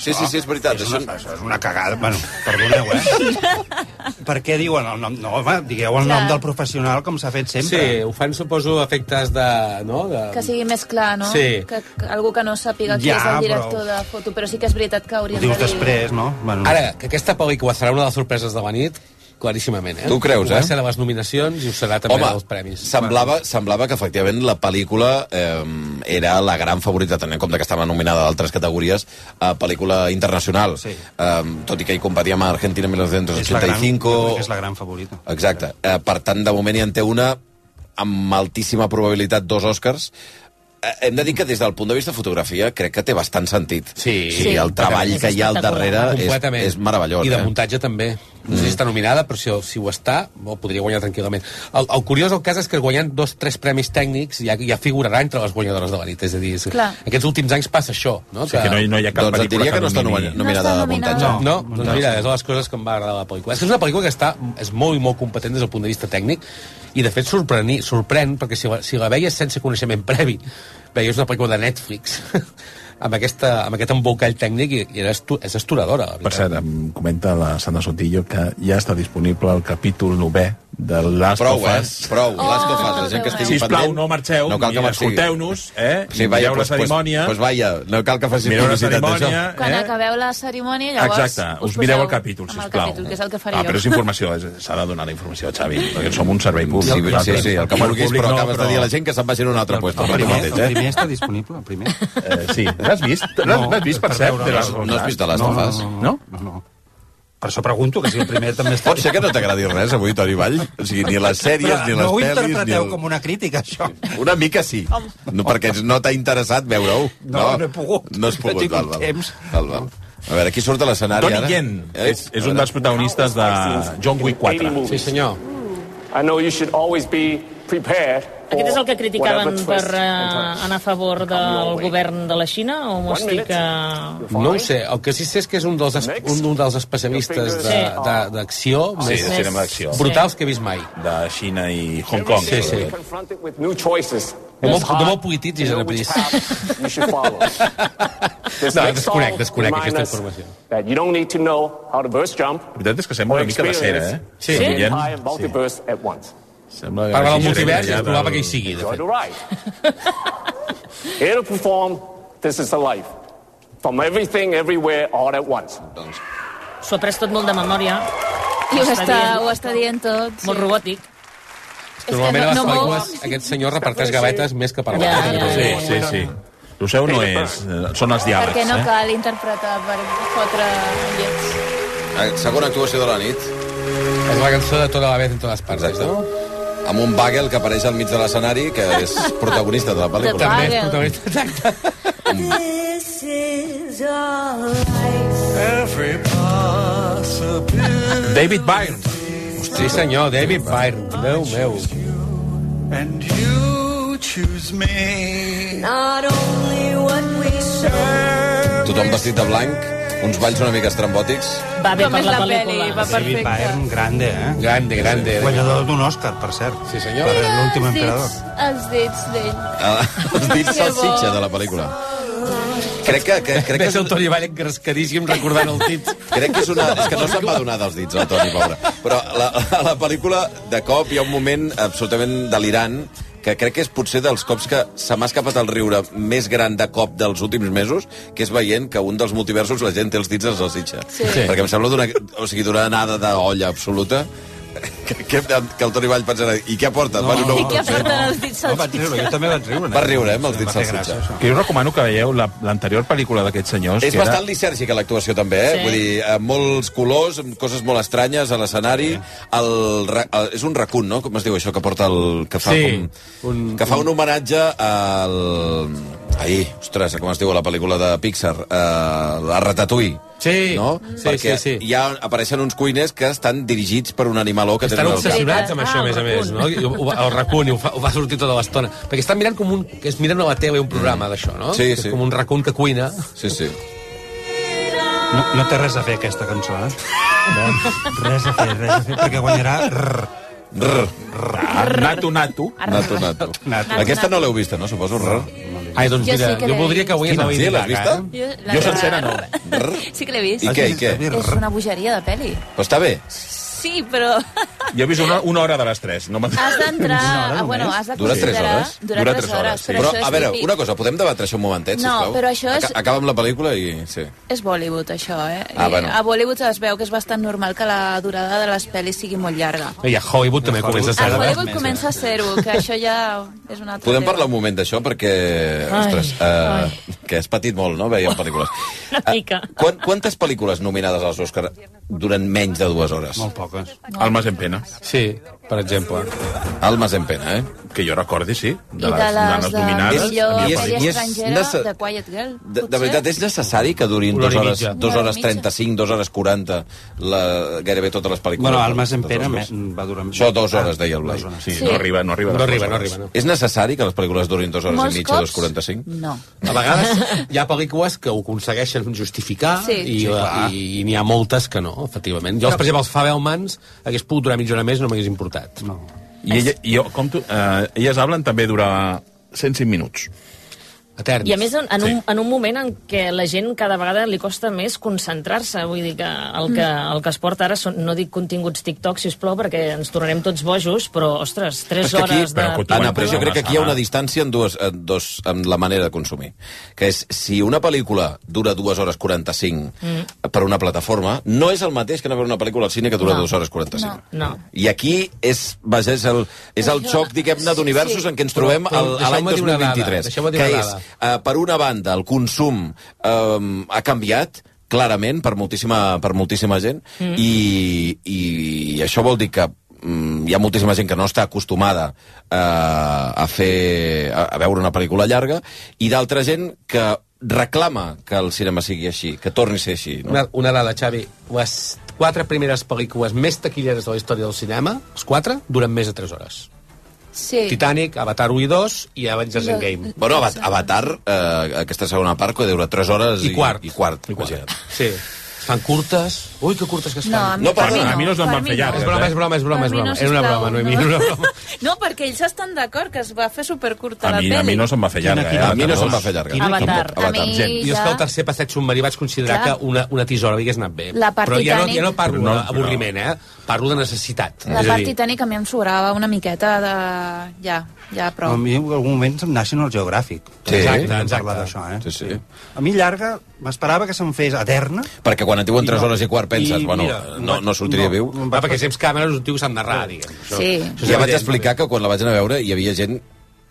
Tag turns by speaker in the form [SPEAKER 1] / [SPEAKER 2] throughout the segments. [SPEAKER 1] Sí, sí, sí, és veritat. Això...
[SPEAKER 2] Això és una cagada. Bueno, perdoneu, eh? per què diuen el nom? No, home, digueu el nom
[SPEAKER 3] Clar.
[SPEAKER 2] del professional com s'ha fet
[SPEAKER 4] Sí,
[SPEAKER 2] sempre.
[SPEAKER 4] ho fan, suposo, a efectes de... No? de...
[SPEAKER 3] Que sigui més clar, no?
[SPEAKER 4] Sí.
[SPEAKER 3] Que, que algú que no sàpiga qui
[SPEAKER 2] Ja,
[SPEAKER 3] és el director
[SPEAKER 2] però-
[SPEAKER 3] de foto, però sí que és veritat que
[SPEAKER 2] Ho
[SPEAKER 3] hauríem
[SPEAKER 2] dius
[SPEAKER 3] de dir...
[SPEAKER 2] després, no? Bueno,
[SPEAKER 4] Ara, que aquesta pel·lícula serà una de les sorpreses de la nit, claríssimament, eh?
[SPEAKER 1] Tu ho creus,
[SPEAKER 4] ho
[SPEAKER 1] eh?
[SPEAKER 4] Va ser a les nominacions i ho serà també als premis.
[SPEAKER 1] semblava, semblava que efectivament la pel·lícula eh, era la gran favorita, tenint en compte que estava nominada a altres categories a pel·lícula internacional.
[SPEAKER 2] Sí.
[SPEAKER 1] Eh, tot i que hi competia amb Argentina
[SPEAKER 2] és la, gran,
[SPEAKER 1] 1985...
[SPEAKER 2] jo crec que és la gran favorita.
[SPEAKER 1] Exacte. Eh, per tant, de moment hi en té una amb altíssima probabilitat dos Oscars. Eh, hem de dir que des del punt de vista de fotografia crec que té bastant sentit.
[SPEAKER 4] Sí.
[SPEAKER 1] o sigui, el
[SPEAKER 3] Sí,
[SPEAKER 1] treball
[SPEAKER 3] és
[SPEAKER 1] que hi ha al
[SPEAKER 3] espectacular.
[SPEAKER 1] darrere és,
[SPEAKER 4] Completament.
[SPEAKER 1] és meravellós.
[SPEAKER 4] I de
[SPEAKER 1] eh? Mm.
[SPEAKER 4] muntatge també. No sé si està nominada, però si, si ho està, bo, podria guanyar tranquil·lament. El, el curiós del cas és que guanyant dos, tres premis tècnics ja, ja figurarà entre les guanyadores de la nit. És a dir, és,
[SPEAKER 3] Clar.
[SPEAKER 4] aquests últims anys passa això. No?
[SPEAKER 5] Que no hi, no hi ha cap
[SPEAKER 1] Doncs et
[SPEAKER 5] pel·lícula
[SPEAKER 1] diria que no està
[SPEAKER 5] domini.
[SPEAKER 3] No
[SPEAKER 1] nominada
[SPEAKER 3] està
[SPEAKER 1] a muntatge.
[SPEAKER 3] nominada.
[SPEAKER 4] No, doncs mira, és de les coses que em va agradar de la pel·lícula. És que és una pel·lícula que està, és molt i molt competent des del punt de vista tècnic i, de fet, sorpreni, sorprèn, perquè si la, si la veies sense coneixement previ, veies una pel·lícula de Netflix amb, aquesta, amb aquest embolcall tècnic i, i era estu, és estoradora, la
[SPEAKER 5] Per
[SPEAKER 4] veritat.
[SPEAKER 5] cert, em comenta la Sandra Sotillo que ja està disponible el capítol 9 de Last
[SPEAKER 1] Prou,
[SPEAKER 5] of
[SPEAKER 1] eh?
[SPEAKER 5] Us.
[SPEAKER 1] Prou, oh, les cofes, la gent
[SPEAKER 3] Déu
[SPEAKER 1] que estigui
[SPEAKER 5] Sisplau,
[SPEAKER 1] pendent...
[SPEAKER 5] no marxeu,
[SPEAKER 1] no cal que
[SPEAKER 5] mira,
[SPEAKER 1] marxeu.
[SPEAKER 5] escolteu-nos, eh?
[SPEAKER 1] Sí,
[SPEAKER 5] veieu
[SPEAKER 1] vaya,
[SPEAKER 5] la cerimònia,
[SPEAKER 1] Pues, pues vaya, no cal que facis
[SPEAKER 5] mireu la
[SPEAKER 1] publicitat d'això.
[SPEAKER 5] cerimònia...
[SPEAKER 3] Quan
[SPEAKER 5] eh?
[SPEAKER 3] acabeu la cerimònia, llavors...
[SPEAKER 5] Exacte, us, mireu
[SPEAKER 3] poseu
[SPEAKER 5] el capítol,
[SPEAKER 3] amb
[SPEAKER 5] sisplau.
[SPEAKER 3] El capítol, que és el que faré
[SPEAKER 5] ah,
[SPEAKER 3] jo.
[SPEAKER 5] Però és informació, és- s'ha de donar la informació, Xavi, perquè som un servei
[SPEAKER 1] Sí,
[SPEAKER 5] públic.
[SPEAKER 1] sí, sí, el que vulguis, però acabes de dir a la gent que se'n vagin a un altre lloc.
[SPEAKER 2] El primer, el
[SPEAKER 1] Eh?
[SPEAKER 2] primer està disponible, el primer.
[SPEAKER 5] Eh, sí, l'has vist? L'has
[SPEAKER 2] No,
[SPEAKER 5] l'has vist, per
[SPEAKER 2] per
[SPEAKER 5] cert?
[SPEAKER 2] veure,
[SPEAKER 5] de
[SPEAKER 2] no,
[SPEAKER 5] les-
[SPEAKER 1] No has vist de les
[SPEAKER 2] No, no,
[SPEAKER 1] tofes?
[SPEAKER 2] no,
[SPEAKER 5] No?
[SPEAKER 2] no, no. Per això pregunto, que si el primer també està...
[SPEAKER 1] Pot ser que no t'agradi res avui, Toni Vall? O sigui, ni les sèries, ni les
[SPEAKER 2] no ho
[SPEAKER 1] pel·lis... ni
[SPEAKER 2] interpreteu
[SPEAKER 1] el-
[SPEAKER 2] com una crítica, això.
[SPEAKER 1] Una mica sí, no, perquè no t'ha interessat veure-ho.
[SPEAKER 2] No, no he pogut.
[SPEAKER 1] No has
[SPEAKER 2] No he
[SPEAKER 1] pogut,
[SPEAKER 2] tingut
[SPEAKER 1] val, val.
[SPEAKER 2] temps.
[SPEAKER 1] Val, val. A veure, qui surt a l'escenari
[SPEAKER 5] Tony
[SPEAKER 1] ara? Eh?
[SPEAKER 5] Yen és, és un dels protagonistes de
[SPEAKER 4] Ah,
[SPEAKER 5] John Wick 4.
[SPEAKER 4] Sí, senyor.
[SPEAKER 6] I know you should always be prepared.
[SPEAKER 7] Aquest és el que criticaven per eh, anar a favor del govern de la Xina, o m'ho
[SPEAKER 6] One
[SPEAKER 7] estic...
[SPEAKER 6] minute.
[SPEAKER 7] eh,
[SPEAKER 4] No ho sé, el que sí sé és que és un dels, es- un, un dels especialistes de- de- d'acció
[SPEAKER 5] Sí,
[SPEAKER 4] més
[SPEAKER 5] de cinema d'acció.
[SPEAKER 4] brutals que he vist mai.
[SPEAKER 5] De Xina i Hong Kong.
[SPEAKER 4] Sí, sí.
[SPEAKER 6] Confronted with new choices.
[SPEAKER 4] De molt-
[SPEAKER 6] It's hard
[SPEAKER 4] de molt polititzis,
[SPEAKER 6] to know
[SPEAKER 4] ara,
[SPEAKER 6] which
[SPEAKER 4] please.
[SPEAKER 6] path you should follow. This
[SPEAKER 4] No,
[SPEAKER 6] next
[SPEAKER 4] desconec,
[SPEAKER 6] song
[SPEAKER 4] desconec
[SPEAKER 6] reminds
[SPEAKER 4] aquesta
[SPEAKER 6] us
[SPEAKER 4] informació.
[SPEAKER 6] That you don't need to know how to verse jump
[SPEAKER 5] La veritat és que sembla una mica de cera, eh?
[SPEAKER 4] Sí.
[SPEAKER 5] Tony
[SPEAKER 6] and
[SPEAKER 5] Yen.
[SPEAKER 6] high and multiverse at once.
[SPEAKER 5] Sembla que
[SPEAKER 4] Parla del
[SPEAKER 5] vagi
[SPEAKER 4] multivers i
[SPEAKER 5] allà
[SPEAKER 4] és probable
[SPEAKER 5] del-
[SPEAKER 4] que hi sigui, de
[SPEAKER 6] Enjoy
[SPEAKER 4] fet.
[SPEAKER 6] the ride. Here to perform, this is the life. From everything, everywhere, all at once.
[SPEAKER 7] S'ho ha pres tot molt de memòria,
[SPEAKER 3] I ho està,
[SPEAKER 7] dient.
[SPEAKER 3] ho està dient tot. Sí.
[SPEAKER 7] molt robòtic.
[SPEAKER 3] És que
[SPEAKER 4] Normalment a les
[SPEAKER 3] no, no mou.
[SPEAKER 4] pel·lícules aquest senyor reparteix gavetes més que parlar.
[SPEAKER 7] Ja, ja,
[SPEAKER 5] Sí, sí, sí. El seu no és... eh, Són els diàlegs,
[SPEAKER 3] Perquè no
[SPEAKER 5] eh?
[SPEAKER 3] cal interpretar per fotre llets.
[SPEAKER 1] Eh, Segona actuació de la nit,
[SPEAKER 4] És la cançó de tota la vez en totes parts,
[SPEAKER 1] Exacte.
[SPEAKER 4] no?
[SPEAKER 1] amb un bagel que apareix al mig de l'escenari, que és protagonista de la pel·lícula.
[SPEAKER 4] També és
[SPEAKER 3] Bagel.
[SPEAKER 4] protagonista. Exacte.
[SPEAKER 5] David Byrne.
[SPEAKER 4] Sí, senyor, David Byrne. Déu meu.
[SPEAKER 8] And you choose me.
[SPEAKER 1] Tothom vestit de blanc, uns balls una mica estrambòtics.
[SPEAKER 7] Va bé per
[SPEAKER 3] Només
[SPEAKER 7] la
[SPEAKER 3] la
[SPEAKER 7] pel·lícula.
[SPEAKER 3] pel·li va
[SPEAKER 2] David
[SPEAKER 3] perfecte.
[SPEAKER 2] Byrne, grande, eh?
[SPEAKER 4] Grande, grande.
[SPEAKER 2] Guanyador d'un Òscar, per cert.
[SPEAKER 4] Sí, senyor.
[SPEAKER 2] Per l'últim
[SPEAKER 3] Els
[SPEAKER 2] emperador.
[SPEAKER 3] dits, els dits d'ell.
[SPEAKER 1] Ah, Els dits
[SPEAKER 3] Que bo.
[SPEAKER 1] salsitxa de la pel·lícula. Crec que, que, crec que
[SPEAKER 4] Ves
[SPEAKER 1] és
[SPEAKER 4] el Toni Vall engrescadíssim recordant el tit.
[SPEAKER 1] Crec que és una... És que no se'n va donar dels dits, el Toni, pobre. Però la, a la pel·lícula, de cop, hi ha un moment absolutament delirant que crec que és potser dels cops que se m'ha escapat el riure més gran de cop dels últims mesos, que és veient que un dels multiversos la gent té els dits de salsitxa. Sí. Perquè em sembla d'una o sigui, d'una anada d'olla absoluta que, que, que el Toni Vall pensarà i què aporta? No, bueno,
[SPEAKER 3] I
[SPEAKER 1] no,
[SPEAKER 3] què aporten els dits
[SPEAKER 2] No,
[SPEAKER 3] al
[SPEAKER 2] vaig riure, jo també vaig riure. en
[SPEAKER 1] Va
[SPEAKER 2] aquell
[SPEAKER 1] riure, eh,
[SPEAKER 2] moment.
[SPEAKER 1] amb els dits
[SPEAKER 2] Em va fer
[SPEAKER 1] salsitxa.
[SPEAKER 2] gràcia, això.
[SPEAKER 5] Que jo recomano que veieu la- l'anterior pel·lícula d'aquests senyors.
[SPEAKER 1] És
[SPEAKER 5] que era-
[SPEAKER 1] bastant lisèrgica l'actuació, també, eh? Sí.
[SPEAKER 7] Sí.
[SPEAKER 1] Vull dir, amb molts colors, amb coses molt estranyes a l'escenari. El, ra- el, és un racun, no? Com es diu això que porta el... Que fa,
[SPEAKER 4] Sí,
[SPEAKER 1] com,
[SPEAKER 4] un-
[SPEAKER 1] que fa un homenatge al... Ai, ostres, com es diu a la pel·lícula de Pixar? Uh, a Ratatouille.
[SPEAKER 4] Sí,
[SPEAKER 1] no?
[SPEAKER 4] sí,
[SPEAKER 1] Perquè
[SPEAKER 4] sí, sí.
[SPEAKER 1] Hi ha, apareixen uns cuiners que estan dirigits per un animaló que
[SPEAKER 4] Estan
[SPEAKER 1] tenen al cap.
[SPEAKER 4] obsessionats
[SPEAKER 3] Ah,
[SPEAKER 4] amb això, a més a més, no? I ho- ho- El racun, i ho fa, ho fa sortir tota l'estona. Perquè estan mirant com un... Que es miren a la tele un programa d'això, no?
[SPEAKER 1] Mm. Sí,
[SPEAKER 4] que
[SPEAKER 1] sí.
[SPEAKER 4] És com un racun que cuina.
[SPEAKER 1] Sí, sí.
[SPEAKER 2] No, no té res a fer aquesta cançó, eh? Res a fer, res a fer, perquè guanyarà... Rrr.
[SPEAKER 1] Rrr.
[SPEAKER 5] Nato, nato.
[SPEAKER 1] Nato, nato.
[SPEAKER 2] Nato.
[SPEAKER 1] Aquesta no l'heu vista, no? Suposo, rrr.
[SPEAKER 4] Ai, doncs
[SPEAKER 3] Jo
[SPEAKER 4] mira,
[SPEAKER 3] sí que
[SPEAKER 4] jo
[SPEAKER 3] l'he
[SPEAKER 4] voldria que avui es la
[SPEAKER 1] Sí, l'has vista?
[SPEAKER 4] eh?
[SPEAKER 3] Jo, la
[SPEAKER 5] Jo
[SPEAKER 3] de-
[SPEAKER 5] sencera no.
[SPEAKER 3] Sí que l'he vist.
[SPEAKER 1] I què, i què?
[SPEAKER 3] És una bogeria de pel·li.
[SPEAKER 1] Però està bé.
[SPEAKER 3] Sí, però
[SPEAKER 5] Jo he vist una, una hora de les tres. No m'ha-
[SPEAKER 3] has d'entrar...
[SPEAKER 2] hora
[SPEAKER 3] Ah, bueno,
[SPEAKER 2] només?
[SPEAKER 3] has de
[SPEAKER 1] Dura tres
[SPEAKER 3] considerar-
[SPEAKER 1] hores?
[SPEAKER 3] Dura, tres, hores,
[SPEAKER 5] sí.
[SPEAKER 3] però,
[SPEAKER 1] Però,
[SPEAKER 3] això és
[SPEAKER 1] a veure,
[SPEAKER 3] típic.
[SPEAKER 1] una cosa, podem debatre això un momentet,
[SPEAKER 3] No,
[SPEAKER 1] sisplau?
[SPEAKER 3] però això és-
[SPEAKER 1] Aca- Acaba amb la pel·lícula i... Sí.
[SPEAKER 3] És Bollywood, això, eh?
[SPEAKER 1] Ah,
[SPEAKER 3] I
[SPEAKER 1] bueno.
[SPEAKER 3] A Bollywood es veu que és bastant normal que la durada de les pel·lis sigui molt llarga.
[SPEAKER 4] I a Hollywood també comença
[SPEAKER 3] A
[SPEAKER 4] a ser...
[SPEAKER 2] Cada vegada
[SPEAKER 3] Hollywood
[SPEAKER 2] més, eh?
[SPEAKER 3] comença a ser-ho, que això ja és una altra...
[SPEAKER 1] Podem
[SPEAKER 3] teva.
[SPEAKER 1] parlar un moment d'això perquè...
[SPEAKER 7] Ai,
[SPEAKER 1] Ostres,
[SPEAKER 7] ai.
[SPEAKER 1] eh, que has patit molt, no? Veiem pel·lícules.
[SPEAKER 7] Una mica.
[SPEAKER 1] Eh, quan, quantes pel·lícules nominades als Oscar durant menys de dues hores?
[SPEAKER 2] Molt poques.
[SPEAKER 5] Almas en pena.
[SPEAKER 4] Sí, per exemple.
[SPEAKER 1] Almas en pena, eh?
[SPEAKER 5] Que jo recordi, sí.
[SPEAKER 3] I de les,
[SPEAKER 5] eh,
[SPEAKER 3] de
[SPEAKER 5] nominades.
[SPEAKER 3] millor
[SPEAKER 5] a mi em
[SPEAKER 1] és-
[SPEAKER 5] va dir.
[SPEAKER 3] pel·li
[SPEAKER 1] i és
[SPEAKER 3] estrangera,
[SPEAKER 1] nece-
[SPEAKER 3] de Quiet Girl,
[SPEAKER 1] De, de
[SPEAKER 3] potser?
[SPEAKER 1] veritat, és necessari que durin
[SPEAKER 4] Una hora
[SPEAKER 1] dues
[SPEAKER 4] i
[SPEAKER 1] hores,
[SPEAKER 4] mitja.
[SPEAKER 1] dues
[SPEAKER 3] Una hora
[SPEAKER 1] hores
[SPEAKER 3] i mitja.
[SPEAKER 1] 35, dues hores 40, la, gairebé totes les pel·lícules.
[SPEAKER 2] Bueno, Almas en
[SPEAKER 1] Totes
[SPEAKER 2] pena
[SPEAKER 1] les-
[SPEAKER 2] me- va durar...
[SPEAKER 1] Això dues hores, deia el Blai.
[SPEAKER 2] Dues hores.
[SPEAKER 5] Sí,
[SPEAKER 3] Sí.
[SPEAKER 5] no arriba, no arriba.
[SPEAKER 4] No
[SPEAKER 5] de
[SPEAKER 4] arriba,
[SPEAKER 5] les
[SPEAKER 4] no
[SPEAKER 5] dues
[SPEAKER 4] arriba.
[SPEAKER 5] hores.
[SPEAKER 4] No.
[SPEAKER 1] És necessari que les pel·lícules durin dues hores
[SPEAKER 3] Molts
[SPEAKER 1] i mitja,
[SPEAKER 3] cops,
[SPEAKER 1] dues 45?
[SPEAKER 3] No.
[SPEAKER 4] A vegades hi ha pel·lícules que ho aconsegueixen justificar
[SPEAKER 3] Sí.
[SPEAKER 4] sí, i,
[SPEAKER 3] Sí,
[SPEAKER 2] clar.
[SPEAKER 4] i, i n'hi ha moltes que no, efectivament. Jo, per exemple, els Fabelmans hagués pogut durar mitja hora més i no m'hagués importat. No.
[SPEAKER 5] I, ella, i jo, com tu, eh, elles hablen també dura 105 minuts.
[SPEAKER 4] Eterns.
[SPEAKER 7] I a més, en, en, un,
[SPEAKER 5] Sí.
[SPEAKER 7] en un moment en què la gent cada vegada li costa més concentrar-se, vull dir que el que,
[SPEAKER 3] Mm.
[SPEAKER 7] el que es porta ara són, no dic continguts TikTok, sisplau, perquè ens tornarem tots bojos, però, ostres, 3
[SPEAKER 5] És que aquí-
[SPEAKER 7] hores de...
[SPEAKER 5] però escolta,
[SPEAKER 1] Anna, però jo
[SPEAKER 5] Perdó.
[SPEAKER 1] crec que aquí hi ha una distància en, dues, en, dos, en la manera de consumir. Que és, si una pel·lícula dura 2 hores 45 mm. per una plataforma, no és el mateix que anar a veure una pel·lícula al cine que dura
[SPEAKER 7] No.
[SPEAKER 1] 2 hores 45.
[SPEAKER 7] No.
[SPEAKER 1] I aquí és, vaja, és el, és el xoc, diguem-ne, d'universos
[SPEAKER 3] Sí.
[SPEAKER 1] en què ens trobem
[SPEAKER 4] Però- però
[SPEAKER 1] al- a l'any
[SPEAKER 4] deixeu-me dir una dada,
[SPEAKER 1] 2023.
[SPEAKER 4] deixeu-me dir
[SPEAKER 1] Que
[SPEAKER 4] una
[SPEAKER 1] és,
[SPEAKER 4] dada.
[SPEAKER 1] eh, per una banda, el consum eh, ha canviat, clarament, per moltíssima, per moltíssima gent, mm. i, i això vol dir que mm, hi ha moltíssima gent que no està acostumada eh, a fer a, a veure una pel·lícula llarga i d'altra gent que reclama que el cinema sigui així, que torni a ser així. No?
[SPEAKER 4] Una, una dada, Xavi. Les quatre primeres pel·lícules més taquilleres de la història del cinema, els quatre, duren més de 3 hores.
[SPEAKER 3] Sí.
[SPEAKER 4] Titanic, Avatar 1 i 2 i Avengers
[SPEAKER 3] No.
[SPEAKER 4] Endgame.
[SPEAKER 1] Bueno, Ava- Avatar, eh, aquesta segona part, que dura 3 hores
[SPEAKER 4] I quart.
[SPEAKER 1] I quart,
[SPEAKER 4] I quart.
[SPEAKER 1] imagina't.
[SPEAKER 4] Sí. Es fan curtes. Ui, que curtes que es
[SPEAKER 3] No, a
[SPEAKER 4] fan.
[SPEAKER 3] mi,
[SPEAKER 1] No,
[SPEAKER 3] per
[SPEAKER 1] perdona,
[SPEAKER 3] mi no.
[SPEAKER 1] a
[SPEAKER 5] mi no es van
[SPEAKER 3] Per mi
[SPEAKER 5] fer llargues,
[SPEAKER 4] És
[SPEAKER 5] eh?
[SPEAKER 4] broma, és broma, és broma,
[SPEAKER 3] Per
[SPEAKER 4] és
[SPEAKER 3] mi
[SPEAKER 4] broma.
[SPEAKER 3] no,
[SPEAKER 4] Era una
[SPEAKER 3] sisplau,
[SPEAKER 4] broma, Noemí, era una broma.
[SPEAKER 3] No, perquè ells estan d'acord que es va fer supercurta
[SPEAKER 5] A
[SPEAKER 3] la
[SPEAKER 5] mi, a mi
[SPEAKER 3] pel·li.
[SPEAKER 5] no se'm va fer llarga.
[SPEAKER 2] Quina-
[SPEAKER 5] Eh?
[SPEAKER 1] A mi no se'm va
[SPEAKER 5] Avatar
[SPEAKER 1] fer llarga.
[SPEAKER 7] Quina- Avatar.
[SPEAKER 1] Tampoc. Avatar.
[SPEAKER 3] A mi-
[SPEAKER 1] Gent.
[SPEAKER 4] Jo és que el tercer passeig submarí vaig considerar
[SPEAKER 3] Clar.
[SPEAKER 4] que una, una tisora hagués anat bé.
[SPEAKER 3] La part
[SPEAKER 4] Però ja no,
[SPEAKER 3] Titanic-
[SPEAKER 4] ja no parlo
[SPEAKER 5] No,
[SPEAKER 4] d'avorriment, eh? Parlo de necessitat.
[SPEAKER 3] La
[SPEAKER 4] És a
[SPEAKER 3] part
[SPEAKER 4] dir,
[SPEAKER 3] titànica a mi em sobrava una miqueta de... Ja, ja,
[SPEAKER 2] Però...
[SPEAKER 3] però...
[SPEAKER 2] A mi en algun moment em National Geographic.
[SPEAKER 1] Sí,
[SPEAKER 2] Exacte,
[SPEAKER 4] exacte.
[SPEAKER 2] hem parlat d'això, eh?
[SPEAKER 1] Sí, sí.
[SPEAKER 2] A mi llarga, m'esperava que se'm fes eterna.
[SPEAKER 1] Perquè quan et diuen 3
[SPEAKER 2] I no.
[SPEAKER 1] hores i quart penses,
[SPEAKER 2] I
[SPEAKER 1] bueno,
[SPEAKER 2] mira,
[SPEAKER 1] no, no sortiria
[SPEAKER 2] no.
[SPEAKER 1] viu.
[SPEAKER 4] Va, perquè James Cameron és un tio que sap narrar, diguem. Això-
[SPEAKER 3] Sí.
[SPEAKER 4] això és
[SPEAKER 1] Ja vaig
[SPEAKER 4] evident.
[SPEAKER 1] explicar que quan la vaig anar a veure hi havia gent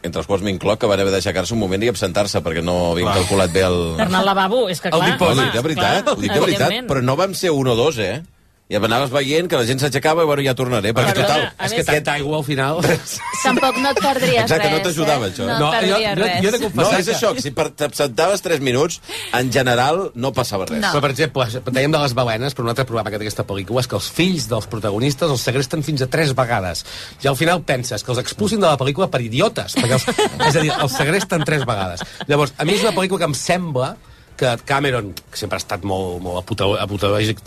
[SPEAKER 1] entre els quals m'incloc, que van haver d'aixecar-se un moment i absentar-se, perquè no havien calculat bé el...
[SPEAKER 7] Per anar al lavabo, és que
[SPEAKER 4] El
[SPEAKER 7] clar...
[SPEAKER 1] Ho
[SPEAKER 4] dipòsit,
[SPEAKER 7] home,
[SPEAKER 1] dic de veritat,
[SPEAKER 7] clar,
[SPEAKER 1] ho dic de veritat,
[SPEAKER 7] evidentment.
[SPEAKER 1] però no vam ser un o dos, eh? I anaves veient que la gent s'aixecava i, bueno, ja tornaré, perquè
[SPEAKER 7] Perdona,
[SPEAKER 1] total...
[SPEAKER 7] a
[SPEAKER 4] És
[SPEAKER 7] més-
[SPEAKER 4] que tanta aigua al final...
[SPEAKER 3] Tampoc no et perdries
[SPEAKER 1] Exacte,
[SPEAKER 3] res,
[SPEAKER 1] no t'ajudava,
[SPEAKER 3] eh?
[SPEAKER 1] això.
[SPEAKER 3] No, no et
[SPEAKER 4] jo,
[SPEAKER 3] perdries
[SPEAKER 4] jo,
[SPEAKER 3] res.
[SPEAKER 4] jo he de
[SPEAKER 1] No,
[SPEAKER 4] confessar
[SPEAKER 1] és això, que si per- t'absentaves 3 minuts, en general no passava res.
[SPEAKER 3] No.
[SPEAKER 4] Però, per exemple, dèiem de les balenes, però un altre problema que té aquesta pel·lícula és que els fills dels protagonistes els segresten fins a tres vegades. I al final penses que els expulsin de la pel·lícula per idiotes, perquè els, és a dir, els segresten tres vegades. Llavors, a mi és una pel·lícula que em sembla que Cameron, que sempre ha estat molt, molt apotagògic,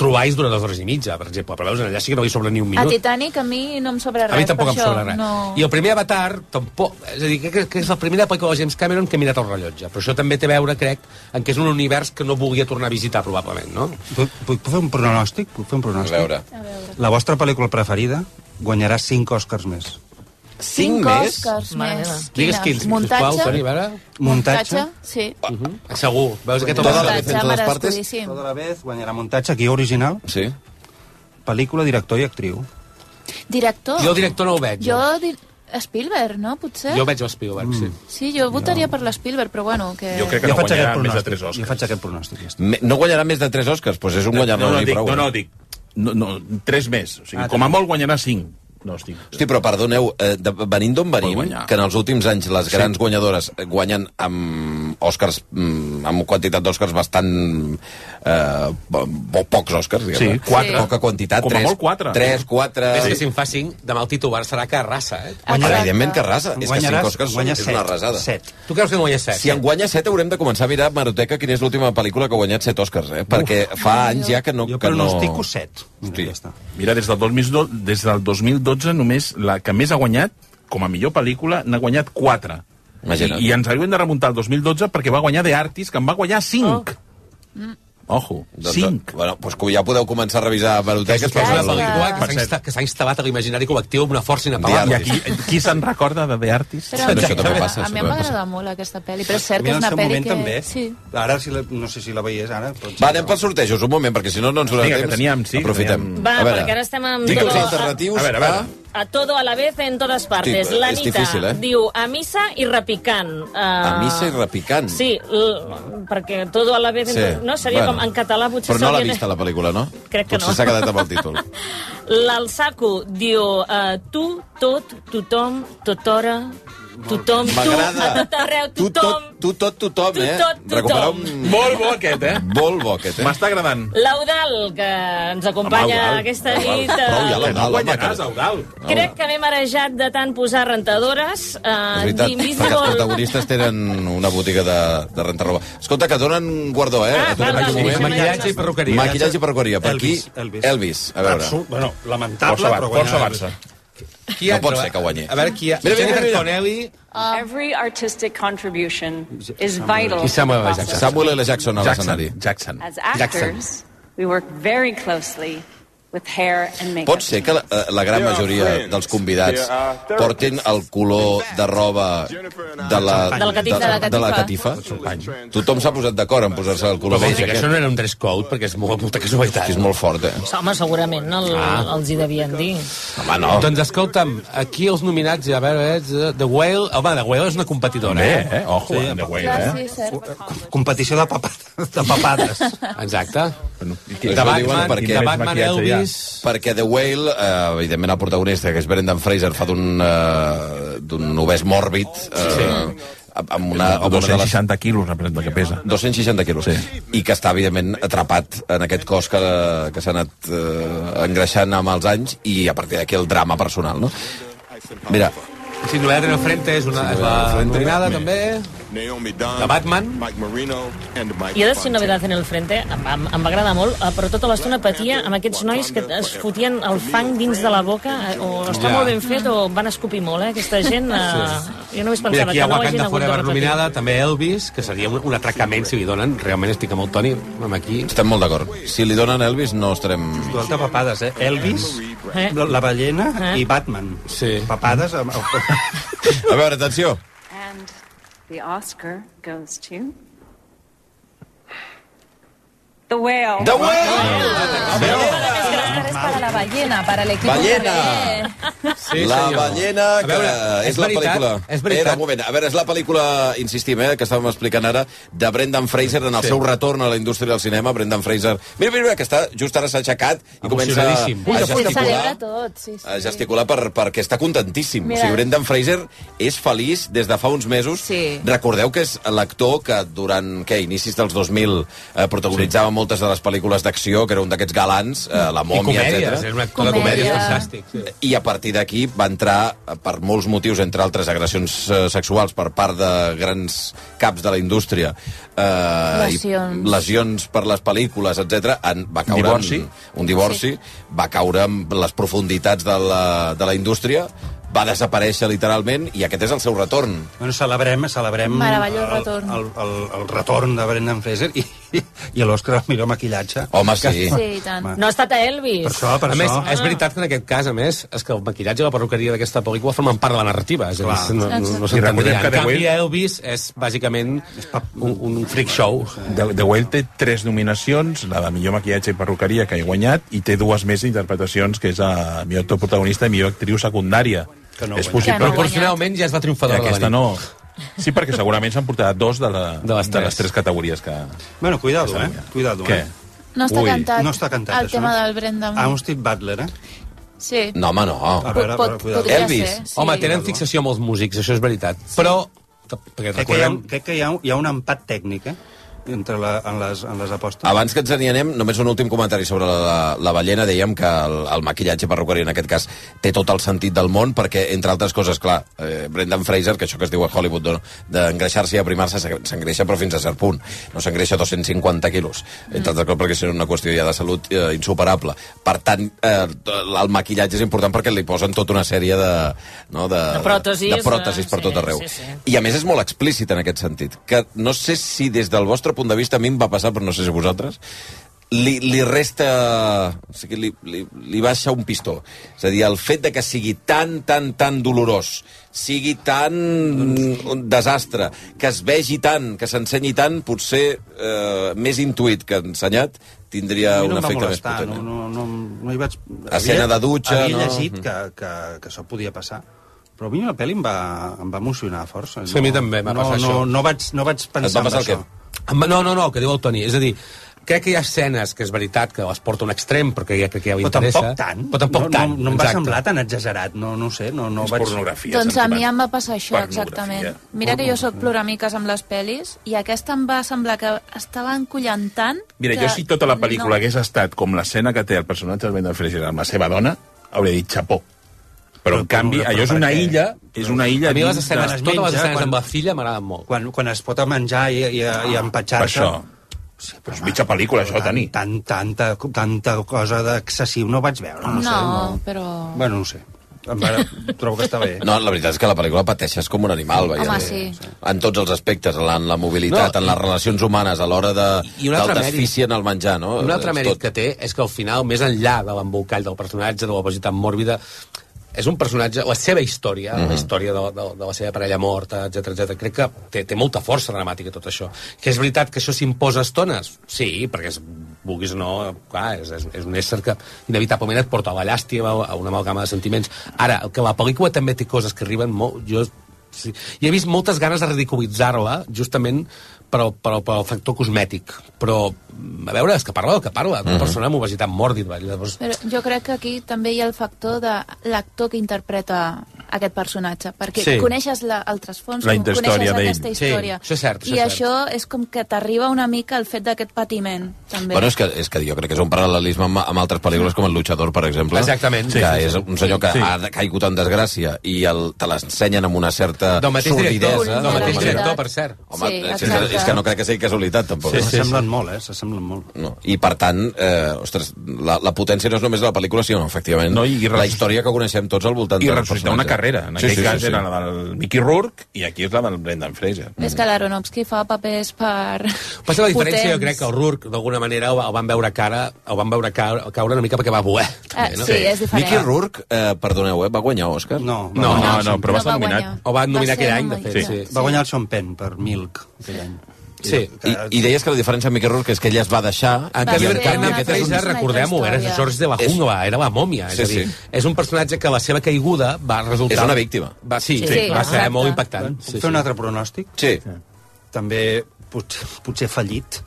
[SPEAKER 4] trobais durant dues hores i mitja, per exemple, però veus, allà sí que no hi sobra ni un
[SPEAKER 3] A
[SPEAKER 4] minut.
[SPEAKER 3] Titanic a mi no em sobra res.
[SPEAKER 4] A mi tampoc
[SPEAKER 3] per
[SPEAKER 4] em
[SPEAKER 3] això,
[SPEAKER 4] sobra res.
[SPEAKER 3] No.
[SPEAKER 4] I el primer Avatar, tampoc... És a dir, crec que, que és la primera pel·lícula de James Cameron que he mirat el rellotge. Però això també té a veure, crec, en que és un univers que no volia tornar a visitar, probablement, no?
[SPEAKER 2] Puc, puc fer un pronòstic? Puc fer un
[SPEAKER 1] A
[SPEAKER 2] pronòstic?
[SPEAKER 1] veure...
[SPEAKER 2] La vostra pel·lícula preferida guanyarà 5 Oscars més.
[SPEAKER 1] 5 més?
[SPEAKER 3] Oscars
[SPEAKER 7] Mare
[SPEAKER 3] més.
[SPEAKER 7] meva.
[SPEAKER 4] Digues quins, sisplau, Toni, a veure.
[SPEAKER 2] Muntatge.
[SPEAKER 3] Sí.
[SPEAKER 4] Uh, segur. Veus aquest home?
[SPEAKER 1] Tota la vez
[SPEAKER 3] Muntatge,
[SPEAKER 1] en todas partes?
[SPEAKER 3] merescudíssim.
[SPEAKER 2] Tota la vez guanyarà muntatge, guió original,
[SPEAKER 1] Sí.
[SPEAKER 2] pel·lícula, director i actriu.
[SPEAKER 3] Director.
[SPEAKER 4] Jo el director no ho veig.
[SPEAKER 3] Jo... eh? Di... Spielberg, no, potser?
[SPEAKER 4] Jo veig el Spielberg, sí.
[SPEAKER 3] Sí, jo votaria per l'Spielberg, però bueno, que...
[SPEAKER 5] Jo crec que no guanyarà més de 3
[SPEAKER 2] Jo
[SPEAKER 5] Oscars.
[SPEAKER 2] faig aquest pronòstic. Ja està.
[SPEAKER 1] Me- No guanyarà més de 3 Oscars? Doncs és un guanyador
[SPEAKER 5] no, no,
[SPEAKER 1] i
[SPEAKER 5] dic,
[SPEAKER 1] prou.
[SPEAKER 5] no, no,
[SPEAKER 1] eh?
[SPEAKER 5] dic, no, no, 3 més. O sigui,
[SPEAKER 2] Ah,
[SPEAKER 5] com a molt guanyarà 5. No estic...
[SPEAKER 1] Hosti, però perdoneu, eh, de, venint d'on
[SPEAKER 5] Vol
[SPEAKER 1] venim,
[SPEAKER 5] guanyar.
[SPEAKER 1] que en els últims anys les grans sí. guanyadores eh, guanyen amb Oscars, mm, amb quantitat d'Oscars bastant... Eh, po- po pocs Oscars, diguem-ne.
[SPEAKER 5] Sí, quatre.
[SPEAKER 1] Poca quantitat.
[SPEAKER 5] Com a
[SPEAKER 1] tres,
[SPEAKER 5] molt quatre.
[SPEAKER 1] 3, 4...
[SPEAKER 4] Més que si en fa 5, demà el titular serà que arrasa, eh?
[SPEAKER 1] Però, evidentment que arrasa. És que
[SPEAKER 2] Guanyaràs-
[SPEAKER 1] 5 Oscars són-
[SPEAKER 2] guanya
[SPEAKER 1] és
[SPEAKER 2] set,
[SPEAKER 1] una arrasada.
[SPEAKER 2] set.
[SPEAKER 4] Tu creus que no guanya 7?
[SPEAKER 1] Si en guanya 7 haurem de començar a mirar a Maroteca quina és l'última pel·lícula que ha guanyat 7 Oscars, eh? Perquè fa anys ja que no...
[SPEAKER 2] Jo
[SPEAKER 1] que no...
[SPEAKER 2] pronostico set.
[SPEAKER 1] Hosti.
[SPEAKER 2] Mira, ja està.
[SPEAKER 5] Mira, des del, 2012, des del 2012 només la que més ha guanyat, com a millor pel·lícula, n'ha guanyat 4.
[SPEAKER 1] Imagina't.
[SPEAKER 5] I, I ens hauríem de remuntar al 2012 perquè va guanyar The Artist, que en va guanyar 5. Oh. Ojo,
[SPEAKER 1] Doncs,
[SPEAKER 5] 5.
[SPEAKER 1] Bueno, doncs que ja podeu començar a revisar
[SPEAKER 4] Que
[SPEAKER 1] Maroteques.
[SPEAKER 4] és una
[SPEAKER 1] per-
[SPEAKER 4] pel·lícula que
[SPEAKER 5] Per
[SPEAKER 4] s'ha
[SPEAKER 5] cert.
[SPEAKER 4] insta- que s'ha instal·lat a l'imaginari col·lectiu amb una força
[SPEAKER 1] The
[SPEAKER 5] I
[SPEAKER 4] inapel·lable.
[SPEAKER 1] Artist.
[SPEAKER 5] aquí, qui se'n recorda de The Artist?
[SPEAKER 3] Però,
[SPEAKER 1] Però això també passa,
[SPEAKER 3] a mi
[SPEAKER 1] això
[SPEAKER 3] em
[SPEAKER 1] també
[SPEAKER 3] va agradar molt aquesta pel·li, però és cert
[SPEAKER 2] A mi
[SPEAKER 3] que és
[SPEAKER 2] en el
[SPEAKER 3] una
[SPEAKER 2] seu
[SPEAKER 3] pel·li
[SPEAKER 2] moment
[SPEAKER 3] que...
[SPEAKER 2] també.
[SPEAKER 3] Sí.
[SPEAKER 2] Ara, si la, no sé si la veies ara... Però...
[SPEAKER 1] Va, anem pels sortejos, un moment, perquè si no, no ens donarà
[SPEAKER 5] Vinga, que
[SPEAKER 1] temps.
[SPEAKER 5] teníem, sí,
[SPEAKER 1] Aprofitem.
[SPEAKER 5] teníem-
[SPEAKER 7] Va, perquè ara estem amb
[SPEAKER 1] Digue'ls
[SPEAKER 7] tot.
[SPEAKER 1] alternatius.
[SPEAKER 5] A veure, a veure.
[SPEAKER 7] A todo a la vez en todas partes.
[SPEAKER 1] Hosti,
[SPEAKER 7] la
[SPEAKER 1] és
[SPEAKER 7] Anita
[SPEAKER 1] difícil, eh?
[SPEAKER 7] diu a missa i repicant. Uh,
[SPEAKER 1] A missa i repicant.
[SPEAKER 7] Sí, l perquè todo a la vez... en to- No, seria com en català potser...
[SPEAKER 1] Però no l'ha
[SPEAKER 7] s'hauria de-
[SPEAKER 1] vista, la pel·lícula, no?
[SPEAKER 7] Crec que
[SPEAKER 1] potser
[SPEAKER 7] no.
[SPEAKER 1] s'ha quedat amb el títol.
[SPEAKER 7] L'Alsaco diu eh, tu, tot, tothom, tothora, tothom, tu, a
[SPEAKER 1] M'agrada.
[SPEAKER 7] tot arreu,
[SPEAKER 1] Tu
[SPEAKER 7] tothom.
[SPEAKER 1] tot, tu tot, tothom,
[SPEAKER 7] Tu
[SPEAKER 1] eh?
[SPEAKER 7] tot, tothom.
[SPEAKER 1] Recuperar un...
[SPEAKER 5] Molt bo aquest, eh?
[SPEAKER 1] Molt bo, aquest, eh?
[SPEAKER 5] M'està agradant.
[SPEAKER 7] L'Eudal, que ens acompanya
[SPEAKER 5] Home, Eudal.
[SPEAKER 7] aquesta
[SPEAKER 1] Prou,
[SPEAKER 7] nit. eh,
[SPEAKER 1] ja
[SPEAKER 5] Que no
[SPEAKER 1] l'Eudal, home,
[SPEAKER 5] guanyaràs,
[SPEAKER 1] que...
[SPEAKER 5] Eudal.
[SPEAKER 7] Crec que m'he marejat de tant posar rentadores. Eh,
[SPEAKER 1] És veritat, perquè els
[SPEAKER 7] d'Invisible...
[SPEAKER 1] protagonistes tenen una botiga de, de rentar-roba. Escolta, que donen guardó, eh?
[SPEAKER 7] Ah,
[SPEAKER 1] A tot
[SPEAKER 7] val,
[SPEAKER 1] aquest
[SPEAKER 7] val, sí,
[SPEAKER 1] moment.
[SPEAKER 7] sí,
[SPEAKER 4] Maquillatge i perruqueria.
[SPEAKER 1] Maquillatge i perruqueria. Per aquí,
[SPEAKER 2] Elvis, Elvis.
[SPEAKER 1] Elvis. A veure.
[SPEAKER 2] Absolut, bueno, lamentable,
[SPEAKER 5] Força,
[SPEAKER 2] però
[SPEAKER 5] Barça, força
[SPEAKER 2] guanyarà.
[SPEAKER 5] Barça.
[SPEAKER 4] Qui
[SPEAKER 1] No
[SPEAKER 4] entra?
[SPEAKER 1] pot ser que guanyi.
[SPEAKER 4] A veure qui...
[SPEAKER 1] Mira, mira, mira, mira.
[SPEAKER 4] Antonelli...
[SPEAKER 9] Every artistic contribution is vital. to the
[SPEAKER 4] Qui Samuel L.
[SPEAKER 9] process.
[SPEAKER 4] Jackson?
[SPEAKER 1] Samuel L. Jackson a
[SPEAKER 5] Jackson,
[SPEAKER 1] l'escenari.
[SPEAKER 5] Jackson.
[SPEAKER 9] As
[SPEAKER 4] Jackson.
[SPEAKER 9] actors, we work very closely with hair and makeup.
[SPEAKER 1] Pot ser que la, eh, la gran majoria dels convidats portin el color de roba de la,
[SPEAKER 7] Del catifa.
[SPEAKER 1] de, de la catifa? Tothom s'ha posat d'acord en posar-se el color
[SPEAKER 4] Però bé,
[SPEAKER 1] roig
[SPEAKER 4] que això
[SPEAKER 1] aquest.
[SPEAKER 4] no era un dress code, perquè és molt, molta
[SPEAKER 1] Que
[SPEAKER 4] casualitat.
[SPEAKER 1] és molt fort, eh?
[SPEAKER 7] Home, segurament no, el, ah. els hi devien dir.
[SPEAKER 1] Home, no.
[SPEAKER 4] Doncs escolta'm, aquí els nominats, a veure, és eh, The Whale... Home, The Whale és una competidora,
[SPEAKER 5] Bé,
[SPEAKER 4] eh?
[SPEAKER 5] eh? Ojo, sí, de guai,
[SPEAKER 3] Clar,
[SPEAKER 5] eh?
[SPEAKER 3] sí, cert.
[SPEAKER 2] Competició de, papa- de papades.
[SPEAKER 4] Exacte. De
[SPEAKER 1] Això ho diuen
[SPEAKER 4] Batman,
[SPEAKER 1] perquè-
[SPEAKER 4] de Batman
[SPEAKER 5] Maquillatge, ja.
[SPEAKER 4] Elvis...
[SPEAKER 1] Perquè The Whale, eh, evidentment el protagonista, que és Brendan Fraser, fa d'un eh, d'un obès mòrbid, eh, amb una, amb una de les
[SPEAKER 5] 260 quilos representa que pesa.
[SPEAKER 1] 260 quilos. Sí. I que està, evidentment, atrapat en aquest cos que, que s'ha anat eh, engreixant amb els anys i a partir d'aquí el drama personal, no? Mira,
[SPEAKER 4] Si no en el frente és, una, és la nominada, també.
[SPEAKER 8] Naomi Dunn,
[SPEAKER 4] De Batman.
[SPEAKER 8] Mike Marino, and Mike
[SPEAKER 7] Jo de
[SPEAKER 8] Fontaine.
[SPEAKER 7] Sin Novedad en el Frente em va, em va agradar molt, eh, però tota l'estona patia amb aquests nois que es fotien el fang dins de la boca, eh, o està
[SPEAKER 4] Ja.
[SPEAKER 7] molt ben fet o van escopir molt, eh, aquesta gent. Eh, jo només
[SPEAKER 4] Mira,
[SPEAKER 7] pensava
[SPEAKER 4] aquí hi
[SPEAKER 7] que
[SPEAKER 4] ha
[SPEAKER 7] no ho hagin
[SPEAKER 4] Wakanda
[SPEAKER 7] hagut de
[SPEAKER 4] Forever
[SPEAKER 7] repetir.
[SPEAKER 4] nominada, també Elvis, que seria un, un atracament si li donen. Realment estic amb el Toni, amb aquí.
[SPEAKER 1] estem molt d'acord. Si li donen Elvis, no estarem...
[SPEAKER 2] Duel de papades, eh? Elvis,
[SPEAKER 7] Eh?
[SPEAKER 2] la- la ballena
[SPEAKER 7] Eh?
[SPEAKER 2] i Batman.
[SPEAKER 4] Sí.
[SPEAKER 2] Papades amb...
[SPEAKER 1] A veure, atenció.
[SPEAKER 9] And the Oscar goes to The Whale.
[SPEAKER 1] The Whale!
[SPEAKER 3] Oscar és per a la ballena, per a l'equip
[SPEAKER 1] Ballena!
[SPEAKER 3] que
[SPEAKER 4] Sí,
[SPEAKER 1] la
[SPEAKER 4] senyor.
[SPEAKER 1] ballena,
[SPEAKER 4] A
[SPEAKER 1] que
[SPEAKER 4] veure,
[SPEAKER 1] és, la
[SPEAKER 4] veritat,
[SPEAKER 1] pel·lícula...
[SPEAKER 4] És veritat.
[SPEAKER 1] Espera, un moment. A veure, és la pel·lícula, insistim, eh, que estàvem explicant ara, de Brendan Fraser en el
[SPEAKER 4] Sí.
[SPEAKER 1] seu retorn a la indústria del cinema. Brendan Fraser... Mira, mira, mira, que està, just ara s'ha aixecat i comença a,
[SPEAKER 4] Emocionadíssim. Ui,
[SPEAKER 1] a
[SPEAKER 3] ve. Ho celebra
[SPEAKER 1] gesticular.
[SPEAKER 3] tot, sí,
[SPEAKER 1] a
[SPEAKER 3] sí.
[SPEAKER 1] gesticular per, perquè està contentíssim.
[SPEAKER 3] Mira.
[SPEAKER 1] O sigui, Brendan Fraser és feliç des de fa uns mesos.
[SPEAKER 3] Sí.
[SPEAKER 1] Recordeu que és l'actor que durant què, inicis dels 2000 eh, protagonitzava moltes de les pel·lícules d'acció, que era un d'aquests galants, eh, La
[SPEAKER 4] I
[SPEAKER 1] Mòmia,
[SPEAKER 4] comèdies, és
[SPEAKER 1] etc.
[SPEAKER 4] una actor de comèdies
[SPEAKER 3] Comèdia.
[SPEAKER 4] fantàstic. Sí.
[SPEAKER 1] I a partir d'aquí va entrar, eh, per molts motius, entre altres agressions eh, sexuals per part de grans caps de la indústria, eh,
[SPEAKER 3] Lesions.
[SPEAKER 1] I lesions per les pel·lícules, etc. Va caure
[SPEAKER 5] Divorci.
[SPEAKER 1] En, un divorci, sí. va caure en les profunditats de la, de la indústria, va desaparèixer literalment i aquest és el seu retorn.
[SPEAKER 2] Bueno, celebrem, celebrem
[SPEAKER 3] Meravellós retorn.
[SPEAKER 2] El, el, el, retorn de Brendan Fraser i, i l'Òscar al millor maquillatge.
[SPEAKER 1] Home, sí.
[SPEAKER 3] Sí, i tant.
[SPEAKER 7] No ha estat a Elvis.
[SPEAKER 2] Per això, Ah, per
[SPEAKER 4] A més,
[SPEAKER 2] això...
[SPEAKER 4] és veritat que en aquest cas, a més, és que el maquillatge i la perruqueria d'aquesta pel·lícula formen part de la narrativa. És a dir, no, no, no
[SPEAKER 3] Exacte.
[SPEAKER 4] s'entendria.
[SPEAKER 5] recordem que
[SPEAKER 4] En
[SPEAKER 5] The
[SPEAKER 4] canvi,
[SPEAKER 5] Whale-
[SPEAKER 4] Elvis és bàsicament un, un freak show.
[SPEAKER 5] The, The Whale té tres nominacions, la de millor maquillatge i perruqueria que he guanyat, i té dues més interpretacions, que és a millor actor protagonista i millor actriu secundària.
[SPEAKER 2] Que no
[SPEAKER 5] és
[SPEAKER 2] guanya.
[SPEAKER 5] possible
[SPEAKER 3] Que no guanya.
[SPEAKER 4] Proporcionalment ja es va
[SPEAKER 5] que
[SPEAKER 4] triomfadora de
[SPEAKER 5] aquesta
[SPEAKER 4] la nit.
[SPEAKER 5] no. Sí, perquè segurament s'han portat dos de, la,
[SPEAKER 4] De les
[SPEAKER 5] de
[SPEAKER 4] tres.
[SPEAKER 5] les tres categories que...
[SPEAKER 2] Bueno, cuidado, eh? Cuidado,
[SPEAKER 5] Què?
[SPEAKER 2] eh?
[SPEAKER 3] No està
[SPEAKER 5] Ui,
[SPEAKER 3] cantat.
[SPEAKER 2] No Ah, està cantat,
[SPEAKER 3] El
[SPEAKER 2] això,
[SPEAKER 3] tema
[SPEAKER 2] no?
[SPEAKER 3] del Brendan.
[SPEAKER 2] Austin Butler, eh?
[SPEAKER 3] Sí.
[SPEAKER 1] No, home, no.
[SPEAKER 4] A veure,
[SPEAKER 3] pot,
[SPEAKER 4] però cuidado.
[SPEAKER 3] podria
[SPEAKER 4] Elvis.
[SPEAKER 3] ser.
[SPEAKER 4] Home, tenen fixació amb els músics, això és veritat. Sí. Però, que- perquè
[SPEAKER 2] Crec que hi ha,
[SPEAKER 4] recordem...
[SPEAKER 2] un- crec que hi ha, un- hi ha un empat tècnic, eh? Entre la, en, les, en les apostes.
[SPEAKER 1] Abans que ens n'hi anem, només un últim comentari sobre la, la, la ballena. Dèiem que el, el maquillatge perruquerí, en aquest cas, té tot el sentit del món, perquè, entre altres coses, clar, eh, Brendan Fraser, que això que es diu a Hollywood de- d'engreixar-se i aprimar-se, s'en- s'engreixa però fins a cert punt. No s'engreixa 250 quilos,
[SPEAKER 7] Mm.
[SPEAKER 1] entre altres coses, perquè això és una qüestió ja de salut eh, insuperable. Per tant, eh, el maquillatge és important perquè li posen tota una sèrie de... No, de,
[SPEAKER 7] De pròtesis,
[SPEAKER 1] de pròtesis per
[SPEAKER 7] eh,
[SPEAKER 1] tot
[SPEAKER 7] sí,
[SPEAKER 1] arreu.
[SPEAKER 7] sí, sí.
[SPEAKER 1] I a més és molt explícit en aquest sentit, que no sé si des del vostre punt de vista, a mi em va passar, però no sé si a vosaltres, li, li resta... O sigui, li, li, li baixa un pistó. És a dir, el fet de que sigui tan, tan, tan dolorós, sigui tan un desastre, que es vegi tant, que s'ensenyi tant, potser eh, més intuït que ensenyat, tindria
[SPEAKER 2] A mi
[SPEAKER 1] un
[SPEAKER 2] no em va
[SPEAKER 1] efecte més
[SPEAKER 2] molestar,
[SPEAKER 1] potent.
[SPEAKER 2] no,
[SPEAKER 1] eh?
[SPEAKER 2] no, no, no hi vaig...
[SPEAKER 1] Escena de dutxa,
[SPEAKER 2] havia
[SPEAKER 1] no?
[SPEAKER 2] llegit
[SPEAKER 1] Mhm.
[SPEAKER 2] que, que, que això podia passar. Però a mi la pel·li em va, em va emocionar força.
[SPEAKER 4] Sí, a mi també m'ha
[SPEAKER 2] no,
[SPEAKER 4] passat
[SPEAKER 2] no,
[SPEAKER 4] això.
[SPEAKER 2] No vaig, no vaig pensar en això.
[SPEAKER 4] Home, No, no, no, que diu el Toni. És a dir, crec que hi ha escenes que és veritat que les porta a un extrem perquè ja crec que ja ho
[SPEAKER 2] Però
[SPEAKER 4] interessa.
[SPEAKER 2] tampoc tant.
[SPEAKER 4] Però tampoc
[SPEAKER 2] no,
[SPEAKER 4] tant,
[SPEAKER 2] No, no em va
[SPEAKER 4] exacte.
[SPEAKER 2] semblar tan exagerat. No, no ho sé, no, no
[SPEAKER 5] És
[SPEAKER 2] vaig...
[SPEAKER 5] pornografia.
[SPEAKER 3] Doncs a mi
[SPEAKER 5] sentiment.
[SPEAKER 3] em va passar això,
[SPEAKER 5] Pornografia.
[SPEAKER 3] exactament. Mira que jo sóc ploramiques amb les pel·lis i aquesta em va semblar que estava encollant tant...
[SPEAKER 5] Mira,
[SPEAKER 3] que...
[SPEAKER 5] jo si tota la pel·lícula hagués estat com l'escena que té el personatge del Brendan Fraser amb la seva dona, hauria dit xapó. Però, en canvi,
[SPEAKER 2] però
[SPEAKER 5] allò és
[SPEAKER 2] per
[SPEAKER 5] una
[SPEAKER 2] què?
[SPEAKER 5] illa, és una illa...
[SPEAKER 4] A mi les
[SPEAKER 5] dins
[SPEAKER 4] escenes,
[SPEAKER 2] es
[SPEAKER 4] totes
[SPEAKER 2] menja,
[SPEAKER 4] les escenes
[SPEAKER 2] eh, quan-
[SPEAKER 4] amb la filla m'agraden molt.
[SPEAKER 2] Quan, quan es pot menjar i, i, i
[SPEAKER 5] Per
[SPEAKER 2] empatxar-se...
[SPEAKER 5] això. Sí, però és mitja pel·lícula, això, Tani.
[SPEAKER 2] Tant, tanta, tanta cosa d'excessiu no vaig veure. No,
[SPEAKER 3] No,
[SPEAKER 2] sé,
[SPEAKER 3] però...
[SPEAKER 2] no. Bueno, no ho sé. Em va, trobo que està bé.
[SPEAKER 1] No, la veritat és que la pel·lícula pateixes com un animal, veient
[SPEAKER 3] Home, sí.
[SPEAKER 1] En tots els aspectes, en la, en la mobilitat,
[SPEAKER 4] No,
[SPEAKER 1] no, en les relacions humanes, a l'hora de,
[SPEAKER 4] I un
[SPEAKER 1] del
[SPEAKER 4] altre
[SPEAKER 1] desfici en el menjar, no?
[SPEAKER 4] Un altre
[SPEAKER 1] És
[SPEAKER 4] mèrit
[SPEAKER 1] Eh, tot.
[SPEAKER 4] que té és que al final, més enllà de l'embolcall del personatge, de l'obesitat mòrbida, és un personatge, la seva història, mm -hmm. la història de, de, de la seva parella morta, etc etc. crec que té, té molta força dramàtica tot això. Que és veritat que això s'imposa a estones? Sí, perquè es, vulguis o no, clar, és, és, és un ésser que inevitablement et porta a la llàstima, a una amalgama de sentiments. Ara, el que la pel·lícula també té coses que arriben molt... Jo Sí. I he vist moltes ganes de ridiculitzar-la, justament pel, pel, pel factor cosmètic. Però, mm, a veure, és que parla del que parla, d'una persona amb obesitat mòrbida. Llavors,
[SPEAKER 3] Però jo crec que aquí també hi ha el factor de l'actor que interpreta aquest personatge, perquè
[SPEAKER 4] Sí.
[SPEAKER 3] sí. coneixes la, el trasfons,
[SPEAKER 5] La
[SPEAKER 3] coneixes
[SPEAKER 5] interhistòria d'ell.
[SPEAKER 3] aquesta
[SPEAKER 4] Sí,
[SPEAKER 3] història.
[SPEAKER 4] això és cert, això
[SPEAKER 3] I
[SPEAKER 4] és cert.
[SPEAKER 3] això és com que t'arriba una mica el fet d'aquest patiment, també.
[SPEAKER 1] Bueno, és que, és que jo crec que és un paral·lelisme amb, amb altres pel·lícules com El Luchador, per exemple.
[SPEAKER 4] Exactament.
[SPEAKER 1] Que
[SPEAKER 4] Sí, sí,
[SPEAKER 1] és
[SPEAKER 4] sí.
[SPEAKER 1] un senyor que
[SPEAKER 5] Sí.
[SPEAKER 1] sí. ha caigut en desgràcia i el, te l'ensenyen amb una certa
[SPEAKER 4] del mateix director,
[SPEAKER 1] sordidesa.
[SPEAKER 4] del mateix
[SPEAKER 3] Vulnerabilitat.
[SPEAKER 4] director, per cert.
[SPEAKER 1] Home,
[SPEAKER 3] Sí,
[SPEAKER 1] és,
[SPEAKER 3] exacte.
[SPEAKER 1] és que no crec que sigui casualitat, tampoc.
[SPEAKER 2] Sí, s'assemblen molt, eh? S'assemblen molt.
[SPEAKER 1] No. I, per tant, eh, ostres, la, la potència no és només de la pel·lícula, sinó, efectivament,
[SPEAKER 5] No,
[SPEAKER 1] no,
[SPEAKER 5] i- i
[SPEAKER 1] la història que coneixem tots al voltant
[SPEAKER 5] I
[SPEAKER 1] del
[SPEAKER 5] ressuscitar una
[SPEAKER 1] personatge.
[SPEAKER 5] carrera. En aquell cas era la del Mickey Rourke i aquí és la del Brendan Fraser.
[SPEAKER 3] És que l'Aronofsky fa papers per...
[SPEAKER 4] Passa la
[SPEAKER 3] potents.
[SPEAKER 4] diferència, jo crec que el Rourke, d'alguna manera, el, el van veure cara, el van veure caure, caure una mica perquè va voler.
[SPEAKER 3] Ah, sí, és diferent.
[SPEAKER 1] Mickey Rourke, eh, perdoneu, eh, va guanyar Òscar?
[SPEAKER 2] No,
[SPEAKER 4] No,
[SPEAKER 5] no, no, però va
[SPEAKER 3] va
[SPEAKER 5] ser nominat.
[SPEAKER 3] guanyar.
[SPEAKER 4] O va nominar
[SPEAKER 3] ser
[SPEAKER 4] aquell any, de
[SPEAKER 3] nominat.
[SPEAKER 4] fet, sí.
[SPEAKER 2] Va guanyar el Sean Penn per Milk aquell any.
[SPEAKER 4] Sí. Ah,
[SPEAKER 1] I, I deies que la diferència amb Mickey Rourke és que ella es va deixar...
[SPEAKER 4] En
[SPEAKER 3] Va
[SPEAKER 4] canvi,
[SPEAKER 3] ser
[SPEAKER 4] en canvi
[SPEAKER 3] una
[SPEAKER 4] aquest és un...
[SPEAKER 3] altra
[SPEAKER 4] recordem-ho, era
[SPEAKER 3] història.
[SPEAKER 4] George de la
[SPEAKER 1] És-
[SPEAKER 4] Jungla, era la mòmia.
[SPEAKER 1] Sí,
[SPEAKER 4] és, a dir,
[SPEAKER 1] sí.
[SPEAKER 4] és un personatge que la seva caiguda va resultar...
[SPEAKER 1] És una víctima.
[SPEAKER 4] Va, sí,
[SPEAKER 3] Sí,
[SPEAKER 4] sí,
[SPEAKER 3] sí,
[SPEAKER 4] va ser
[SPEAKER 3] exacte.
[SPEAKER 4] molt impactant.
[SPEAKER 2] Puc fer un altre pronòstic?
[SPEAKER 1] Sí.
[SPEAKER 2] També pot, potser fallit.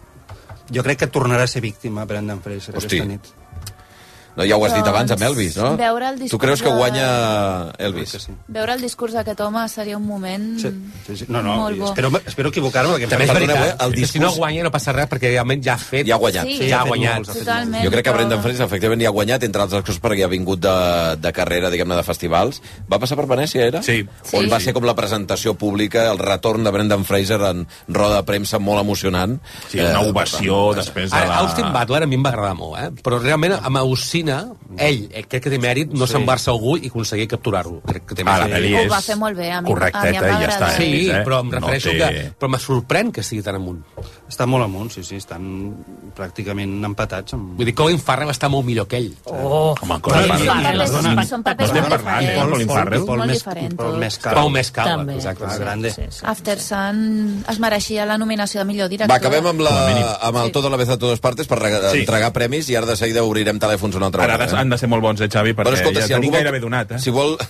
[SPEAKER 2] Jo crec que tornarà a ser víctima Brendan Fraser
[SPEAKER 1] Hosti.
[SPEAKER 2] aquesta nit.
[SPEAKER 1] No, ja ho has dit
[SPEAKER 3] Doncs,
[SPEAKER 1] abans amb Elvis, no?
[SPEAKER 3] veure el discurs
[SPEAKER 1] tu creus que
[SPEAKER 3] de-
[SPEAKER 1] guanya Elvis?
[SPEAKER 2] Crec que sí.
[SPEAKER 3] Veure el discurs d'aquest home seria un moment
[SPEAKER 2] Sí, sí, sí. No, no,
[SPEAKER 3] Mm. molt bo.
[SPEAKER 2] espero, espero equivocar-me. perquè em
[SPEAKER 4] També és
[SPEAKER 2] fa-
[SPEAKER 1] Perdoneu,
[SPEAKER 4] veritat,
[SPEAKER 1] eh, el
[SPEAKER 4] que si
[SPEAKER 1] discurs-
[SPEAKER 4] no guanya no passa res, perquè realment ja ha fet...
[SPEAKER 1] Ja ha guanyat.
[SPEAKER 3] Sí,
[SPEAKER 4] ja
[SPEAKER 3] ha
[SPEAKER 4] ha
[SPEAKER 3] fet
[SPEAKER 4] guanyat.
[SPEAKER 2] molts.
[SPEAKER 3] Totalment.
[SPEAKER 1] Jo crec que
[SPEAKER 3] però-
[SPEAKER 1] Brendan Fraser efectivament hi ha guanyat, entre altres coses, perquè ha vingut de, de carrera, diguem-ne, de festivals. Va passar per Venècia, era?
[SPEAKER 5] Sí.
[SPEAKER 1] On
[SPEAKER 3] Sí.
[SPEAKER 1] va ser com la presentació pública, el retorn de Brendan Fraser en roda de premsa molt emocionant.
[SPEAKER 5] Sí, una
[SPEAKER 1] Eh,
[SPEAKER 5] ovació després de
[SPEAKER 4] Ara,
[SPEAKER 5] la...
[SPEAKER 4] Austin Butler a mi em va agradar molt, eh? però realment amb Ausina, ell eh, crec que té mèrit no
[SPEAKER 2] Sí.
[SPEAKER 4] sí. salvar-se algú i aconseguir capturar-lo. Crec que té
[SPEAKER 5] Ah, la
[SPEAKER 4] mèrit.
[SPEAKER 5] pel·li
[SPEAKER 3] Ho
[SPEAKER 5] és...
[SPEAKER 3] va fer molt bé, a mi-
[SPEAKER 5] Correcteta,
[SPEAKER 3] a mi em va
[SPEAKER 5] i ja està.
[SPEAKER 3] agradar.
[SPEAKER 4] Sí,
[SPEAKER 5] Elvis, eh?
[SPEAKER 4] però em refereixo
[SPEAKER 5] no
[SPEAKER 4] no que... Però me sorprèn que estigui tan amunt.
[SPEAKER 2] Està molt amunt, sí, sí. Estan pràcticament empatats. Amb...
[SPEAKER 4] Vull dir, Colin Farrell està molt millor que ell.
[SPEAKER 7] Oh,
[SPEAKER 5] Home, Colin
[SPEAKER 7] Colin
[SPEAKER 5] Farrell.
[SPEAKER 2] Ah,
[SPEAKER 7] Farrell,
[SPEAKER 3] Són
[SPEAKER 7] les dones-
[SPEAKER 3] papers- són papers
[SPEAKER 5] Estem
[SPEAKER 3] molt
[SPEAKER 5] parlant, eh,
[SPEAKER 3] diferents.
[SPEAKER 5] Colin Farrell.
[SPEAKER 3] Molt
[SPEAKER 2] més,
[SPEAKER 3] diferents.
[SPEAKER 2] Paul Mescal.
[SPEAKER 4] Pau Mescal,
[SPEAKER 7] També.
[SPEAKER 4] exacte.
[SPEAKER 2] Clar, grande.
[SPEAKER 7] Sí, sí.
[SPEAKER 3] After Sun es mereixia la nominació de millor director.
[SPEAKER 1] Va, acabem amb, la, amb el
[SPEAKER 3] Sí.
[SPEAKER 1] tot a la vez a totes partes per rega-
[SPEAKER 5] Sí.
[SPEAKER 1] entregar premis i ara de seguida obrirem telèfons una altra
[SPEAKER 5] Ara
[SPEAKER 1] vegada. eh?
[SPEAKER 5] han de ser molt bons, eh, Xavi, perquè
[SPEAKER 1] Bueno, escolta,
[SPEAKER 5] ja
[SPEAKER 1] si algú
[SPEAKER 5] tenim
[SPEAKER 1] vol...
[SPEAKER 5] gairebé donat, eh?
[SPEAKER 1] Si vol...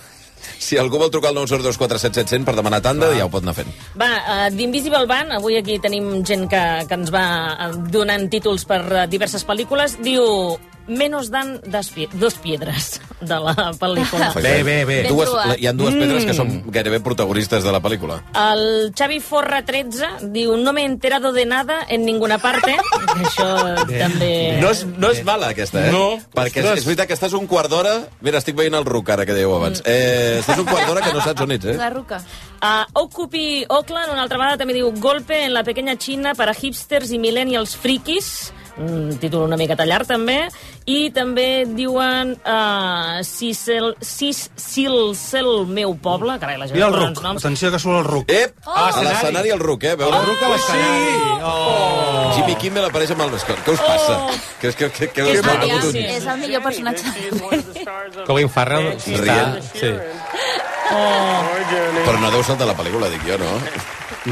[SPEAKER 1] Si algú vol trucar al 902477700 per demanar tanda, ja ho pot anar fent.
[SPEAKER 7] Va, eh, d'Invisible Van, avui aquí tenim gent que, que ens va eh, donant títols per eh, diverses pel·lícules, diu Menos dan das pie- dos piedras de la pel·lícula.
[SPEAKER 1] Bé, bé, bé.
[SPEAKER 7] Ben
[SPEAKER 1] Dues,
[SPEAKER 7] trobat.
[SPEAKER 1] la- hi ha dues pedres que
[SPEAKER 7] Mm.
[SPEAKER 1] són gairebé protagonistes de la pel·lícula.
[SPEAKER 7] El Xavi Forra 13 diu no me he enterado de nada en ninguna parte. Que Això també...
[SPEAKER 1] No és, no és mala, aquesta, eh?
[SPEAKER 7] No.
[SPEAKER 1] Perquè és, és veritat que estàs un quart d'hora... Mira, estic veient el Ruc, ara, que dèieu
[SPEAKER 7] Mm.
[SPEAKER 1] abans. Eh, estàs un quart d'hora que no saps on ets, eh?
[SPEAKER 3] Ruca.
[SPEAKER 7] Uh, Occupy Oakland, una altra vegada, també diu Golpe en la pequeña China para hipsters i millennials frikis. Un títol una mica tallar, també. I també diuen uh, si, sel, si, si el cel meu poble... Carai, la gent
[SPEAKER 2] Mm. Mira el
[SPEAKER 7] posa uns
[SPEAKER 2] ruc.
[SPEAKER 7] noms.
[SPEAKER 2] Atenció que surt el ruc.
[SPEAKER 1] Ep!
[SPEAKER 7] Ah,
[SPEAKER 2] A
[SPEAKER 1] A l'escenari el Ruc, eh? Veure...
[SPEAKER 2] El Ruc a l'escenari.
[SPEAKER 1] Oh. Jimmy Kimmel apareix amb el Nestor. Què us passa?
[SPEAKER 3] Oh.
[SPEAKER 1] Que, que, que, que,
[SPEAKER 3] És,
[SPEAKER 1] us
[SPEAKER 3] el,
[SPEAKER 1] passa?
[SPEAKER 3] millor- és el millor personatge de la pel·li.
[SPEAKER 4] Colin Farrell
[SPEAKER 1] Sí.
[SPEAKER 4] està...
[SPEAKER 1] Rient.
[SPEAKER 4] Sí.
[SPEAKER 1] Però no deu ser el de la pel·lícula, dic jo, no?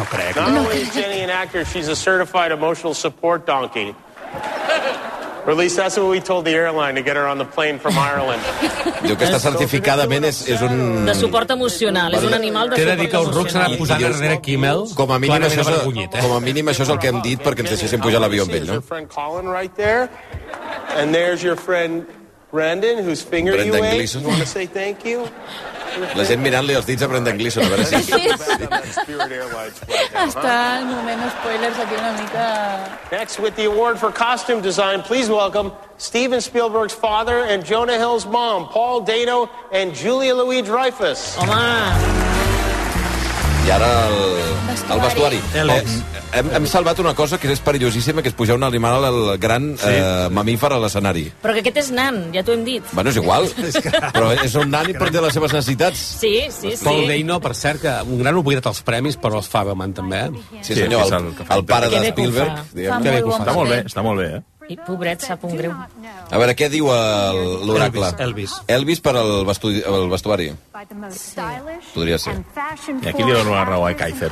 [SPEAKER 2] No crec.
[SPEAKER 10] Not only is Jenny an actor, she's a certified emotional support donkey. Or at least that's what we told the airline to get her on the plane from Ireland.
[SPEAKER 1] Diu que està certificadament és, és un...
[SPEAKER 7] De suport emocional. És un animal de
[SPEAKER 4] T'he de dir
[SPEAKER 7] suport
[SPEAKER 4] que el Ruc s'ha
[SPEAKER 7] emocional.
[SPEAKER 4] anat posant
[SPEAKER 1] I- i-
[SPEAKER 4] darrere Kimmel.
[SPEAKER 1] Com a mínim,
[SPEAKER 4] Clarament
[SPEAKER 1] això és,
[SPEAKER 4] avergonyit, eh?
[SPEAKER 1] com a mínim això és el que hem dit perquè ens deixessin pujar a l'avió amb
[SPEAKER 10] There's
[SPEAKER 1] ell,
[SPEAKER 10] your
[SPEAKER 1] no?
[SPEAKER 10] friend Colin right there. And there's your friend Brendan, whose finger
[SPEAKER 1] Brendan
[SPEAKER 10] you ate.
[SPEAKER 1] Gleeson.
[SPEAKER 10] You want to say thank you?
[SPEAKER 1] La gent mirant-li els dits a Brendan Gleeson, a veure si...
[SPEAKER 10] Spirit Airlines
[SPEAKER 3] Està en moment spoilers aquí una mica...
[SPEAKER 10] Next, with the award for costume design, please welcome Steven Spielberg's father and Jonah Hill's mom, Paul Dano and Julia Louis Dreyfus.
[SPEAKER 1] I ara el, el vestuari. Eh, hem, hem salvat una cosa que és perillosíssima, que és pujar un animal al gran eh, mamífer a l'escenari.
[SPEAKER 7] Però que aquest és nan, ja t'ho hem dit.
[SPEAKER 1] Bueno, és igual, però és un nani per té les seves necessitats.
[SPEAKER 7] Sí, sí, sí.
[SPEAKER 4] Paul Dano, per cert, que un gran oblidat als premis, però els Faberman també. eh?
[SPEAKER 1] Sí, senyor, el, el pare
[SPEAKER 7] Que bé que
[SPEAKER 1] de
[SPEAKER 7] ho
[SPEAKER 1] Spielberg.
[SPEAKER 7] fa.
[SPEAKER 1] diguem.
[SPEAKER 7] Fa molt bon Està molt bé, paper.
[SPEAKER 1] està molt bé, eh?
[SPEAKER 7] I pobret, sap un greu.
[SPEAKER 1] A veure, què diu el- l'oracle?
[SPEAKER 2] Elvis.
[SPEAKER 1] Elvis per al vestu el vestuari. Podria ser.
[SPEAKER 5] I aquí li dono la raó a Kaiser.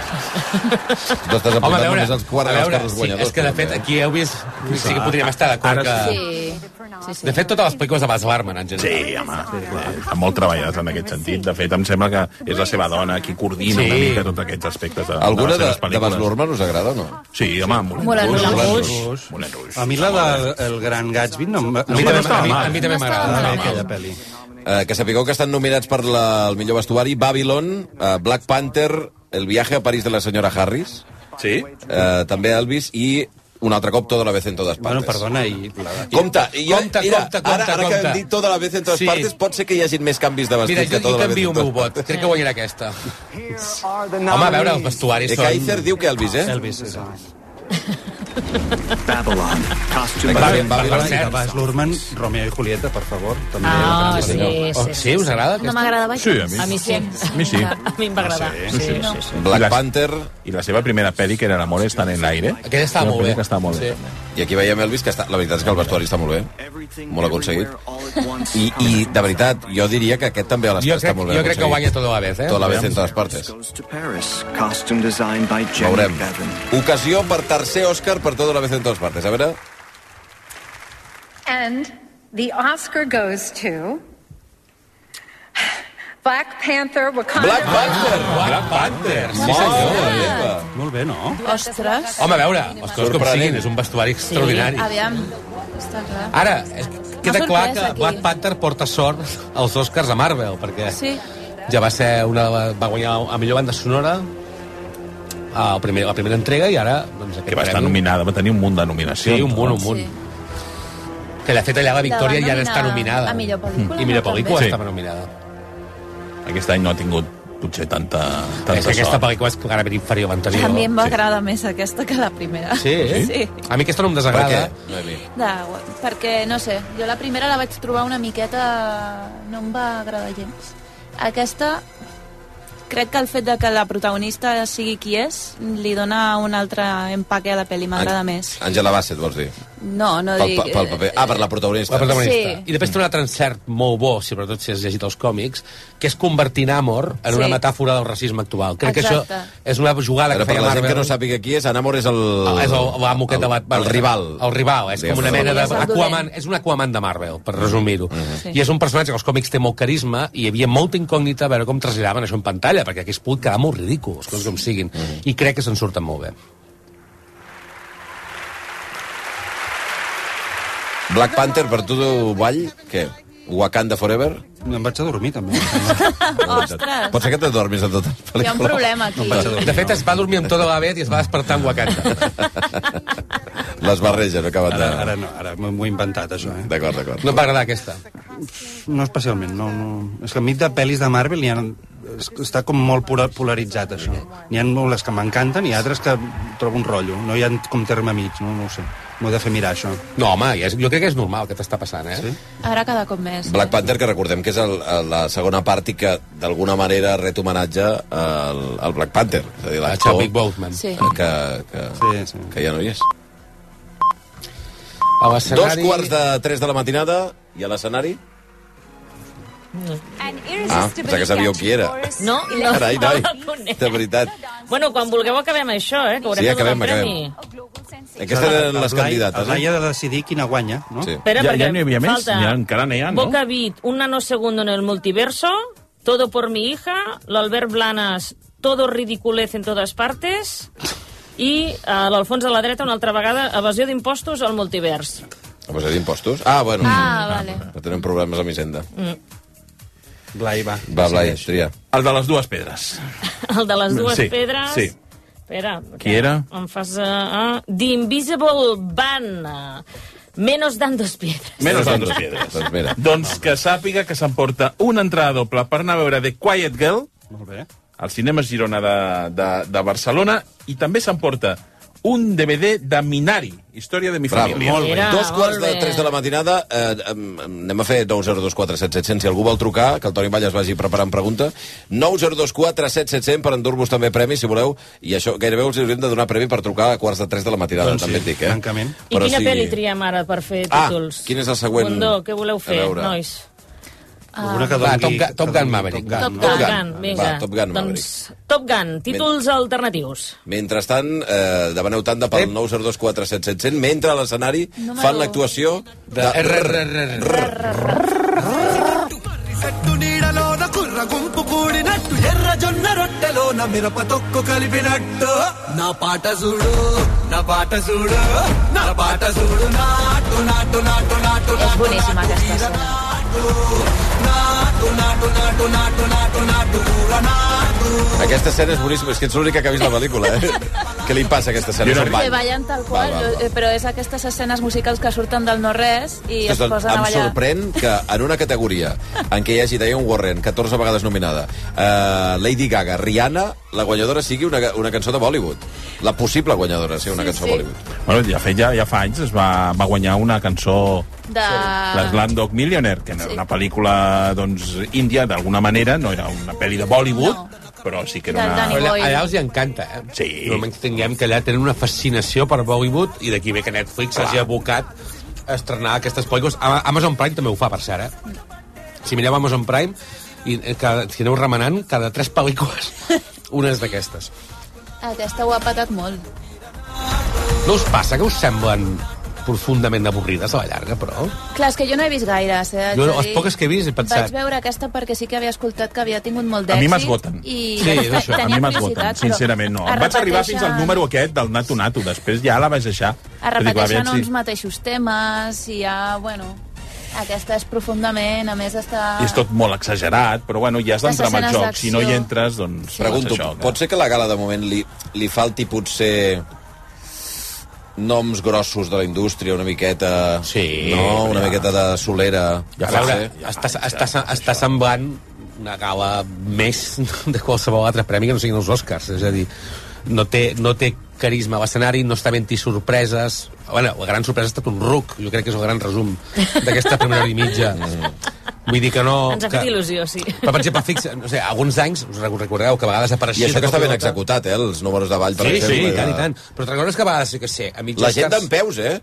[SPEAKER 1] Tu estàs apuntant
[SPEAKER 4] Home, a veure,
[SPEAKER 1] només els quart
[SPEAKER 4] a
[SPEAKER 1] dels
[SPEAKER 4] veure,
[SPEAKER 1] carros
[SPEAKER 4] sí,
[SPEAKER 1] guanyadors.
[SPEAKER 4] és que de fet aquí heu vist sí que podríem estar d'acord que...
[SPEAKER 3] Sí. sí, sí.
[SPEAKER 4] De fet, totes les pel·lícules de Baz Luhrmann, en general.
[SPEAKER 5] Sí, home, està molt treballat en aquest sentit. De fet, em sembla que és la seva dona qui coordina
[SPEAKER 1] Sí.
[SPEAKER 5] una mica tots aquests aspectes de,
[SPEAKER 1] Alguna
[SPEAKER 5] de
[SPEAKER 1] de,
[SPEAKER 5] les seves
[SPEAKER 1] de Bas
[SPEAKER 5] pel·lícules.
[SPEAKER 1] Luhrmann us agrada o no?
[SPEAKER 5] Sí, home,
[SPEAKER 3] Moulin Rouge.
[SPEAKER 5] Moulin Rouge.
[SPEAKER 2] A mi la del el gran Gatsby no, em- no,
[SPEAKER 1] mi també
[SPEAKER 2] m'agrada.
[SPEAKER 1] estava mal.
[SPEAKER 2] m'agrada
[SPEAKER 1] Estava
[SPEAKER 2] bé
[SPEAKER 1] mal.
[SPEAKER 2] aquella pel·li.
[SPEAKER 1] Eh, que sapigueu que estan nominats per la, el millor vestuari Babylon, eh, Black Panther, El viaje a París de la senyora Harris,
[SPEAKER 5] sí.
[SPEAKER 1] eh, també Elvis i un altre cop tota la vez en todas partes.
[SPEAKER 2] Bueno, perdona, i...
[SPEAKER 1] Compte, i jo,
[SPEAKER 4] Compte,
[SPEAKER 1] mira,
[SPEAKER 4] compte,
[SPEAKER 1] ara,
[SPEAKER 4] compte,
[SPEAKER 1] ara que
[SPEAKER 4] compte.
[SPEAKER 1] hem dit tota la vez en todas
[SPEAKER 4] Sí.
[SPEAKER 1] partes, pot ser que hi hagin més canvis de vestit
[SPEAKER 4] Mira, jo,
[SPEAKER 1] que tota
[SPEAKER 4] jo
[SPEAKER 1] la vez
[SPEAKER 4] canvio
[SPEAKER 1] en
[SPEAKER 4] el meu
[SPEAKER 1] todas
[SPEAKER 4] vot.
[SPEAKER 1] partes.
[SPEAKER 4] Crec que guanyarà aquesta. Home, a veure, els vestuaris
[SPEAKER 1] Eh,
[SPEAKER 4] són... Ah,
[SPEAKER 1] Kaiser diu que Elvis, eh?
[SPEAKER 2] Elvis, és
[SPEAKER 8] Babylon. Costume
[SPEAKER 2] Babylon,
[SPEAKER 8] design.
[SPEAKER 2] Babylon, Babylon, Bas Luhrmann, Romeo i Julieta, per favor. També
[SPEAKER 7] Ah, sí,
[SPEAKER 4] sí, Oh, sí, sí, us agrada
[SPEAKER 3] No m'agradava
[SPEAKER 5] Sí, a mi.
[SPEAKER 7] A mi sí.
[SPEAKER 5] A mi sí.
[SPEAKER 7] A mi em va agradar.
[SPEAKER 5] Ah,
[SPEAKER 7] Sí,
[SPEAKER 5] sí?
[SPEAKER 7] sí,
[SPEAKER 5] Sí,
[SPEAKER 7] sí.
[SPEAKER 1] Black Panther...
[SPEAKER 5] I la seva primera pel·li, que era L'amor estan en l'aire.
[SPEAKER 4] Aquella estava
[SPEAKER 5] Una
[SPEAKER 4] molt
[SPEAKER 5] pel·li
[SPEAKER 4] bé.
[SPEAKER 5] Que estava molt bé.
[SPEAKER 4] Sí.
[SPEAKER 1] I aquí veiem Elvis, que està, la veritat és que el vestuari està molt bé. Molt aconseguit. I, I, de veritat, jo diria que aquest també
[SPEAKER 4] Jo
[SPEAKER 1] a l'estat està
[SPEAKER 4] crec,
[SPEAKER 1] molt ben
[SPEAKER 4] jo crec que guanya
[SPEAKER 1] aconseguit.
[SPEAKER 4] tota la vez, eh?
[SPEAKER 1] Tota la vez en totes partes.
[SPEAKER 8] Goes to Paris. Costume design by Jenny
[SPEAKER 1] Veurem.
[SPEAKER 8] Bevan.
[SPEAKER 1] Ocasió per tercer Òscar per tota la vez en totes partes. A veure...
[SPEAKER 11] And the Oscar goes to Black Panther Wakanda.
[SPEAKER 1] Black Panther!
[SPEAKER 4] Black Panther! Sí,
[SPEAKER 1] Molt
[SPEAKER 4] senyor.
[SPEAKER 1] bé.
[SPEAKER 2] Molt bé, no?
[SPEAKER 3] Ostres.
[SPEAKER 4] Home, a veure, els coses com
[SPEAKER 1] Sorprenent.
[SPEAKER 4] siguin, és un vestuari
[SPEAKER 11] Ah.
[SPEAKER 4] extraordinari.
[SPEAKER 3] Aviam. Està clar.
[SPEAKER 4] Ara, és- queda
[SPEAKER 3] Una
[SPEAKER 4] clar
[SPEAKER 3] sorpresa,
[SPEAKER 4] que
[SPEAKER 3] aquí.
[SPEAKER 4] Black Panther porta sort als Oscars a Marvel, perquè
[SPEAKER 3] Sí.
[SPEAKER 4] ja va ser una, va guanyar a millor banda sonora a la, primer, la primera entrega i ara doncs, aquest
[SPEAKER 5] Que va estar
[SPEAKER 4] premi-
[SPEAKER 5] nominada, va tenir un munt de nominacions.
[SPEAKER 4] Sí, un munt, un munt. que l'ha fet allà la
[SPEAKER 3] La
[SPEAKER 4] Victòria i
[SPEAKER 3] va
[SPEAKER 4] ara està
[SPEAKER 3] nominar
[SPEAKER 4] nominada
[SPEAKER 3] a millor pel·lícula,
[SPEAKER 4] i millor
[SPEAKER 3] no,
[SPEAKER 4] pel·lícula
[SPEAKER 5] també?
[SPEAKER 4] estava nominada
[SPEAKER 5] Aquest any no ha tingut potser tanta, tanta
[SPEAKER 4] és que aquesta
[SPEAKER 5] sort.
[SPEAKER 4] pel·lícula és clarament inferior a l'anterior
[SPEAKER 3] A mi em va agradar més aquesta que la primera.
[SPEAKER 4] sí, eh?
[SPEAKER 3] Sí.
[SPEAKER 4] a mi aquesta no em desagrada
[SPEAKER 3] De, perquè, no sé, jo la primera la vaig trobar una miqueta... No em va agradar gens. Aquesta, crec que el fet de que la protagonista sigui qui és li dona un altre empaque a la pel·li, m'agrada més.
[SPEAKER 1] Àngela Bassett, vols dir?
[SPEAKER 3] No, no
[SPEAKER 1] Pel,
[SPEAKER 3] dic...
[SPEAKER 1] pel paper. Ah, per la protagonista.
[SPEAKER 4] la protagonista.
[SPEAKER 3] Sí.
[SPEAKER 4] I després té un altre encert molt bo, si sobretot si has llegit els còmics, que és convertir Namor en una
[SPEAKER 3] Sí.
[SPEAKER 4] metàfora del racisme actual. Crec que
[SPEAKER 3] Exacte.
[SPEAKER 4] això és una jugada
[SPEAKER 1] Ara,
[SPEAKER 4] que
[SPEAKER 1] per
[SPEAKER 4] feia
[SPEAKER 1] la gent
[SPEAKER 4] Marvel.
[SPEAKER 1] que no sàpiga qui és, Anamor és el...
[SPEAKER 4] Ah, és el- l'amo aquest de
[SPEAKER 1] el,
[SPEAKER 4] Batman.
[SPEAKER 1] el rival.
[SPEAKER 4] El rival, és com una mena de...
[SPEAKER 3] És el dolent.
[SPEAKER 4] Aquaman, és un Aquaman de Marvel, per resumir-ho.
[SPEAKER 1] Mm-hmm.
[SPEAKER 3] Sí.
[SPEAKER 4] I és un personatge que als còmics té molt carisma i hi havia molta incògnita a veure com traslladaven això en pantalla, perquè hagués pogut quedar molt ridícul, les coses com siguin.
[SPEAKER 1] Mm-hmm.
[SPEAKER 4] I crec que se'n surten molt bé.
[SPEAKER 1] Black Panther, per tu, Vall, què? Wakanda Forever?
[SPEAKER 2] Em vaig a dormir, també.
[SPEAKER 3] Ostres,
[SPEAKER 1] Pot ser que t'adormis a tot el tota pel·lícula.
[SPEAKER 3] eh, hi ha un problema aquí.
[SPEAKER 4] De fet, es va dormir amb tota la vet i es va despertar amb Wakanda.
[SPEAKER 1] Les barreges acaben
[SPEAKER 2] Ara,
[SPEAKER 1] de...
[SPEAKER 2] ara no, ara m'ho he inventat, això, eh?
[SPEAKER 1] D'acord, d'acord.
[SPEAKER 4] No et va agradar aquesta.
[SPEAKER 2] No especialment, no, no. És que a mi de pel·lis de Marvel hi ha, es- està com molt pura- polaritzat, això. N'hi ha les que m'encanten i altres que trobo un rotllo. No hi ha com terme mig, no, no ho sé. M'ho he de fer mirar, això.
[SPEAKER 4] No, home, ja és, jo crec que és normal que t'està passant, eh? Sí?
[SPEAKER 3] Ara cada cop més.
[SPEAKER 1] Black Panther, que recordem que és el, el, la segona part i que d'alguna manera ret homenatge al, al Black Panther. És a dir,
[SPEAKER 4] A
[SPEAKER 1] l'actor
[SPEAKER 4] Chadwick Boseman.
[SPEAKER 3] Sí.
[SPEAKER 1] que, que, sí, sí. que ja no hi és.
[SPEAKER 4] A
[SPEAKER 1] Dos
[SPEAKER 4] l'escenari...
[SPEAKER 1] quarts de tres de la matinada i a l'escenari... Ah, pensava que sabíeu qui era.
[SPEAKER 7] No, no,
[SPEAKER 1] Carai,
[SPEAKER 7] no
[SPEAKER 1] noi,
[SPEAKER 7] la conec.
[SPEAKER 1] de veritat.
[SPEAKER 7] Bueno, quan vulgueu acabem això, eh? Que haurem
[SPEAKER 1] Sí,
[SPEAKER 7] de donar
[SPEAKER 1] acabem,
[SPEAKER 7] el premi.
[SPEAKER 1] acabem. Aquestes eren les candidates,
[SPEAKER 2] Blai
[SPEAKER 1] eh?
[SPEAKER 2] ha de decidir quina guanya, no? Sí.
[SPEAKER 7] Espera, perquè falta
[SPEAKER 5] encara n'hi ha, no?
[SPEAKER 7] Boca Beat, un nanosegundo en el multiverso, Todo por mi hija, l'Albert Blanes, Todo ridiculez en todas partes, i a l'Alfons de la dreta una altra vegada, evasió d'impostos al multivers.
[SPEAKER 1] A base d'impostos? Ah, bueno.
[SPEAKER 7] Ah, vale.
[SPEAKER 1] No tenim problemes amb Hisenda.
[SPEAKER 2] Blai, va.
[SPEAKER 1] Va, Blai, tria.
[SPEAKER 5] El de les dues pedres.
[SPEAKER 7] El de les dues
[SPEAKER 5] Mm, Sí,
[SPEAKER 7] pedres...
[SPEAKER 5] sí.
[SPEAKER 7] Espera.
[SPEAKER 5] Qui era?
[SPEAKER 7] Em fas... Uh, ah, The Invisible Van. Menos dan dos piedras.
[SPEAKER 5] Menos de dos pedres.
[SPEAKER 1] Doncs mira.
[SPEAKER 5] Doncs que sàpiga que s'emporta una entrada doble per anar a veure The Quiet Girl
[SPEAKER 2] Molt bé.
[SPEAKER 5] al Cinema Girona de, de, de Barcelona i també s'emporta un DVD de Minari, Història de mi
[SPEAKER 1] Bravo.
[SPEAKER 5] família.
[SPEAKER 7] Molt bé. Mira,
[SPEAKER 1] Dos quarts
[SPEAKER 7] molt
[SPEAKER 1] de
[SPEAKER 7] bé.
[SPEAKER 1] tres de la matinada. Eh, em- em- anem a fer 9024777. Si algú vol trucar, que el Toni Vall es vagi preparant pregunta. 9024777 per endur-vos també premis, si voleu. I això gairebé us hauríem de donar premi per trucar a quarts de tres de la matinada,
[SPEAKER 2] Doncs
[SPEAKER 1] també
[SPEAKER 2] sí,
[SPEAKER 1] et dic, eh?
[SPEAKER 2] francament.
[SPEAKER 7] I quina sí. pel·li triem ara per fer
[SPEAKER 1] Ah,
[SPEAKER 7] títols?
[SPEAKER 1] quin és el següent?
[SPEAKER 7] Condó, què voleu
[SPEAKER 1] A
[SPEAKER 7] fer,
[SPEAKER 1] veure.
[SPEAKER 7] nois?
[SPEAKER 2] Alguna que
[SPEAKER 4] Va,
[SPEAKER 2] doni-
[SPEAKER 4] Top Gun- Top
[SPEAKER 2] que
[SPEAKER 4] Gun
[SPEAKER 2] doni-
[SPEAKER 4] Maverick.
[SPEAKER 7] Top
[SPEAKER 1] Top
[SPEAKER 7] Gun,
[SPEAKER 1] Gun,
[SPEAKER 7] vinga.
[SPEAKER 1] va, Top Gun,
[SPEAKER 7] doncs, Top Gun, títols alternatius.
[SPEAKER 1] Mentrestant, eh, demaneu tanda pel 9024777 mentre a l'escenari fan l'actuació de...
[SPEAKER 12] చెట్టు నీడలోన కుర్ర గుంపు కూడినట్టు ఎర్ర జొన్న రొట్టెలోన మిరప తొక్కు కలిపినట్టు నా పాట చూడు నా పాట చూడు నా పాట చూడు నాటు నాటు నాటు నాటు
[SPEAKER 3] És boníssima aquesta escena.
[SPEAKER 12] నాటు నాటు నాటు నాటు నాటు నాటు కూర నాటు
[SPEAKER 1] Aquesta escena és boníssima, és que ets l'única que ha vist la pel·lícula, eh? Què li passa a aquesta escena? Se'n
[SPEAKER 3] Que
[SPEAKER 1] van.
[SPEAKER 3] ballen tal qual,
[SPEAKER 1] Va, va, va.
[SPEAKER 3] jo- eh, però és aquestes escenes musicals que surten del no-res i es
[SPEAKER 1] Doncs
[SPEAKER 3] posen a
[SPEAKER 1] em
[SPEAKER 3] ballar.
[SPEAKER 1] sorprèn que en una categoria en què hi hagi Diane Warren, 14 vegades nominada, eh, Lady Gaga, Rihanna, la guanyadora sigui una, una cançó de Bollywood. La possible guanyadora sigui una sí, cançó sí. de Bollywood.
[SPEAKER 5] Bueno, ja, fet, ja, ja fa anys es va, va guanyar una cançó
[SPEAKER 3] De...
[SPEAKER 5] L'Slamdog Millionaire, que era una pel·lícula doncs, índia, d'alguna manera, no era una pel·li de Bollywood, no. però sí que era
[SPEAKER 3] Del Danny
[SPEAKER 5] una...
[SPEAKER 4] Allà,
[SPEAKER 3] Boy.
[SPEAKER 4] allà els hi encanta, eh?
[SPEAKER 5] Sí.
[SPEAKER 4] Normalment tinguem que allà tenen una fascinació per Bollywood i d'aquí ve que Netflix hagi abocat a estrenar aquestes pel·lícules. Ama- Amazon Prime també ho fa, per cert, eh? Si mireu Amazon Prime, i, eh, cada, si aneu remenant, cada tres pel·lícules, una és d'aquestes.
[SPEAKER 3] Aquesta ho ha patat molt.
[SPEAKER 4] No us passa que us semblen profundament avorrides a la llarga, però?
[SPEAKER 3] Clar, és que jo no he vist gaires, eh? haig
[SPEAKER 4] Jo,
[SPEAKER 3] de
[SPEAKER 4] les
[SPEAKER 3] dir.
[SPEAKER 4] poques que he vist, he pensat-
[SPEAKER 3] Vaig veure aquesta perquè sí que havia escoltat que havia tingut molt
[SPEAKER 5] A
[SPEAKER 3] d'èxit.
[SPEAKER 5] mi m'esgoten.
[SPEAKER 3] I...
[SPEAKER 4] Sí, és això, a
[SPEAKER 3] Tenia
[SPEAKER 5] A mi
[SPEAKER 3] curiositat,
[SPEAKER 5] m'esgoten,
[SPEAKER 3] però
[SPEAKER 5] sincerament, no.
[SPEAKER 3] es
[SPEAKER 5] Em vaig arribar fins al
[SPEAKER 3] repeteixen-
[SPEAKER 5] número aquest del Nato Nato, després ja la vaig deixar.
[SPEAKER 3] Es
[SPEAKER 5] Dic, va,
[SPEAKER 3] repeteixen
[SPEAKER 5] aviam si-
[SPEAKER 3] uns mateixos temes i hi ha, bueno... Aquesta és profundament, a més està...
[SPEAKER 5] I és tot molt exagerat, però bueno, ja has
[SPEAKER 3] Les
[SPEAKER 5] d'entrar amb el
[SPEAKER 3] escenes
[SPEAKER 5] joc. Si no hi
[SPEAKER 3] d'acció.
[SPEAKER 5] entres, doncs...
[SPEAKER 1] Sí. Pregunto,
[SPEAKER 5] passa
[SPEAKER 1] això,
[SPEAKER 5] això, que-
[SPEAKER 1] pot ser que a la gala de moment li, li falti potser noms grossos de la indústria, una miqueta...
[SPEAKER 4] Sí,
[SPEAKER 1] No? Una
[SPEAKER 4] ja.
[SPEAKER 1] miqueta de solera.
[SPEAKER 4] Ja, a
[SPEAKER 1] eh?
[SPEAKER 4] veure, està, està, està, està semblant una gala més de qualsevol altre premi que no siguin els Oscars. És a dir, no té, no té carisma a l'escenari, no està venint sorpreses... Bueno, la gran sorpresa ha estat un ruc, jo crec que és el gran resum d'aquesta primera hora i mitja. Vull dir que no...
[SPEAKER 7] Ens ha
[SPEAKER 4] que...
[SPEAKER 7] fet il·lusió, sí.
[SPEAKER 4] Però, per exemple, fixa, no sé, alguns anys, us recordeu que a vegades
[SPEAKER 1] I
[SPEAKER 4] apareixia... de
[SPEAKER 1] això que està
[SPEAKER 4] cop i
[SPEAKER 1] ben
[SPEAKER 4] volta-
[SPEAKER 1] executat, eh? Els números de ball, per
[SPEAKER 4] Sí,
[SPEAKER 1] exemple.
[SPEAKER 4] sí, i tant, i
[SPEAKER 1] de-
[SPEAKER 4] tant. Però te'n recordes que a vegades, jo què sé, a mitja...
[SPEAKER 1] La gent d'en peus, eh?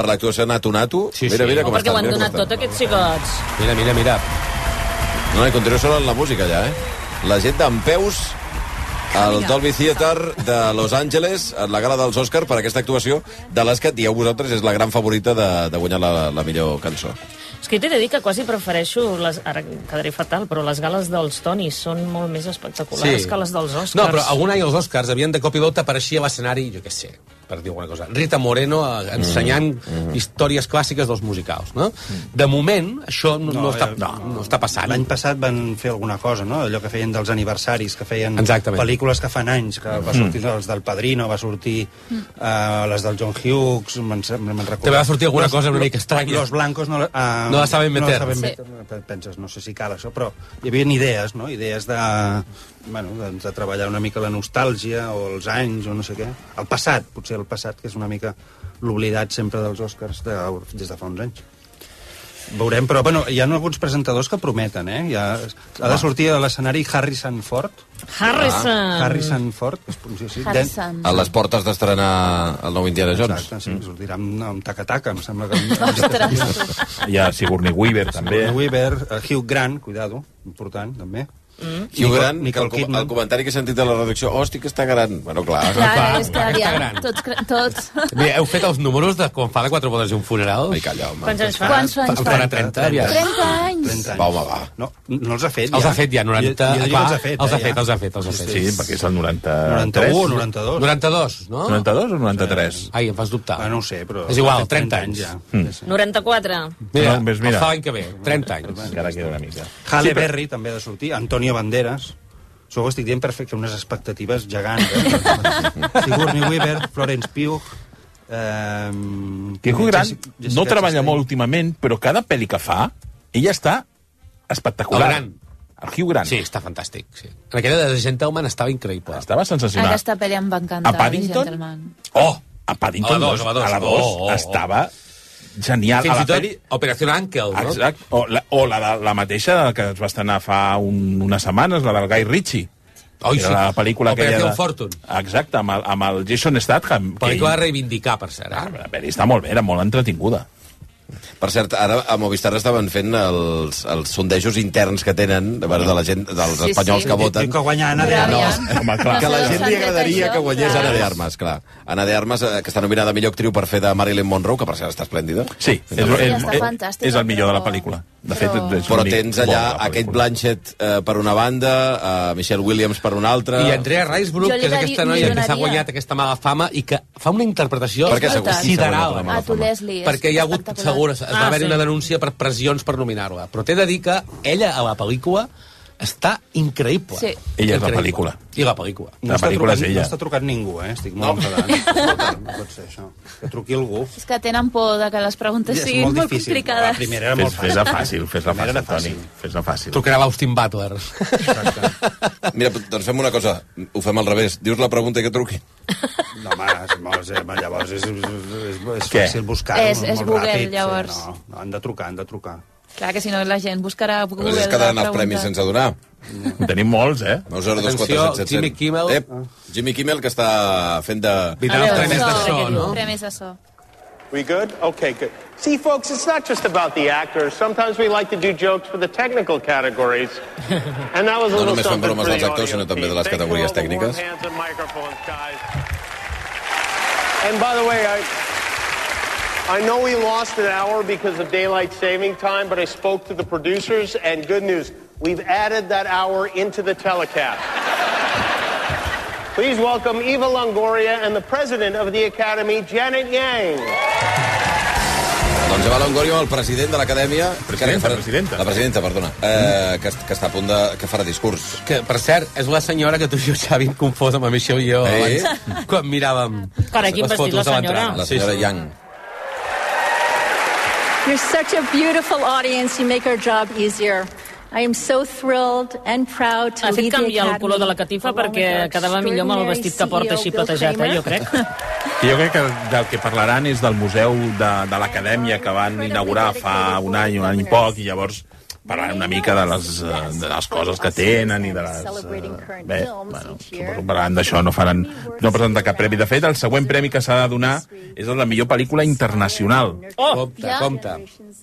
[SPEAKER 1] Per l'actuació de Nato Nato.
[SPEAKER 4] Sí, sí.
[SPEAKER 1] Mira, mira
[SPEAKER 4] No,
[SPEAKER 1] com
[SPEAKER 7] Perquè ho
[SPEAKER 1] estan,
[SPEAKER 7] han
[SPEAKER 1] mira com
[SPEAKER 7] donat
[SPEAKER 1] estan.
[SPEAKER 7] tot, aquests xicots.
[SPEAKER 4] Mira, mira, mira.
[SPEAKER 1] No, i continuo sonant la música allà, eh? La gent d'en Peus
[SPEAKER 3] Ah,
[SPEAKER 1] al Dolby Theater de Los Angeles en la gala dels Oscar per aquesta actuació de les que dieu vosaltres és la gran favorita de, de guanyar la, la millor cançó.
[SPEAKER 7] És que jo t'he de dir que quasi prefereixo... Les... Ara quedaré fatal, però les gales dels Tonys són molt més espectaculars que les dels Oscars.
[SPEAKER 4] No, però algun any els Oscars havien de cop i volta apareixia a l'escenari, jo què sé, per dir alguna cosa, Rita Moreno eh, ensenyant mm, mm. històries clàssiques dels musicals, no? De moment, això no, no, no, està, no, no està passant.
[SPEAKER 2] L'any passat van fer alguna cosa, no? Allò que feien dels aniversaris, que feien
[SPEAKER 4] Exactament.
[SPEAKER 2] pel·lícules que fan anys, que va
[SPEAKER 4] Mm.
[SPEAKER 2] sortir els del Padrino, va sortir
[SPEAKER 4] Mm.
[SPEAKER 2] uh, les del John Hughes, me'n se- me'n recordo.
[SPEAKER 4] També va sortir alguna cosa una mica estranya.
[SPEAKER 2] Los blancos no, la, ah,
[SPEAKER 4] No la saben meter.
[SPEAKER 2] No la saben
[SPEAKER 4] Sí.
[SPEAKER 2] meter. Penses, no sé si cal això, però hi havia idees, no? Idees de, bueno, de, de treballar una mica la nostàlgia o els anys o no sé què. El passat, potser el passat, que és una mica l'oblidat sempre dels Oscars de, des de fa uns anys. Veurem, però bueno, hi ha alguns presentadors que prometen, eh? Hi ha, ha de sortir a l'escenari Harrison Ford.
[SPEAKER 7] Harrison.
[SPEAKER 2] Ah, Harrison Ford. que Es pronuncia així.
[SPEAKER 7] Harrison.
[SPEAKER 4] Ah,
[SPEAKER 1] A les portes d'estrenar el nou Indiana Jones.
[SPEAKER 2] Exacte, sí, sortirà amb, amb taca-taca, em sembla que... Amb,
[SPEAKER 5] Hi ha Sigourney Weaver, també.
[SPEAKER 2] Sigourney Weaver, eh, Hugh Grant, cuidado, important, també. Mm.
[SPEAKER 1] Hugh Grant, que el, com- el comentari que he sentit de la redacció, hosti, que està gran. Bueno, clar.
[SPEAKER 3] Clar,
[SPEAKER 4] clar,
[SPEAKER 3] és que aviam,
[SPEAKER 4] gran.
[SPEAKER 3] tots... cre- tots.
[SPEAKER 4] Bé, heu fet els números de quan fa de quatre bodes i un funeral? Ai,
[SPEAKER 1] calla, home.
[SPEAKER 3] Quants anys fa? Quants anys
[SPEAKER 4] fa?
[SPEAKER 3] fa?
[SPEAKER 4] 30, 30, aviat.
[SPEAKER 3] 30 anys.
[SPEAKER 1] Va, home, va.
[SPEAKER 2] No, no els ha fet,
[SPEAKER 4] Els ha fet ja, 90...
[SPEAKER 2] Jo, jo diria
[SPEAKER 4] va,
[SPEAKER 2] que els ha
[SPEAKER 4] els
[SPEAKER 2] fet,
[SPEAKER 4] ha
[SPEAKER 2] eh,
[SPEAKER 4] fet,
[SPEAKER 2] ja.
[SPEAKER 4] els ha fet, els ha fet.
[SPEAKER 5] Sí, perquè és el 90...
[SPEAKER 2] 91, 92.
[SPEAKER 4] 92, no?
[SPEAKER 5] 92 o 93?
[SPEAKER 4] Ai, em fas dubtar.
[SPEAKER 2] Ah, no ho sé, però...
[SPEAKER 4] És igual,
[SPEAKER 2] ha fet
[SPEAKER 4] 30
[SPEAKER 2] anys.
[SPEAKER 4] anys.
[SPEAKER 2] ja.
[SPEAKER 5] Mm.
[SPEAKER 7] 94.
[SPEAKER 4] Mira,
[SPEAKER 5] No, ves,
[SPEAKER 4] mira.
[SPEAKER 5] mira.
[SPEAKER 4] fa l'any que ve, 30 anys.
[SPEAKER 5] Encara queda una mica.
[SPEAKER 2] Halle Berry també ha de sortir, Antonio Banderas. Això ho estic dient per fer que unes expectatives gegants. Eh? Sigourney Weaver, Florence Pugh... Eh,
[SPEAKER 5] Que Hugh Grant no treballa molt últimament, però cada pel·li que fa, ella està espectacular.
[SPEAKER 4] El Grant.
[SPEAKER 5] El Hugh Grant.
[SPEAKER 4] Sí, està fantàstic. Sí. En aquella de The Gentleman estava increïble.
[SPEAKER 5] Estava sensacional.
[SPEAKER 3] Aquesta pel·li em va encantar.
[SPEAKER 5] A Paddington?
[SPEAKER 3] The Gentleman.
[SPEAKER 5] Oh, a Paddington
[SPEAKER 4] A la dos, a la dos.
[SPEAKER 5] a la dos
[SPEAKER 4] Oh, oh, oh.
[SPEAKER 5] estava genial.
[SPEAKER 4] Fins
[SPEAKER 5] a la
[SPEAKER 4] i tot
[SPEAKER 5] peli-
[SPEAKER 4] Operació Ankel, no?
[SPEAKER 5] Exacte. O, la, o la, la, la mateixa que es va estrenar fa un, unes setmanes, la del Guy Ritchie.
[SPEAKER 4] Oi,
[SPEAKER 5] Era
[SPEAKER 4] sí.
[SPEAKER 5] la pel·lícula aquella...
[SPEAKER 4] Operació
[SPEAKER 5] de-
[SPEAKER 4] Fortune.
[SPEAKER 5] Exacte, amb el, amb el Jason Statham. que
[SPEAKER 4] Pel·lícula a
[SPEAKER 5] ell-
[SPEAKER 4] reivindicar, per cert. Eh?
[SPEAKER 5] La pel·li està molt bé, era molt entretinguda.
[SPEAKER 1] Per cert, ara a Movistar estaven fent els, els sondejos interns que tenen de, de la gent, dels
[SPEAKER 3] Sí,
[SPEAKER 1] espanyols
[SPEAKER 3] sí.
[SPEAKER 1] que voten.
[SPEAKER 2] Que guanya Ana de Armas.
[SPEAKER 1] No, home, clar.
[SPEAKER 3] No
[SPEAKER 1] que a la
[SPEAKER 3] sé,
[SPEAKER 1] gent
[SPEAKER 3] s'han
[SPEAKER 1] li
[SPEAKER 3] fet
[SPEAKER 1] agradaria
[SPEAKER 3] això,
[SPEAKER 1] que guanyés
[SPEAKER 3] clar.
[SPEAKER 1] Ana de Armas, clar. Ana de Armas, eh, que està nominada a millor actriu per fer de Marilyn Monroe, que per cert està esplèndida.
[SPEAKER 5] Sí, és, és,
[SPEAKER 3] està
[SPEAKER 5] és,
[SPEAKER 3] fantàstica,
[SPEAKER 5] és el millor de la
[SPEAKER 3] però-
[SPEAKER 5] pel·lícula. De fet,
[SPEAKER 3] però-
[SPEAKER 5] és
[SPEAKER 1] Però
[SPEAKER 5] l'únic
[SPEAKER 1] tens
[SPEAKER 5] bo de
[SPEAKER 1] allà
[SPEAKER 5] la pel·lícula.
[SPEAKER 1] aquest Blanchett eh, per una banda, eh, Michelle Williams per una altra...
[SPEAKER 4] I Andrea Riseborough,
[SPEAKER 3] Jo li
[SPEAKER 4] que és
[SPEAKER 3] daria-
[SPEAKER 4] aquesta
[SPEAKER 3] li
[SPEAKER 4] noia que
[SPEAKER 3] donaria-
[SPEAKER 4] s'ha guanyat aquesta mala fama i que fa una interpretació
[SPEAKER 1] Per què s'ha guanyat- s'ha
[SPEAKER 4] sideral.
[SPEAKER 1] guanyat la
[SPEAKER 3] A tu, Leslie. és
[SPEAKER 4] perquè hi ha hagut,
[SPEAKER 3] espectacular.
[SPEAKER 4] segur, es es va
[SPEAKER 7] Ah,
[SPEAKER 4] haver
[SPEAKER 7] sí.
[SPEAKER 4] una denúncia per pressions per nominar-la. Però t'he de dir que ella, a la pel·lícula, està increïble.
[SPEAKER 3] Sí.
[SPEAKER 5] Ella és la
[SPEAKER 4] Increïble.
[SPEAKER 5] pel·lícula.
[SPEAKER 4] I la pel·lícula.
[SPEAKER 5] La
[SPEAKER 2] està
[SPEAKER 5] pel·lícula és
[SPEAKER 2] trucant-
[SPEAKER 5] ella.
[SPEAKER 2] No està trucat ningú, eh? Estic molt no. enfadat. No pot ser això. Que truqui algú.
[SPEAKER 3] És que tenen por de que les preguntes
[SPEAKER 2] és
[SPEAKER 3] siguin
[SPEAKER 2] molt
[SPEAKER 3] molt,
[SPEAKER 2] difícil.
[SPEAKER 3] complicades.
[SPEAKER 2] La primera era molt
[SPEAKER 5] Fes- Fes-la
[SPEAKER 2] fàcil.
[SPEAKER 5] fàcil, fes-la
[SPEAKER 2] Primer
[SPEAKER 5] fàcil,
[SPEAKER 2] era
[SPEAKER 5] Toni.
[SPEAKER 2] fàcil.
[SPEAKER 5] Fes-la fàcil.
[SPEAKER 4] Trucarà l'Austin Butler.
[SPEAKER 1] Mira, doncs fem una cosa, ho fem al revés. Dius la pregunta i que truqui.
[SPEAKER 2] No, home, és, molt- eh, llavors és, és, és, és
[SPEAKER 5] Què?
[SPEAKER 2] fàcil buscar-ho.
[SPEAKER 3] És- és
[SPEAKER 2] molt
[SPEAKER 3] Google,
[SPEAKER 2] ràpid.
[SPEAKER 3] llavors.
[SPEAKER 2] Sí, no, no, han de trucar, han de trucar.
[SPEAKER 3] Clar que si no la gent buscarà a
[SPEAKER 1] A
[SPEAKER 3] Google
[SPEAKER 1] vegades es quedaran els premis sense donar.
[SPEAKER 5] En tenim molts, eh?
[SPEAKER 1] 9 0 2 4
[SPEAKER 4] Atenció,
[SPEAKER 1] 7 7
[SPEAKER 4] Jimmy Kimmel.
[SPEAKER 1] Ep, Jimmy Kimmel, que està fent de...
[SPEAKER 4] Vindrà els premis de so, no?
[SPEAKER 3] Premis de so.
[SPEAKER 10] We good? Okay, good. See, folks, it's not just about the actors. Sometimes we like to do jokes for the technical categories. And that was a little
[SPEAKER 1] No només fan
[SPEAKER 10] something
[SPEAKER 1] bromes
[SPEAKER 10] for the
[SPEAKER 1] dels actors,
[SPEAKER 10] audio
[SPEAKER 1] sinó també de
[SPEAKER 10] team. Thanks
[SPEAKER 1] les
[SPEAKER 10] for
[SPEAKER 1] categories
[SPEAKER 10] all the warm
[SPEAKER 1] tècniques.
[SPEAKER 10] hands and microphones, guys. And by the way, I, I know we lost an hour because of daylight saving time, but I spoke to the producers, and good news, we've added that hour into the telecast. Please welcome Eva Longoria and the president of the Academy, Janet Yang.
[SPEAKER 1] Doncs Eva Longoria amb el president de l'acadèmia...
[SPEAKER 5] Presidenta,
[SPEAKER 1] que farà-
[SPEAKER 5] presidenta. Mm.
[SPEAKER 1] La presidenta, perdona. Eh, que, que està a punt de... que farà discurs.
[SPEAKER 4] Que, per cert, és la senyora que tu i jo, Xavi, em confós amb la Michelle i jo
[SPEAKER 1] Eh?
[SPEAKER 4] abans, quan miràvem
[SPEAKER 7] Carai, quin vestit, la
[SPEAKER 4] de l'entrada.
[SPEAKER 5] Ah,
[SPEAKER 7] senyora.
[SPEAKER 1] La senyora Yang.
[SPEAKER 13] You're such a beautiful audience. You make our job easier. I am so thrilled and proud to
[SPEAKER 7] Ha fet
[SPEAKER 13] lead the
[SPEAKER 7] canviar el
[SPEAKER 13] Academy
[SPEAKER 7] color de la catifa
[SPEAKER 13] along
[SPEAKER 7] perquè
[SPEAKER 13] with our
[SPEAKER 7] quedava millor amb el
[SPEAKER 13] extraordinary
[SPEAKER 7] vestit que porta
[SPEAKER 13] CEO
[SPEAKER 7] així
[SPEAKER 13] Bill
[SPEAKER 7] platejat, eh,
[SPEAKER 13] Kramer.
[SPEAKER 7] jo crec.
[SPEAKER 5] I jo crec que del que parlaran és del museu de, de l'acadèmia que van inaugurar fa un any, un any i poc, i llavors parlaran una mica de les, eh, de les coses que tenen i de les... eh, Bé, bueno, suposo que parlaran d'això, no faran... No presenten cap premi. De fet, el següent premi que s'ha de donar és el de la millor pel·lícula internacional,
[SPEAKER 7] Oh!
[SPEAKER 4] Compte, compte.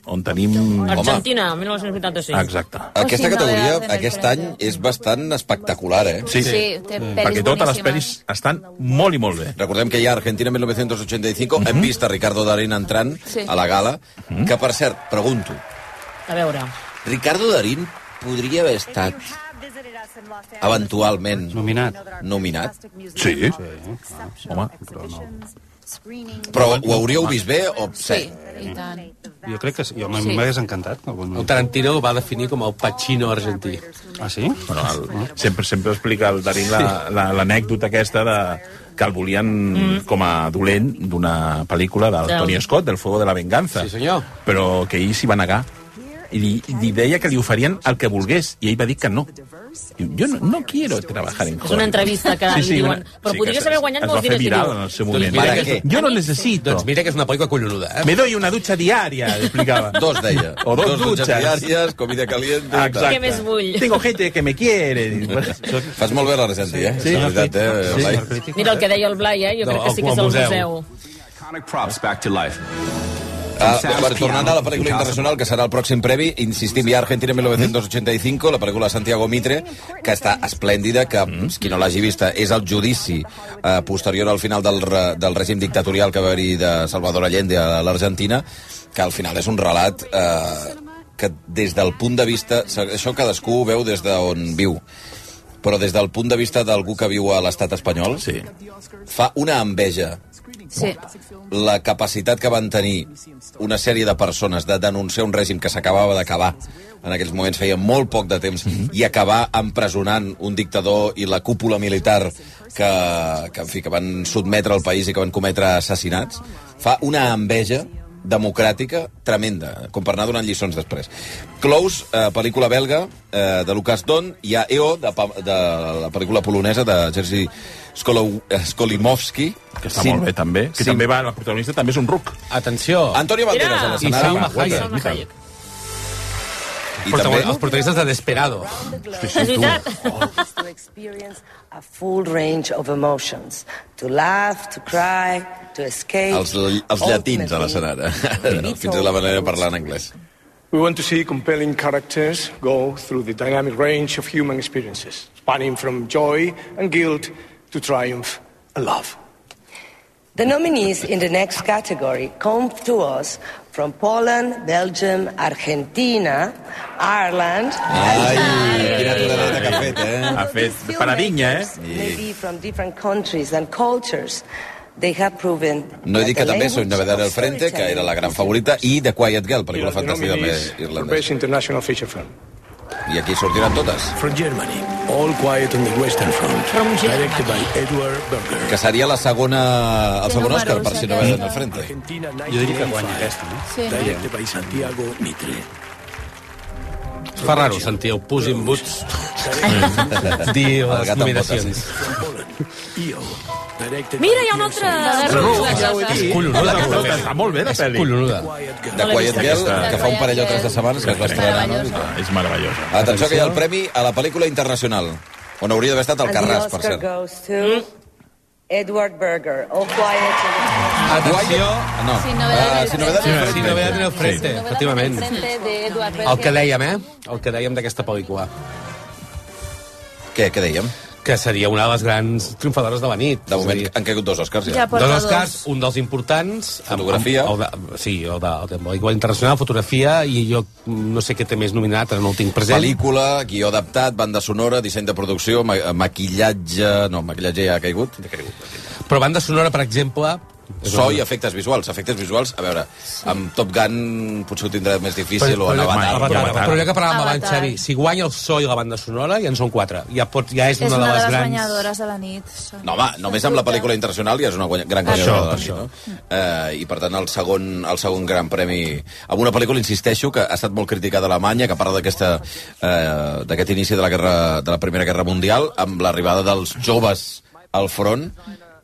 [SPEAKER 5] on tenim...
[SPEAKER 7] Argentina, 1985.
[SPEAKER 5] Exacte.
[SPEAKER 1] Aquesta
[SPEAKER 3] O si no,
[SPEAKER 1] categoria,
[SPEAKER 3] de- de-
[SPEAKER 1] aquest any, és bastant espectacular, eh?
[SPEAKER 5] Sí, sí.
[SPEAKER 3] té pel·lis
[SPEAKER 5] Perquè totes les pel·lis
[SPEAKER 3] boníssimes.
[SPEAKER 5] estan molt i molt bé.
[SPEAKER 1] Recordem que hi ha Argentina 1985,
[SPEAKER 5] Mhm.
[SPEAKER 1] hem vist a Ricardo Darín entrant
[SPEAKER 3] Sí.
[SPEAKER 1] a la gala, que per cert, pregunto,
[SPEAKER 7] A veure.
[SPEAKER 1] Ricardo Darín podria haver estat eventualment
[SPEAKER 2] Nominat. eh?
[SPEAKER 1] nominat?
[SPEAKER 5] Sí.
[SPEAKER 2] Sí.
[SPEAKER 5] Home,
[SPEAKER 1] Però ho hauríeu vist bé o... Sí.
[SPEAKER 3] I tant.
[SPEAKER 2] Jo crec que sí. Jo
[SPEAKER 4] Sí.
[SPEAKER 2] m'hagués encantat.
[SPEAKER 4] El Tarantino el va definir com el Pacino argentí.
[SPEAKER 2] Ah, sí?
[SPEAKER 5] Bueno, el, sempre, sempre explica el Darín la- la- l'anècdota la, aquesta de que el volien mm. com a dolent d'una pel·lícula del
[SPEAKER 4] Del-
[SPEAKER 5] Tony Scott, del Fuego de la Venganza. Sí,
[SPEAKER 4] senyor.
[SPEAKER 5] Però que ell s'hi va negar. I li, li deia que li oferien el que volgués, i ell va dir que no. Diu, jo no, no quiero trabajar en
[SPEAKER 7] És una entrevista que li diuen, "Però podries
[SPEAKER 5] que
[SPEAKER 7] haver guanyat
[SPEAKER 5] es-
[SPEAKER 7] molts diners", i
[SPEAKER 5] Es va
[SPEAKER 7] diu,
[SPEAKER 5] fer viral en el seu
[SPEAKER 7] "Doncs
[SPEAKER 5] moment.
[SPEAKER 7] mira que és-
[SPEAKER 5] Jo no necessito.
[SPEAKER 4] Doncs mira que és una pel·lícula collonuda, eh?
[SPEAKER 5] Me doy una dutxa diària, explicava.
[SPEAKER 1] Dos, deia.
[SPEAKER 5] O dos,
[SPEAKER 1] Dos dutxes
[SPEAKER 5] dutxes.
[SPEAKER 1] diàries, comida caliente...
[SPEAKER 5] Exacte.
[SPEAKER 7] Què més vull?
[SPEAKER 5] Tengo gente que me quiere.
[SPEAKER 1] Fas molt bé l'argentí, eh? Sí, la veritat, eh? Blai?
[SPEAKER 7] Mira el que deia el Blai, eh? Jo
[SPEAKER 1] No,
[SPEAKER 7] crec que sí que és
[SPEAKER 1] al
[SPEAKER 7] el
[SPEAKER 1] museu.
[SPEAKER 7] museu.
[SPEAKER 14] Props back to life.
[SPEAKER 1] Ah, bueno, tornant a la pel·lícula internacional, que serà el pròxim premi, insistim, hi ha Argentina 1985, la pel·lícula de Santiago Mitre, que està esplèndida, que mm. qui no l'hagi vista és el judici eh, posterior al final del, re- del règim dictatorial que va haver-hi de Salvador Allende a l'Argentina, que al final és un relat eh, que des del punt de vista... Això cadascú ho veu des d'on viu, però des del punt de vista d'algú que viu a l'estat espanyol,
[SPEAKER 5] sí.
[SPEAKER 1] fa una enveja
[SPEAKER 3] Sí.
[SPEAKER 1] la capacitat que van tenir una sèrie de persones de denunciar un règim que s'acabava d'acabar en aquells moments feia molt poc de temps
[SPEAKER 5] Mhm.
[SPEAKER 1] i acabar empresonant un dictador i la cúpula militar que, que, en fi, que van sotmetre el país i que van cometre assassinats fa una enveja democràtica tremenda, com per anar donant lliçons després. Close, eh, pel·lícula belga eh, de Lucas Don, hi ha EO, de, pa- de la pel·lícula polonesa de Jerzy Skolo- eh, Skolimowski.
[SPEAKER 5] Que està molt bé, també. Que també va, la protagonista també és un ruc.
[SPEAKER 4] Atenció.
[SPEAKER 1] Oh. Antonio Banderas, a l'escenari.
[SPEAKER 4] Salma Hayek. I també... Els protagonistes de Desperado.
[SPEAKER 15] És veritat. to experience a full range of emotions. To laugh, to cry, to escape.
[SPEAKER 1] Els, els llatins a l'escenari. No? Fins a la manera de parlar en anglès.
[SPEAKER 16] We want to see compelling characters go through the dynamic range of human experiences, spanning from joy and guilt to triumph and love.
[SPEAKER 15] The nominees in the next category come to us from Poland, Belgium, Argentina, Ireland,
[SPEAKER 1] Quina tolerada que ha fet, eh?
[SPEAKER 5] Ha fet paradinya, eh?
[SPEAKER 15] maybe from different countries and cultures. They have proven
[SPEAKER 1] No he dit que
[SPEAKER 15] that the
[SPEAKER 1] també soy
[SPEAKER 15] language
[SPEAKER 1] Novedad del
[SPEAKER 15] of
[SPEAKER 1] Frente, que era la gran favorita, i The Quiet Girl, pel·lícula fantàstica també
[SPEAKER 16] For
[SPEAKER 1] irlandesa.
[SPEAKER 16] Best International Feature Film.
[SPEAKER 1] I aquí sortiran totes.
[SPEAKER 17] From Germany, All Quiet on the Western Front. Directed by Edward Berger.
[SPEAKER 1] Que seria la segona, el
[SPEAKER 17] Qué
[SPEAKER 1] segon
[SPEAKER 17] número
[SPEAKER 1] Òscar
[SPEAKER 17] és
[SPEAKER 1] per si no
[SPEAKER 17] aquesta?
[SPEAKER 1] veuen al frente.
[SPEAKER 17] Jo diria que guanyi
[SPEAKER 4] eh?
[SPEAKER 17] aquesta, no?
[SPEAKER 1] Sí.
[SPEAKER 17] Directed by Santiago Mitre.
[SPEAKER 4] Es fa raro sentir el Puss in Boots dir
[SPEAKER 17] El
[SPEAKER 4] les
[SPEAKER 17] gat amb
[SPEAKER 4] nominacions.
[SPEAKER 7] Mira, hi ha una altra de
[SPEAKER 3] eh?
[SPEAKER 7] Rus.
[SPEAKER 1] És
[SPEAKER 4] collonuda, aquesta.
[SPEAKER 5] Està molt bé, la pel·li.
[SPEAKER 4] collonuda.
[SPEAKER 1] The Quiet Girl, que fa un parell o tres de setmanes que es va estrenar. No?
[SPEAKER 5] Ah, És meravellosa.
[SPEAKER 1] Atenció que hi ha el premi a la pel·lícula internacional, on hauria d'haver estat el
[SPEAKER 15] And the
[SPEAKER 1] Carràs, per
[SPEAKER 15] Oscar
[SPEAKER 1] cert.
[SPEAKER 15] goes to
[SPEAKER 3] Mm?
[SPEAKER 15] Edward Berger, All Quiet on the
[SPEAKER 1] Atenció... No.
[SPEAKER 15] Sin novedad en el
[SPEAKER 1] Ah, sin novedad en el
[SPEAKER 4] Sí, no veiem
[SPEAKER 1] frente.
[SPEAKER 4] el frente, efectivament. El que dèiem, eh? El que dèiem d'aquesta pel·lícula.
[SPEAKER 1] Què, què dèiem?
[SPEAKER 4] Que seria una de les grans triomfadores de la nit.
[SPEAKER 1] De moment han caigut dos Oscars, ja.
[SPEAKER 4] Ja dos Oscars, un dels importants... amb-
[SPEAKER 1] Fotografia.
[SPEAKER 4] Amb, el de, sí, el de, el de pel·lícula internacional, fotografia, i jo no sé què té més nominat, ara no el tinc present.
[SPEAKER 1] Pel·lícula, guió adaptat, banda sonora, disseny de producció, ma maquillatge... No, maquillatge ja ha caigut. Ja ha caigut.
[SPEAKER 4] Però banda sonora, per exemple...
[SPEAKER 1] So i efectes visuals. Efectes visuals, a veure, amb Top Gun potser ho tindrà més difícil, o en Avatar.
[SPEAKER 4] Avatar. Però ja que parlàvem abans,
[SPEAKER 3] Avatar.
[SPEAKER 4] Xavi, si guanya el so i la banda sonora, ja en són quatre. Ja, pot, ja és,
[SPEAKER 3] És una de les
[SPEAKER 4] grans...
[SPEAKER 3] guanyadores de la nit. Són-
[SPEAKER 1] No, home, només amb la pel·lícula internacional ja és una guanya, gran guanyadora. Això, això. Eh, I, per tant, el segon, el segon gran premi... Amb una pel·lícula, insisteixo, que ha estat molt criticada a Alemanya, que parla d'aquesta, eh, d'aquest inici de la, guerra, de la Primera Guerra Mundial, amb l'arribada dels joves al front,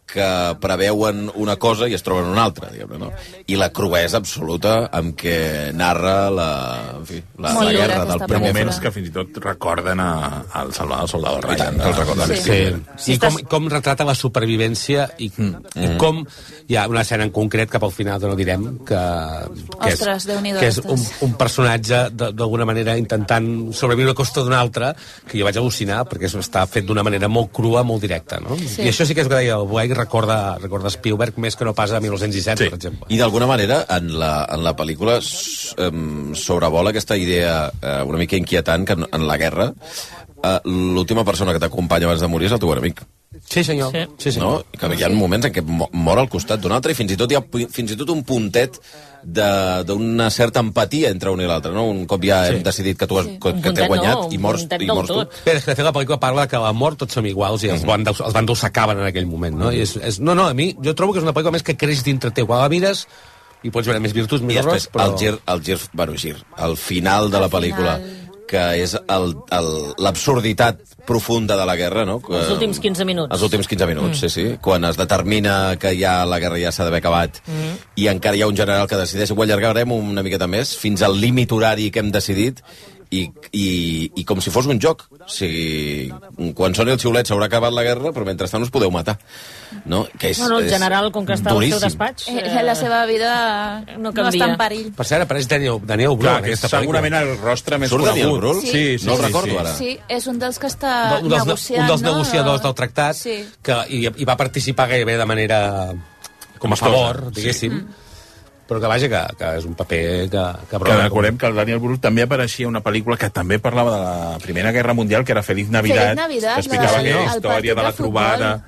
[SPEAKER 1] que preveuen una cosa i es troben una altra, diguem-ne, no? I la cruesa absoluta amb què narra la, en fi, la,
[SPEAKER 5] Molt
[SPEAKER 1] la
[SPEAKER 5] dura
[SPEAKER 1] guerra del
[SPEAKER 5] aquesta
[SPEAKER 1] primer
[SPEAKER 5] moments
[SPEAKER 1] front.
[SPEAKER 5] que fins i tot recorden a, al Salvador, al Soldado Ryan.
[SPEAKER 1] que el
[SPEAKER 3] doncs
[SPEAKER 1] recorden.
[SPEAKER 4] Sí. Mm. I com, com retrata la supervivència i, i com hi ha una escena en concret cap al final, que no direm, que, que
[SPEAKER 3] Ostres,
[SPEAKER 4] és,
[SPEAKER 3] Déu-n'hi-do,
[SPEAKER 4] que és un,
[SPEAKER 3] ostres.
[SPEAKER 4] un personatge de- d'alguna manera intentant sobreviure a costa d'un altre, que jo vaig al·lucinar perquè és- està fet d'una manera molt crua, molt directa. No?
[SPEAKER 1] Sí.
[SPEAKER 4] Sí. I això sí que és el que deia el Blake, recorda, recorda Spielberg més que no pas a 1917, sí. per exemple.
[SPEAKER 1] I d'alguna manera, en la, en la pel·lícula s- em, sobrevola aquesta idea eh, una mica inquietant que en, en la guerra eh, l'última persona que t'acompanya abans de morir és el teu enemic.
[SPEAKER 4] Sí, senyor. Sí. Sí,
[SPEAKER 1] sí. No? Que hi ha moments en què mo- mor al costat d'un altre i fins i tot hi ha pu- fins i tot un puntet de- d'una certa empatia entre un i l'altre, no? Un cop ja hem decidit que tu has, que, que
[SPEAKER 7] puntet
[SPEAKER 1] t'he guanyat
[SPEAKER 7] no,
[SPEAKER 1] i
[SPEAKER 7] un
[SPEAKER 1] mors,
[SPEAKER 7] puntet
[SPEAKER 1] i
[SPEAKER 7] del
[SPEAKER 1] mors tu.
[SPEAKER 7] tot.
[SPEAKER 4] Però és que de fet la pel·lícula parla que a la mort tots som iguals i els
[SPEAKER 1] Mhm.
[SPEAKER 4] bàndols, els bàndols s'acaben en aquell moment, no? I és, és, no, no, a mi, jo trobo que és una pel·lícula més que creix dintre teu. Quan la mires, i pots veure més virtuts,
[SPEAKER 1] I
[SPEAKER 4] més
[SPEAKER 1] després,
[SPEAKER 4] errors, però...
[SPEAKER 1] el gir, el gir, bueno, gir, el final de la pel·lícula, que és el- el- l'absurditat profunda de la guerra, no? Que,
[SPEAKER 7] Els últims 15 minuts.
[SPEAKER 1] Els últims 15 minuts, mm. sí, sí. Quan es determina que ja la guerra ja s'ha d'haver acabat mm. i encara hi ha un general que decideix ho allargarem una miqueta més fins al límit horari que hem decidit i, i, i com si fos un joc. O sigui, quan soni el xiulet s'haurà acabat la guerra, però mentrestant us podeu matar. No? Que és,
[SPEAKER 7] Bueno, el
[SPEAKER 1] és
[SPEAKER 7] general, com que està al seu
[SPEAKER 1] duríssim.
[SPEAKER 7] despatx...
[SPEAKER 3] Eh, la seva vida no, no està
[SPEAKER 7] canvia.
[SPEAKER 3] en perill.
[SPEAKER 4] Per cert, apareix Daniel, Daniel Bru
[SPEAKER 5] Clar,
[SPEAKER 4] en
[SPEAKER 5] que és
[SPEAKER 4] aquesta pel·lícula.
[SPEAKER 5] segurament el rostre més
[SPEAKER 4] Surt Daniel
[SPEAKER 5] conegut.
[SPEAKER 4] Brühl?
[SPEAKER 5] Sí, sí,
[SPEAKER 4] No el
[SPEAKER 5] sí,
[SPEAKER 4] recordo
[SPEAKER 5] sí.
[SPEAKER 4] ara.
[SPEAKER 3] Sí, és un dels que està
[SPEAKER 4] un dels,
[SPEAKER 3] negociant,
[SPEAKER 4] un dels
[SPEAKER 3] no?
[SPEAKER 4] negociadors del tractat
[SPEAKER 3] Sí.
[SPEAKER 4] que hi, hi va participar gairebé de manera com a
[SPEAKER 5] Amistosa,
[SPEAKER 4] favor,
[SPEAKER 5] sí.
[SPEAKER 4] diguéssim
[SPEAKER 3] Mm.
[SPEAKER 4] però que vaja que, que és un paper que, que,
[SPEAKER 5] que recordem que el Daniel Brühl també apareixia a una pel·lícula que també parlava de la Primera Guerra Mundial, que era Feliz Navidad,
[SPEAKER 3] Feliz Navidad,
[SPEAKER 5] que explicava
[SPEAKER 3] la-
[SPEAKER 5] aquella
[SPEAKER 3] el
[SPEAKER 5] història
[SPEAKER 3] partit
[SPEAKER 5] de la
[SPEAKER 3] de futbol.
[SPEAKER 5] trobada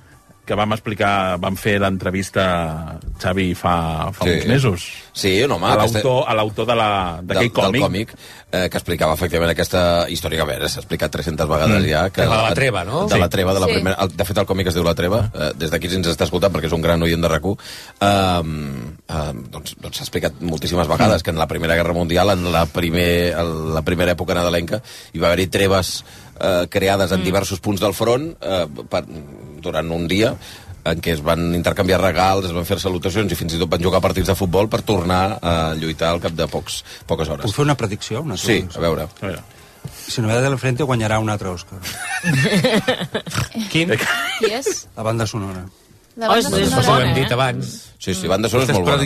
[SPEAKER 5] que vam explicar, vam fer l'entrevista Xavi fa, fa sí. uns mesos.
[SPEAKER 1] Sí, un home.
[SPEAKER 5] A
[SPEAKER 1] aquesta-
[SPEAKER 5] l'autor a l'autor de la- d'aquell
[SPEAKER 1] del- del
[SPEAKER 5] còmic.
[SPEAKER 1] còmic eh, que explicava efectivament aquesta història que a veure, s'ha explicat 300 vegades
[SPEAKER 4] Mm.
[SPEAKER 1] ja que
[SPEAKER 4] De la de la treva, no?
[SPEAKER 1] de la
[SPEAKER 4] Sí. Ah.
[SPEAKER 1] treva, de, la
[SPEAKER 4] Sí.
[SPEAKER 1] primera, el, de fet el còmic es diu La Treva eh, des d'aquí si ens està escoltant perquè és un gran oient de RAC1 um, um, doncs s'ha doncs s'ha explicat moltíssimes
[SPEAKER 4] Mm.
[SPEAKER 1] vegades que en la Primera Guerra Mundial en la, primer, en la primera època nadalenca hi va haver-hi treves eh, creades
[SPEAKER 4] Mm.
[SPEAKER 1] en diversos punts del front eh, per, durant un dia en què es van intercanviar regals, es van fer salutacions i fins i tot van jugar partits de futbol per tornar eh, a lluitar al cap de pocs, poques hores.
[SPEAKER 2] Puc fer una predicció? Una
[SPEAKER 1] Sí, a veure.
[SPEAKER 2] Si no ve de la frente guanyarà un altre Òscar. Quin?
[SPEAKER 3] Qui és?
[SPEAKER 2] La banda sonora.
[SPEAKER 3] La banda
[SPEAKER 4] és
[SPEAKER 3] sonora,
[SPEAKER 4] ho hem
[SPEAKER 3] eh?
[SPEAKER 4] dit abans
[SPEAKER 1] Sí, sí, banda sonora és
[SPEAKER 4] Aquestes
[SPEAKER 1] molt bona.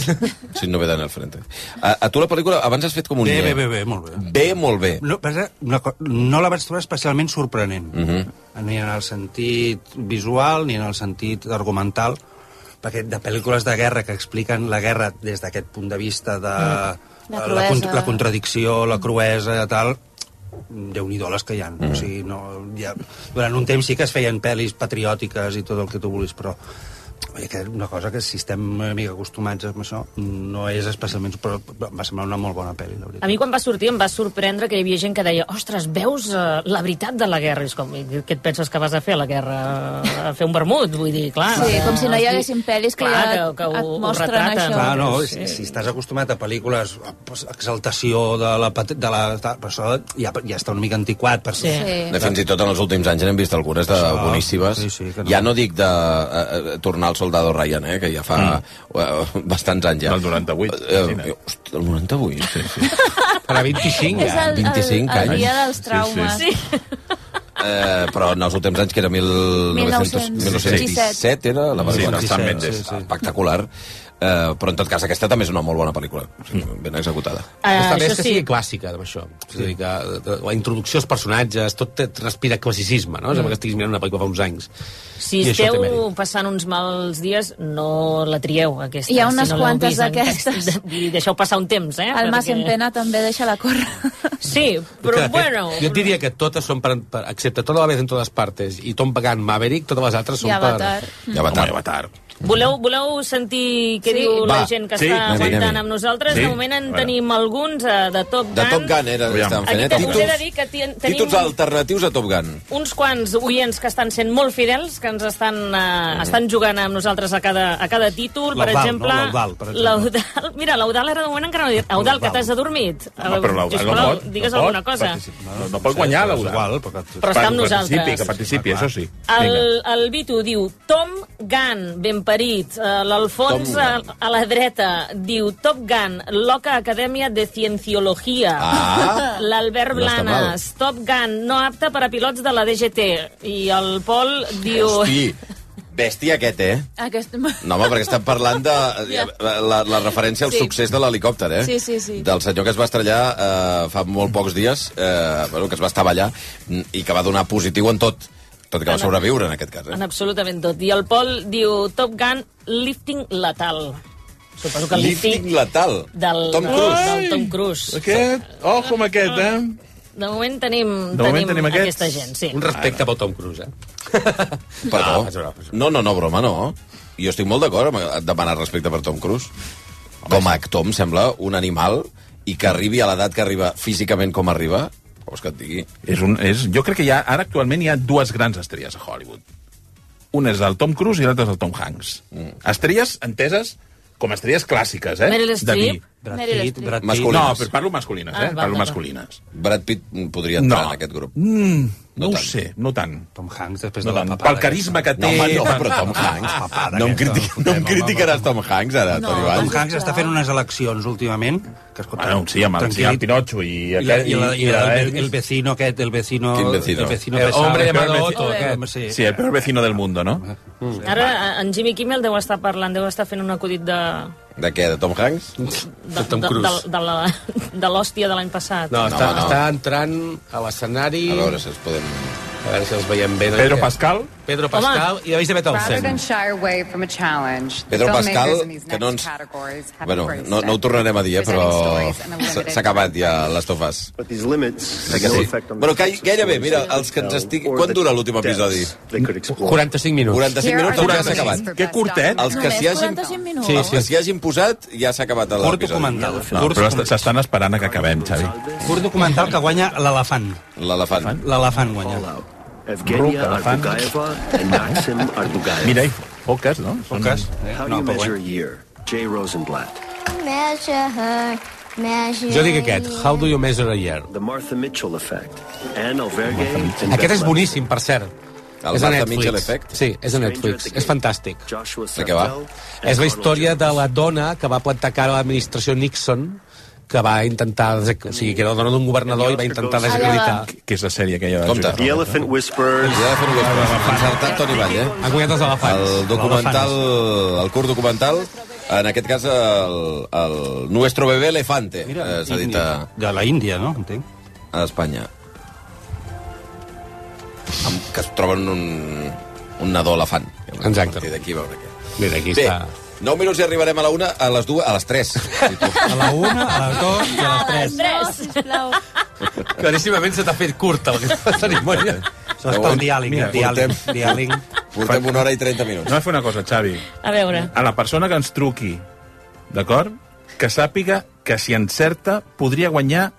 [SPEAKER 4] prediccions.
[SPEAKER 1] Sí, novedad en el frente. A, a tu la pel·lícula abans has fet com un...
[SPEAKER 2] Bé,
[SPEAKER 1] nye.
[SPEAKER 2] bé, bé, bé, molt bé.
[SPEAKER 1] Bé, molt bé.
[SPEAKER 2] No, passa, una co- no la vaig trobar especialment sorprenent.
[SPEAKER 1] Uh -huh.
[SPEAKER 2] ni en el sentit visual ni en el sentit argumental perquè de pel·lícules de guerra que expliquen la guerra des d'aquest punt de vista de
[SPEAKER 3] La
[SPEAKER 2] la,
[SPEAKER 3] cruesa.
[SPEAKER 2] la contradicció, la cruesa tal, déu nhi les que hi ha. Mm. O sigui, no, ja, durant un temps sí que es feien pel·lis patriòtiques i tot el que tu vulguis, però oi, que una cosa que si estem una mica acostumats a això, no és especialment... Però em va semblar una molt bona pel·li, la veritat.
[SPEAKER 7] A mi quan va sortir em va sorprendre que hi havia gent que deia ostres, veus eh, la veritat de la guerra? I és com, "I què et penses que vas a fer a la guerra? A fer un vermut? Vull dir, clar...
[SPEAKER 3] Ah, Sí, com si no hi
[SPEAKER 7] eh,
[SPEAKER 3] haguessin pel·lis que
[SPEAKER 7] clar,
[SPEAKER 3] ja
[SPEAKER 7] que- que ho-
[SPEAKER 3] et
[SPEAKER 7] ho
[SPEAKER 3] mostren
[SPEAKER 7] retraten.
[SPEAKER 3] això.
[SPEAKER 2] Clar, no,
[SPEAKER 7] Sí.
[SPEAKER 2] si, si estàs acostumat a pel·lícules eh, pues, exaltació de la... pat- De la de, per això ja, ja està una mica antiquat. Per
[SPEAKER 3] Sí. Sí.
[SPEAKER 1] De, fins i tot en els últims anys n'hem vist algunes de
[SPEAKER 2] Això,
[SPEAKER 1] boníssimes.
[SPEAKER 2] sí, sí, que no.
[SPEAKER 1] Ja no dic de eh, eh, tornar al soldado Ryan, eh, que ja fa eh, bastants anys ja.
[SPEAKER 5] Del 98,
[SPEAKER 1] Eh, eh, hosti, el 98, sí, sí.
[SPEAKER 4] farà 25
[SPEAKER 3] És el, el,
[SPEAKER 1] 25
[SPEAKER 3] el, dia
[SPEAKER 1] anys.
[SPEAKER 3] dels traumes.
[SPEAKER 1] Sí, Eh, però en els últims anys, que era 1900, 1917, era la
[SPEAKER 5] Sí,
[SPEAKER 1] pel·lícula.
[SPEAKER 5] del Sam Mendes.
[SPEAKER 1] Sí, sí. Espectacular. Eh, però en tot cas, aquesta també és una molt bona pel·lícula. O sigui, ben executada.
[SPEAKER 7] Eh,
[SPEAKER 4] Està bé
[SPEAKER 7] això
[SPEAKER 4] que
[SPEAKER 7] sí.
[SPEAKER 4] sigui clàssica, amb això. És a dir, que eh, la introducció als personatges, tot té- respira classicisme, no? Mm. Sembla que estiguis mirant una pel·lícula fa uns anys.
[SPEAKER 7] Si
[SPEAKER 4] I això
[SPEAKER 7] esteu
[SPEAKER 4] té mèrit.
[SPEAKER 7] passant uns mals dies, no la trieu, aquesta.
[SPEAKER 3] Hi ha
[SPEAKER 7] si
[SPEAKER 3] unes
[SPEAKER 7] no l'heu
[SPEAKER 3] quantes
[SPEAKER 7] vist en
[SPEAKER 3] d'aquestes.
[SPEAKER 7] text. Vull dir, Deixeu passar un temps, eh?
[SPEAKER 3] El Mas en
[SPEAKER 7] perquè-
[SPEAKER 3] Pena també deixa la córrer.
[SPEAKER 7] Sí, però
[SPEAKER 4] Que, de fet,
[SPEAKER 7] bueno...
[SPEAKER 4] Jo et diria que totes són per, per excepte tota la vez en totes partes i Tom Pagan Maverick, totes les altres són
[SPEAKER 7] I Avatar.
[SPEAKER 4] per...
[SPEAKER 7] Mm.
[SPEAKER 1] I Avatar.
[SPEAKER 4] Avatar.
[SPEAKER 7] Voleu, voleu sentir què
[SPEAKER 4] Sí.
[SPEAKER 7] sí. diu la
[SPEAKER 4] Va,
[SPEAKER 7] gent que
[SPEAKER 4] sí,
[SPEAKER 7] està
[SPEAKER 4] anem-hi,
[SPEAKER 7] aguantant
[SPEAKER 4] anem-hi.
[SPEAKER 7] amb nosaltres?
[SPEAKER 4] Sí.
[SPEAKER 7] De moment en
[SPEAKER 4] A veure.
[SPEAKER 7] tenim alguns eh, de Top Gun.
[SPEAKER 1] De Top Gun era que estàvem fent,
[SPEAKER 7] Aquí
[SPEAKER 1] eh?
[SPEAKER 7] també us he de
[SPEAKER 1] Títols,
[SPEAKER 7] dir que ten- tenim
[SPEAKER 1] títols alternatius a Top Gun.
[SPEAKER 7] uns quants oients que estan sent molt fidels, que ens estan, eh,
[SPEAKER 1] Mm.
[SPEAKER 7] estan jugant amb nosaltres a cada, a cada títol. Per
[SPEAKER 2] L'Eudald, no?
[SPEAKER 7] exemple,
[SPEAKER 2] L'Eudald, per exemple.
[SPEAKER 7] l'Eudald- Mira, l'Eudal ara de moment encara no ha dit. Eudal, que t'has adormit.
[SPEAKER 5] No, però l'Eudald no
[SPEAKER 7] Sisplau,
[SPEAKER 5] pot, no
[SPEAKER 7] Digues
[SPEAKER 5] pot
[SPEAKER 7] alguna cosa.
[SPEAKER 5] participar. No, no pot guanyar l'Eudald.
[SPEAKER 2] Però,
[SPEAKER 7] Però està amb
[SPEAKER 5] Participi,
[SPEAKER 7] nosaltres.
[SPEAKER 5] que participi, això sí.
[SPEAKER 7] El, el Vito diu Tom Gunn, ben parit. Eh, L'Alfons eh,
[SPEAKER 5] Tom
[SPEAKER 7] a, a la dreta diu Top Gun, l'Oca Acadèmia de Cienciologia.
[SPEAKER 18] Ah.
[SPEAKER 7] L'Albert
[SPEAKER 18] No està
[SPEAKER 7] Blanes, Top Gun, no apta per a pilots de la DGT. I el Pol diu...
[SPEAKER 1] Hosti, bèstia aquest, eh?
[SPEAKER 3] Aquest...
[SPEAKER 1] No, home, perquè estem parlant de
[SPEAKER 3] Ja.
[SPEAKER 1] la, la referència al
[SPEAKER 3] Sí.
[SPEAKER 1] sí. succés de l'helicòpter, eh?
[SPEAKER 3] Sí, sí, sí.
[SPEAKER 1] Del senyor que es va estrellar eh, fa molt pocs dies, eh, bueno, que es va estavellar mm, i que va donar positiu en tot, tot i que va sobreviure en aquest cas. Eh?
[SPEAKER 7] En absolutament tot. I el Pol diu Top Gun, lifting letal. Suposo que lifting...
[SPEAKER 1] Lifting letal.
[SPEAKER 7] Del,
[SPEAKER 5] Tom Cruise.
[SPEAKER 7] Del Tom Cruise.
[SPEAKER 5] Aquest, ojo amb aquest, eh?
[SPEAKER 7] De moment tenim,
[SPEAKER 5] De moment
[SPEAKER 7] tenim,
[SPEAKER 5] tenim aquests.
[SPEAKER 7] aquesta gent, sí.
[SPEAKER 4] Un respecte pel Tom Cruise, eh?
[SPEAKER 1] Perdó. No, no, no, broma, no. Jo estic molt d'acord amb demanar respecte per Tom Cruise. Com a actor em sembla un animal i que arribi a l'edat que arriba físicament com arriba, vols que et digui?
[SPEAKER 5] És un, és, jo crec que hi ha, ara actualment hi ha dues grans estrelles a Hollywood. Un és el Tom Cruise i l'altre és el Tom Hanks. Mm. Estrelles enteses com estrelles clàssiques, eh?
[SPEAKER 7] Meryl Streep.
[SPEAKER 5] De mi.
[SPEAKER 7] Meryl Streep.
[SPEAKER 5] Brad Pitt. Masculines. No, però parlo masculines,
[SPEAKER 7] Ah,
[SPEAKER 5] eh?
[SPEAKER 7] val,
[SPEAKER 5] parlo
[SPEAKER 7] val,
[SPEAKER 5] masculines.
[SPEAKER 1] Brad Pitt podria entrar en aquest grup.
[SPEAKER 5] Mm, no,
[SPEAKER 1] No
[SPEAKER 5] no ho
[SPEAKER 1] tant.
[SPEAKER 5] sé, no tant.
[SPEAKER 2] Tom Hanks, després
[SPEAKER 5] No
[SPEAKER 2] de la
[SPEAKER 5] tant.
[SPEAKER 2] papada
[SPEAKER 5] Pel carisma que té...
[SPEAKER 1] No, home, no,
[SPEAKER 5] per-
[SPEAKER 1] però Tom Hanks. No em, criti no em criticaràs Tom Hanks, ara, Toni
[SPEAKER 2] Tom
[SPEAKER 1] Valls.
[SPEAKER 2] Hanks està fent unes eleccions últimament que, escolta,
[SPEAKER 5] Bueno, Ah, sí, amb el, sí, el Pinocho i...
[SPEAKER 2] I, la, i, la, i la, el,
[SPEAKER 5] i- eh,
[SPEAKER 2] el vecino aquest, el vecino...
[SPEAKER 1] Quin vecino?
[SPEAKER 2] El vecino
[SPEAKER 5] El
[SPEAKER 2] pesado.
[SPEAKER 5] Eh, hombre
[SPEAKER 2] El peor
[SPEAKER 5] llamado
[SPEAKER 2] vecino-
[SPEAKER 7] Otto, aquest.
[SPEAKER 2] Sí,
[SPEAKER 5] Sí, el peor vecino del mundo, no?
[SPEAKER 7] Ara eh, en Jimmy Kimmel deu estar parlant, deu estar fent un acudit de,
[SPEAKER 1] De què, de Tom Hanks?
[SPEAKER 7] de, de, de, de, la, de l'hòstia de l'any passat.
[SPEAKER 4] No, està,
[SPEAKER 1] No, no.
[SPEAKER 4] està entrant a l'escenari...
[SPEAKER 1] A veure si els podem...
[SPEAKER 4] A veure si els veiem bé.
[SPEAKER 5] Pedro Pascal?
[SPEAKER 4] Pedro Pascal i Elisabeth
[SPEAKER 11] Rather
[SPEAKER 4] Olsen.
[SPEAKER 11] than shy away from a challenge, the
[SPEAKER 1] Pedro
[SPEAKER 11] filmmakers
[SPEAKER 1] Pascal,
[SPEAKER 11] in these
[SPEAKER 1] que
[SPEAKER 11] next
[SPEAKER 1] no ens-
[SPEAKER 11] categories have
[SPEAKER 1] Bueno,
[SPEAKER 11] embraced
[SPEAKER 1] no, no ho
[SPEAKER 11] it.
[SPEAKER 1] tornarem a dir, eh, però
[SPEAKER 11] Presenting stories
[SPEAKER 1] s'ha
[SPEAKER 11] in a
[SPEAKER 1] s'ha acabat ja les tofes.
[SPEAKER 18] But these limits
[SPEAKER 1] Sí que sí. Bueno, que, gairebé, mira, els que ens estigui... Quan dura l'últim episodi?
[SPEAKER 4] 45 minuts.
[SPEAKER 1] 45 minuts, doncs ja s'ha acabat.
[SPEAKER 5] Que curtet.
[SPEAKER 1] Els que
[SPEAKER 3] Només
[SPEAKER 1] s'hi hagin...
[SPEAKER 3] 45 minuts.
[SPEAKER 1] Sí, sí. Els que s'hi hagin posat, ja s'ha acabat
[SPEAKER 2] Curt
[SPEAKER 1] l'episodi.
[SPEAKER 2] documental.
[SPEAKER 5] No,
[SPEAKER 2] Curt
[SPEAKER 5] però est- s'estan esperant a que acabem, Xavi.
[SPEAKER 2] Curt documental que guanya l'elefant.
[SPEAKER 1] L'elefant.
[SPEAKER 2] L'elefant guanya.
[SPEAKER 18] Evgenia
[SPEAKER 5] Broke elefant.
[SPEAKER 18] Ardugaeva and Maxim Ardugaev.
[SPEAKER 5] Mira, i foques, no? eh? Són-
[SPEAKER 2] Poques.
[SPEAKER 18] How do
[SPEAKER 2] No,
[SPEAKER 18] you
[SPEAKER 2] però
[SPEAKER 18] measure
[SPEAKER 2] guanya.
[SPEAKER 18] a year? Jay Rosenblatt.
[SPEAKER 19] Measure her. Measure
[SPEAKER 4] Jo dic aquest,
[SPEAKER 19] her.
[SPEAKER 4] How do you measure a year?
[SPEAKER 18] The Martha Mitchell effect. Anne Albergue. and
[SPEAKER 4] Aquest és
[SPEAKER 18] Beth
[SPEAKER 4] boníssim, per cert.
[SPEAKER 1] El
[SPEAKER 4] és a
[SPEAKER 1] Martha
[SPEAKER 4] Netflix.
[SPEAKER 1] Mitchell Effect?
[SPEAKER 4] Sí, és a
[SPEAKER 18] Stranger at
[SPEAKER 4] Netflix.
[SPEAKER 18] the
[SPEAKER 4] És
[SPEAKER 18] Gate.
[SPEAKER 4] fantàstic.
[SPEAKER 18] Joshua
[SPEAKER 1] De què va?
[SPEAKER 18] Sartell and
[SPEAKER 4] És la
[SPEAKER 18] Arnold
[SPEAKER 4] història
[SPEAKER 18] Jones.
[SPEAKER 4] de la dona que va plantar cara a l'administració Nixon que va intentar... des- O sigui, que era la dona d'un governador i va intentar desacreditar.
[SPEAKER 5] Que és la sèrie aquella... de
[SPEAKER 1] Compte.
[SPEAKER 5] Julia
[SPEAKER 18] The
[SPEAKER 5] Roberts.
[SPEAKER 18] Elephant Whisperers.
[SPEAKER 1] Ja de fer un encertat Toni Vall, eh?
[SPEAKER 4] Han guanyat els elefants.
[SPEAKER 1] El documental, el curt documental, en aquest cas el, el Nuestro bebé elefante, eh, s'ha dit a,
[SPEAKER 2] De la Índia, no? Entenc.
[SPEAKER 1] a Espanya. Amb, que es troben un, un nadó elefant.
[SPEAKER 4] Exacte.
[SPEAKER 1] A partir d'aquí a veure què.
[SPEAKER 4] Mira, aquí
[SPEAKER 1] Bé,
[SPEAKER 4] està.
[SPEAKER 1] 9 minuts i arribarem a la 1, a les 2, a les 3.
[SPEAKER 2] A la una, a les dues i a les tres.
[SPEAKER 3] No, sisplau.
[SPEAKER 4] Claríssimament se t'ha fet curta aquesta cerimònia.
[SPEAKER 2] Això és pel diàling, eh? Diàling. Diàling.
[SPEAKER 1] Portem una hora i 30 minuts.
[SPEAKER 5] No va fer una cosa, Xavi.
[SPEAKER 7] A veure,
[SPEAKER 5] A la persona que ens truqui, d'acord? Que sàpiga que si encerta podria guanyar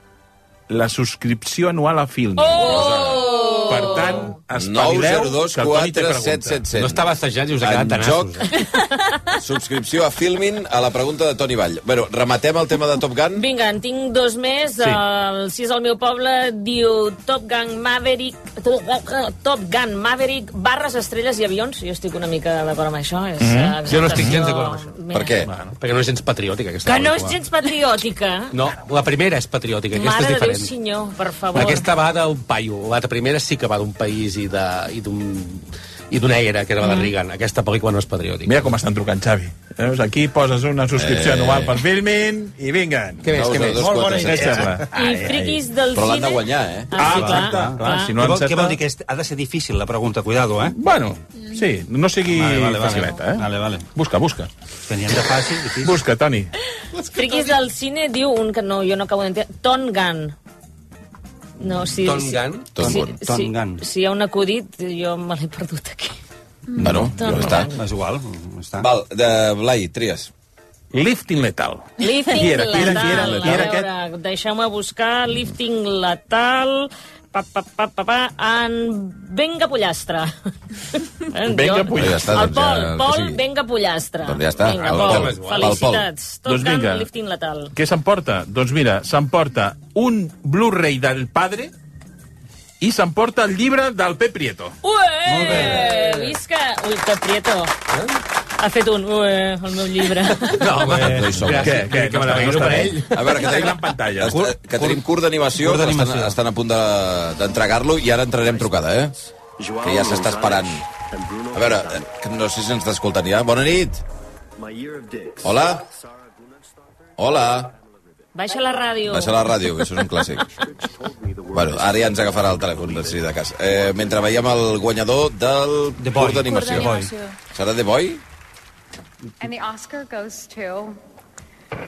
[SPEAKER 5] la subscripció anual a Film. Oh! Per tant, espavileu
[SPEAKER 1] 902
[SPEAKER 5] que el Toni té pregunta.
[SPEAKER 1] 4777.
[SPEAKER 4] No estava assajat i us ha quedat
[SPEAKER 1] en joc,
[SPEAKER 4] tanassos. Eh?
[SPEAKER 1] subscripció a Filmin a la pregunta de Toni Vall. Bueno, rematem el tema de Top Gun.
[SPEAKER 7] vinga, en tinc dos més.
[SPEAKER 5] Sí.
[SPEAKER 7] Sí. El 6 al meu poble diu Top Gun Maverick... Top Gun Maverick, barres, estrelles i avions. Jo estic una mica d'acord amb això. És, mm -hmm.
[SPEAKER 4] Mhm. Jo no estic gens d'acord amb això.
[SPEAKER 1] Per què?
[SPEAKER 4] Bueno, perquè no és gens patriòtica, aquesta.
[SPEAKER 7] Que no és
[SPEAKER 4] pel·lícula.
[SPEAKER 7] gens patriòtica.
[SPEAKER 4] No, la primera és patriòtica, aquesta
[SPEAKER 7] Mare
[SPEAKER 4] és
[SPEAKER 7] de Déu,
[SPEAKER 4] diferent.
[SPEAKER 7] senyor, per favor.
[SPEAKER 4] Aquesta va d'un paio. La primera sí que va d'un país i de- i d'un i d'una era, que era
[SPEAKER 7] Mm.
[SPEAKER 4] la de Reagan. Aquesta pel·lícula no és patriòtica.
[SPEAKER 5] Mira com estan trucant, Xavi. Veus? Aquí poses una subscripció
[SPEAKER 1] Eh.
[SPEAKER 5] eh. anual per Filmin i vingan.
[SPEAKER 4] Què més, què més?
[SPEAKER 1] 902
[SPEAKER 5] Molt bona idea.
[SPEAKER 1] 4777.
[SPEAKER 7] I friquis del
[SPEAKER 1] Però l'han
[SPEAKER 7] cine...
[SPEAKER 1] de guanyar, eh?
[SPEAKER 7] Ah, sí,
[SPEAKER 5] Ah,
[SPEAKER 7] clar,
[SPEAKER 5] clar, clar, si
[SPEAKER 2] No
[SPEAKER 5] no
[SPEAKER 2] què, vol,
[SPEAKER 5] encerta...
[SPEAKER 2] què vol dir? Que és, ha de ser difícil, la pregunta. Cuidado, eh?
[SPEAKER 5] Bueno, sí, no sigui
[SPEAKER 2] Vale, vale, vale.
[SPEAKER 5] facileta, eh?
[SPEAKER 2] Vale, vale.
[SPEAKER 5] Busca, busca.
[SPEAKER 2] Teníem de fàcil, difícil.
[SPEAKER 5] Busca, Toni.
[SPEAKER 4] Ah.
[SPEAKER 7] Friquis del cine diu un que no, jo no acabo d'entendre. Ton Gun. No, sí,
[SPEAKER 4] Tom
[SPEAKER 7] sí,
[SPEAKER 4] Gunn?
[SPEAKER 1] Tom
[SPEAKER 7] sí,
[SPEAKER 1] Gunn.
[SPEAKER 7] sí,
[SPEAKER 2] Tom Gunn.
[SPEAKER 7] Si hi ha un acudit, jo me l'he perdut aquí.
[SPEAKER 1] Bueno, ja està.
[SPEAKER 2] És igual, està.
[SPEAKER 1] Val, de Blai, tries.
[SPEAKER 5] Lifting Letal.
[SPEAKER 7] Lifting
[SPEAKER 5] Qui era, qui era, qui era,
[SPEAKER 7] letal.
[SPEAKER 5] qui era
[SPEAKER 7] A veure, deixeu-me buscar. Lifting letal. Pa, pa, pa, pa, pa. En Venga Pollastre.
[SPEAKER 5] Venga Pollastre.
[SPEAKER 1] Ja està,
[SPEAKER 7] El Pol,
[SPEAKER 1] doncs ja, el que
[SPEAKER 7] Pol,
[SPEAKER 1] sigui.
[SPEAKER 7] Venga Pollastre.
[SPEAKER 1] Doncs ja està,
[SPEAKER 7] Vinga,
[SPEAKER 1] el
[SPEAKER 7] Pol,
[SPEAKER 1] Pol. Pel Pol.
[SPEAKER 7] felicitats. Tot
[SPEAKER 5] Doncs vinga.
[SPEAKER 7] Gun, Lifting letal.
[SPEAKER 5] Què s'emporta? Doncs mira, s'emporta un Blu-ray del padre i s'emporta el llibre del Pep Prieto.
[SPEAKER 7] Ué! Visca! Ui, que Prieto. Ha fet un... Ué, el meu llibre.
[SPEAKER 4] No, home,
[SPEAKER 1] Eh? no hi som.
[SPEAKER 4] gràcies.
[SPEAKER 5] Què, què,
[SPEAKER 4] Que me la
[SPEAKER 5] no
[SPEAKER 4] veig
[SPEAKER 5] està
[SPEAKER 4] per
[SPEAKER 5] bé?
[SPEAKER 4] ell.
[SPEAKER 1] A veure, que
[SPEAKER 5] Està
[SPEAKER 1] tenim,
[SPEAKER 5] en pantalla.
[SPEAKER 1] Està, que tenim curt d'animació,
[SPEAKER 2] Curt
[SPEAKER 1] però estan,
[SPEAKER 2] d'animació.
[SPEAKER 1] estan a punt de- d'entregar-lo de, i ara entrarem trucada, eh? Que ja s'està esperant. A veure, eh, que no sé si ens t'escolten ja. Bona nit. Hola? Hola?
[SPEAKER 7] Baixa la ràdio.
[SPEAKER 1] Baixa la ràdio, que això és un clàssic. Bueno, ara ja ens agafarà el telèfon, de si de cas. Eh, mentre veiem el guanyador del
[SPEAKER 2] The Boy.
[SPEAKER 1] curt d'animació.
[SPEAKER 3] Coordinació.
[SPEAKER 1] Serà The Boy?
[SPEAKER 11] And the Oscar goes to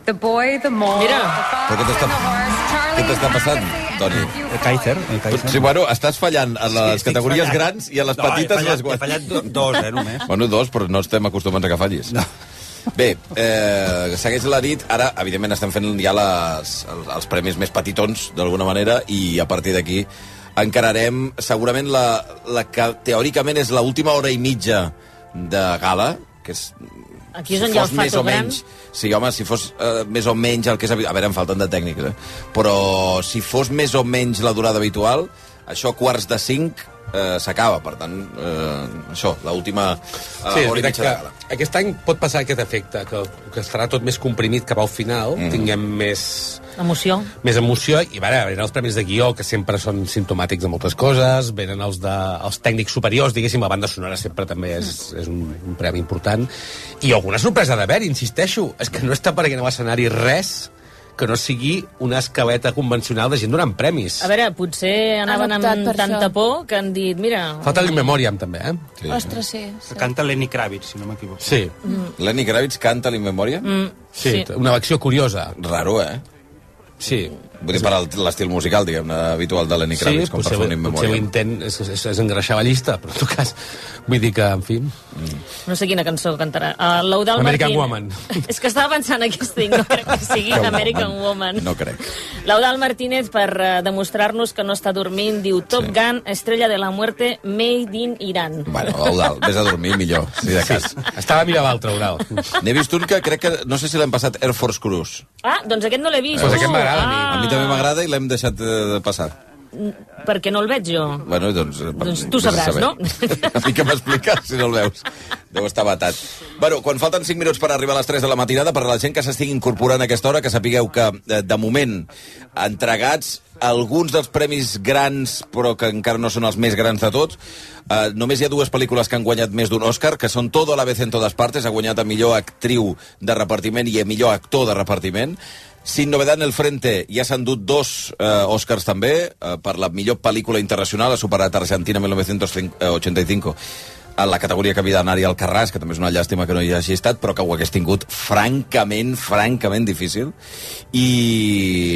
[SPEAKER 11] the boy, the mole,
[SPEAKER 7] Mira.
[SPEAKER 11] the fox,
[SPEAKER 1] Perquè t'està-
[SPEAKER 11] and the horse,
[SPEAKER 1] Què t'està passant, Toni?
[SPEAKER 2] El Kaiser. El Kaiser.
[SPEAKER 1] Sí, bueno, estàs fallant a les
[SPEAKER 2] estic
[SPEAKER 1] categories
[SPEAKER 2] fallant.
[SPEAKER 1] grans i a les
[SPEAKER 2] No, he
[SPEAKER 1] petites
[SPEAKER 2] fallat-
[SPEAKER 1] les guanyes.
[SPEAKER 2] he fallat do- dos, eh, només.
[SPEAKER 1] Bueno, dos, però no estem acostumats a que fallis. No. Bé, eh, segueix la nit. Ara, evidentment, estem fent ja les, els, els premis més petitons, d'alguna manera, i a partir d'aquí encararem segurament la, la que teòricament és l'última hora i mitja de gala, que és
[SPEAKER 7] Aquí és on hi ha el
[SPEAKER 1] més o
[SPEAKER 7] fatogram.
[SPEAKER 1] menys, sí, home, si fos eh, més o menys el que és... habi- A veure, em falten de tècnics, eh? Però si fos més o menys la durada habitual, això a quarts de cinc eh, s'acaba. Per tant, eh, això, l'última eh,
[SPEAKER 4] Sí, és
[SPEAKER 1] hora i
[SPEAKER 4] veritat
[SPEAKER 1] mitja de gala.
[SPEAKER 4] que aquest any pot passar aquest efecte, que, que estarà tot més comprimit cap al final, mm. tinguem més,
[SPEAKER 7] Emoció.
[SPEAKER 4] més emoció, i a veure, venen els premis de guió, que sempre són simptomàtics de moltes coses, venen els, de, els tècnics superiors, diguéssim, la banda sonora sempre també és,
[SPEAKER 1] Mm.
[SPEAKER 4] és un, un premi important, i alguna sorpresa d'haver, insisteixo, és que no està apareguent a l'escenari res que no sigui una escaleta convencional de gent donant premis.
[SPEAKER 7] A veure, potser Eh, anaven
[SPEAKER 3] optat
[SPEAKER 7] amb
[SPEAKER 3] per
[SPEAKER 7] tanta
[SPEAKER 3] això.
[SPEAKER 7] por que han dit, mira...
[SPEAKER 4] Falta el Memoriam, també, eh?
[SPEAKER 1] Sí.
[SPEAKER 3] Ostres, sí. sí.
[SPEAKER 2] Canta Lenny Kravitz, si no m'equivoco.
[SPEAKER 4] Sí.
[SPEAKER 7] Mm.
[SPEAKER 1] Lenny Kravitz canta l'in memòria?
[SPEAKER 7] Mm,
[SPEAKER 4] Sí, sí, una elecció curiosa.
[SPEAKER 1] Raro, eh?
[SPEAKER 4] Sí.
[SPEAKER 7] Mm.
[SPEAKER 1] Vull dir, per al- l'estil musical, diguem-ne, habitual de Lenny Kravitz, com per
[SPEAKER 4] potser,
[SPEAKER 1] fer un in
[SPEAKER 4] potser
[SPEAKER 1] memòria.
[SPEAKER 4] l'intent és, és, és engreixar la llista, però en tot cas, vull dir que, en fi...
[SPEAKER 7] No sé quina cançó cantarà. Uh, L'Eudal
[SPEAKER 4] American
[SPEAKER 7] Martín.
[SPEAKER 4] Woman.
[SPEAKER 7] És que estava pensant aquest thing, no crec que sigui American Woman.
[SPEAKER 1] No crec.
[SPEAKER 7] L'Eudal Martínez, per eh, demostrar-nos que no està dormint, diu Top sí. Gun, estrella de la muerte, made in Iran.
[SPEAKER 1] Bueno, Eudal, vés a dormir millor, si de cas.
[SPEAKER 4] Estava mirant l'altre, Eudal.
[SPEAKER 1] N'he vist un que crec que... No sé si l'hem passat Air Force Cruise.
[SPEAKER 7] Ah, doncs aquest no l'he vist.
[SPEAKER 1] Pues aquest
[SPEAKER 4] m'agrada
[SPEAKER 7] ah,
[SPEAKER 1] A mi també m'agrada i l'hem deixat eh, de passar.
[SPEAKER 7] m- Perquè no el veig jo.
[SPEAKER 1] Bueno, doncs... eh, per-
[SPEAKER 7] Doncs tu
[SPEAKER 1] vés a
[SPEAKER 7] sabràs,
[SPEAKER 1] saber.
[SPEAKER 7] no?
[SPEAKER 1] A mi que m'expliques, si no el veus. Deu estar batat. Bueno, quan falten 5 minuts per arribar a les 3 de la matinada, per a la gent que s'estigui incorporant a aquesta hora, que sapigueu que, eh, de moment, entregats alguns dels premis grans, però que encara no són els més grans de tots, eh, només hi ha dues pel·lícules que han guanyat més d'un Òscar, que són Todo a la vez en todas partes, ha guanyat a millor actriu de repartiment i a millor actor de repartiment. Sin novedad en el frente, ja s'han dut dos eh, Oscars també, eh, per la millor pel·lícula internacional, ha superat Argentina eh, 1985 en la categoria que havia d'anar al Carràs, que també és una llàstima que no hi hagi estat, però que ho hagués tingut francament, francament difícil. I,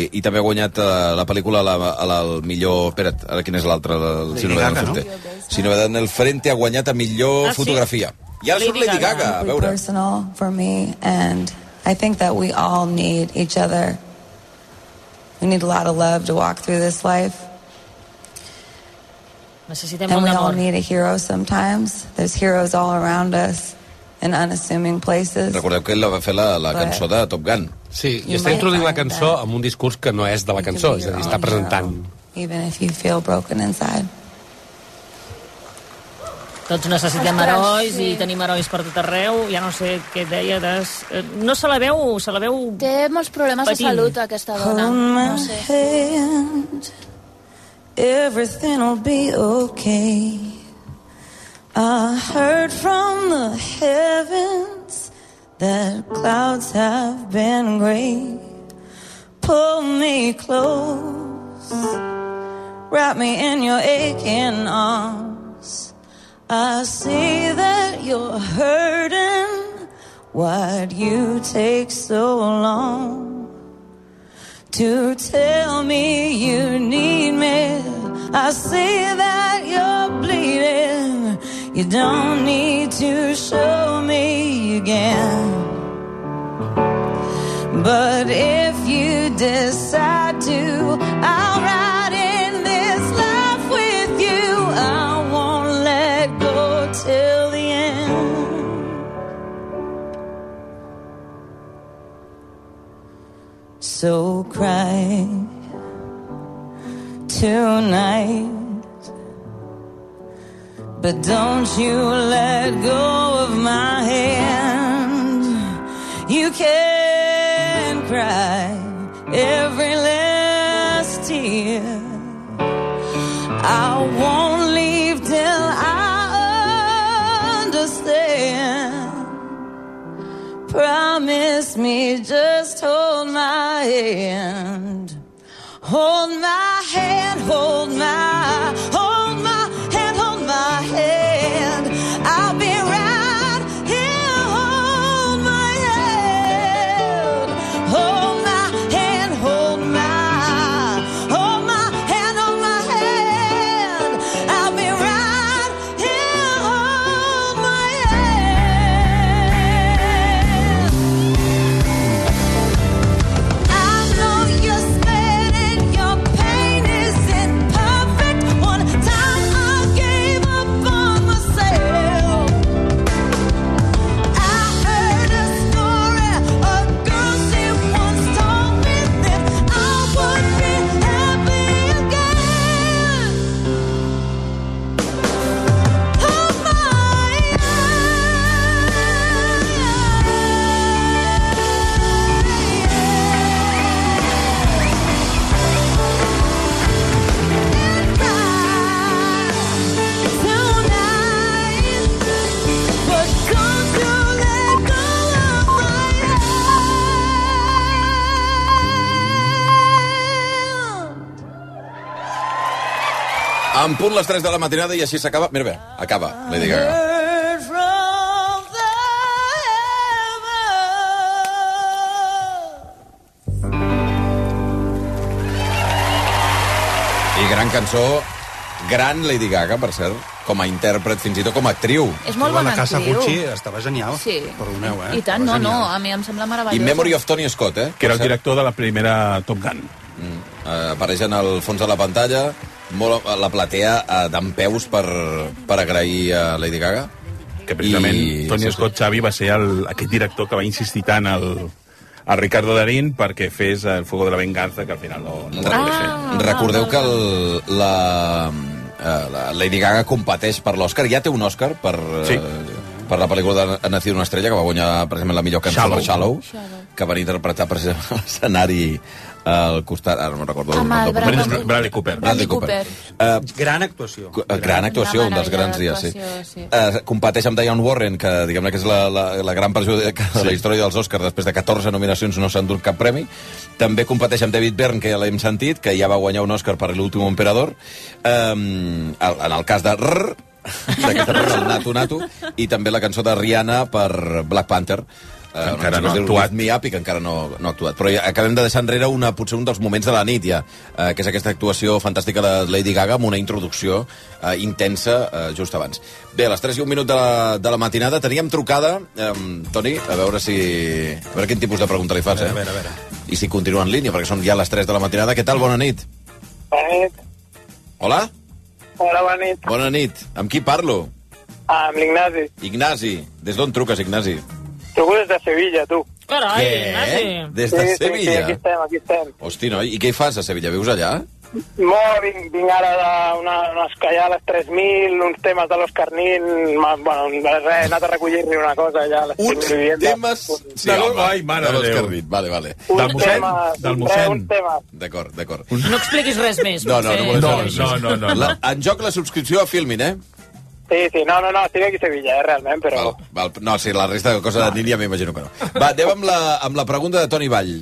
[SPEAKER 1] i també ha guanyat eh, la pel·lícula a la, a la, el millor... Espera't, ara quin és l'altre? el Sin novedad en el
[SPEAKER 2] Gaga,
[SPEAKER 1] frente. Sin novedad en el frente ha guanyat a millor
[SPEAKER 20] Ah, sí?
[SPEAKER 1] fotografia. I ara surt Lady Gaga, a
[SPEAKER 20] deeply
[SPEAKER 1] veure.
[SPEAKER 20] personal for me, and I think that we all need each other. We need a lot of love to walk through this life,
[SPEAKER 7] Necessitem
[SPEAKER 20] and we
[SPEAKER 7] molt
[SPEAKER 20] all
[SPEAKER 7] d'amor.
[SPEAKER 20] need a hero sometimes. There's heroes all around us in unassuming places.
[SPEAKER 1] Recordeu que ell la va fer la, la cançó de Top Gun.
[SPEAKER 4] Sí, i està introduint la cançó amb un discurs que no és de la cançó, és a dir, està presentant.
[SPEAKER 20] Even if you feel broken inside.
[SPEAKER 7] Tots necessitem
[SPEAKER 20] Ostres,
[SPEAKER 7] herois
[SPEAKER 20] sí.
[SPEAKER 7] i tenim herois per tot arreu. Ja no sé què deia. Des... eh, No se la veu, se la veu...
[SPEAKER 3] Té molts problemes
[SPEAKER 7] Patint.
[SPEAKER 3] de salut, aquesta dona.
[SPEAKER 20] Hold my
[SPEAKER 3] No sé.
[SPEAKER 20] hand. Everything will be okay. I heard from the heavens that clouds have been gray. Pull me close, wrap me in your aching arms. I see that you're hurting. Why'd you take so long? to tell me you need me. I see that you're bleeding. You don't need to show me again. But if you decide to, I'll ride in this life with you. I won't let go till the end. So cry tonight, but don't you let go of my hand. You can cry every last tear. I won't leave till I understand. Promise me just hold my hand. Hold my hand, hold my, hold my hand, hold my hand. I'll be right here. Hold my hand, hold my hand, hold my
[SPEAKER 1] En punt les 3 de la matinada i així s'acaba... Mira, bé, acaba Lady Gaga.
[SPEAKER 20] Heard from the
[SPEAKER 1] I gran cançó, gran Lady Gaga, per cert, com a intèrpret, fins i tot com a actriu.
[SPEAKER 3] És molt bona
[SPEAKER 2] la casa
[SPEAKER 3] actriu.
[SPEAKER 2] Gucci ¿eh? estava genial.
[SPEAKER 3] Sí.
[SPEAKER 2] Perdoneu, eh?
[SPEAKER 3] I tant, no, no, a mi em sembla meravellós.
[SPEAKER 1] I Memory of Tony Scott, eh?
[SPEAKER 5] Que era el director de la primera Top Gun.
[SPEAKER 1] Mm. Eh, apareix en el fons de la pantalla, molt, la platea eh, d'empeus per, per agrair a Lady Gaga.
[SPEAKER 5] Que precisament I... Tony
[SPEAKER 1] sí, sí.
[SPEAKER 5] Scott Xavi va ser el, aquest director que va insistir tant al, a Ricardo Darín perquè fes el Fuego de la Venganza, que al final no, no va voler fer.
[SPEAKER 1] Ah, Recordeu que el, la, eh, la Lady Gaga competeix per l'Oscar. Ja té un Oscar per, sí. per la pel·lícula de Ha nacido una estrella, que va guanyar precisament la millor cançó Shallow. de Shallow, que van interpretar precisament a l'escenari eh, al costat, ara no me'n recordo
[SPEAKER 5] Amb el
[SPEAKER 1] nom del
[SPEAKER 5] Bradley
[SPEAKER 1] personatge.
[SPEAKER 5] Cooper. Bradley Cooper.
[SPEAKER 1] Bradley Cooper. Eh,
[SPEAKER 2] gran actuació.
[SPEAKER 1] gran, gran actuació, un dels grans dies, sí. Eh, competeix amb Diane Warren, que diguem-ne que és la, la, la gran perjudicada sí. de la història dels Oscars, després de 14 nominacions no s'ha endut cap premi. També competeix amb David Byrne, que ja l'hem sentit, que ja va guanyar un Oscar per l'últim emperador. Eh, en el cas de Rrr, d'aquesta pel·lícula, el Nato Nato, i també la cançó de Rihanna per Black Panther, eh,
[SPEAKER 5] Encara no ha
[SPEAKER 1] actuat. Me Up i que encara no, no ha actuat. Però ja acabem de deixar enrere una, potser un dels moments de la nit, ja, eh, que és aquesta actuació fantàstica de Lady Gaga amb una introducció eh, intensa eh, just abans. Bé, a les 3 i un minut de la, de la matinada teníem trucada, eh, Toni, a veure si... A veure quin tipus de pregunta li fas, eh? A veure, a veure. I si continua en línia, perquè són ja les 3 de la matinada. Què tal? Bona nit.
[SPEAKER 21] Bona nit.
[SPEAKER 1] Hola?
[SPEAKER 21] Hola, bona nit.
[SPEAKER 1] Bona nit. Amb qui parlo?
[SPEAKER 21] Ah, amb l'Ignasi.
[SPEAKER 1] Ignasi. Des d'on truques, Ignasi?
[SPEAKER 21] Truco des de Sevilla, tu.
[SPEAKER 7] Carai,
[SPEAKER 1] Què? Ignasi. Des de
[SPEAKER 21] sí, Sí, sí,
[SPEAKER 1] Sevilla?
[SPEAKER 21] aquí estem, aquí estem.
[SPEAKER 1] Hosti, noi, i què hi fas a Sevilla? Vius allà?
[SPEAKER 21] Molt, vinc, vinc ara d'una escallada a les 3.000, uns temes de l'Òscar Nil, ma- bueno, res, he anat a recollir-li una cosa allà a les
[SPEAKER 1] Uns
[SPEAKER 21] 3.000 vivendes.
[SPEAKER 1] temes...
[SPEAKER 21] De l'Òscar-
[SPEAKER 1] home,
[SPEAKER 5] ai, mare
[SPEAKER 1] de
[SPEAKER 5] de Déu.
[SPEAKER 1] l'Òscar Nit. Vale, vale.
[SPEAKER 21] Uns temes,
[SPEAKER 1] del
[SPEAKER 21] uns temes,
[SPEAKER 1] mossèn.
[SPEAKER 21] Uns temes.
[SPEAKER 1] D'acord, d'acord.
[SPEAKER 7] No expliquis res més.
[SPEAKER 1] No, no, no,
[SPEAKER 7] potser.
[SPEAKER 1] volem saber res
[SPEAKER 5] no,
[SPEAKER 1] més.
[SPEAKER 5] no, no, no.
[SPEAKER 1] La, en joc la subscripció a Filmin, eh?
[SPEAKER 21] Sí, sí, no, no, no, estic aquí a Sevilla, eh, realment, però...
[SPEAKER 1] Val, val, no, sí, la resta de coses de Nil ja m'imagino que no. Va, anem amb la, amb la pregunta de Toni Vall.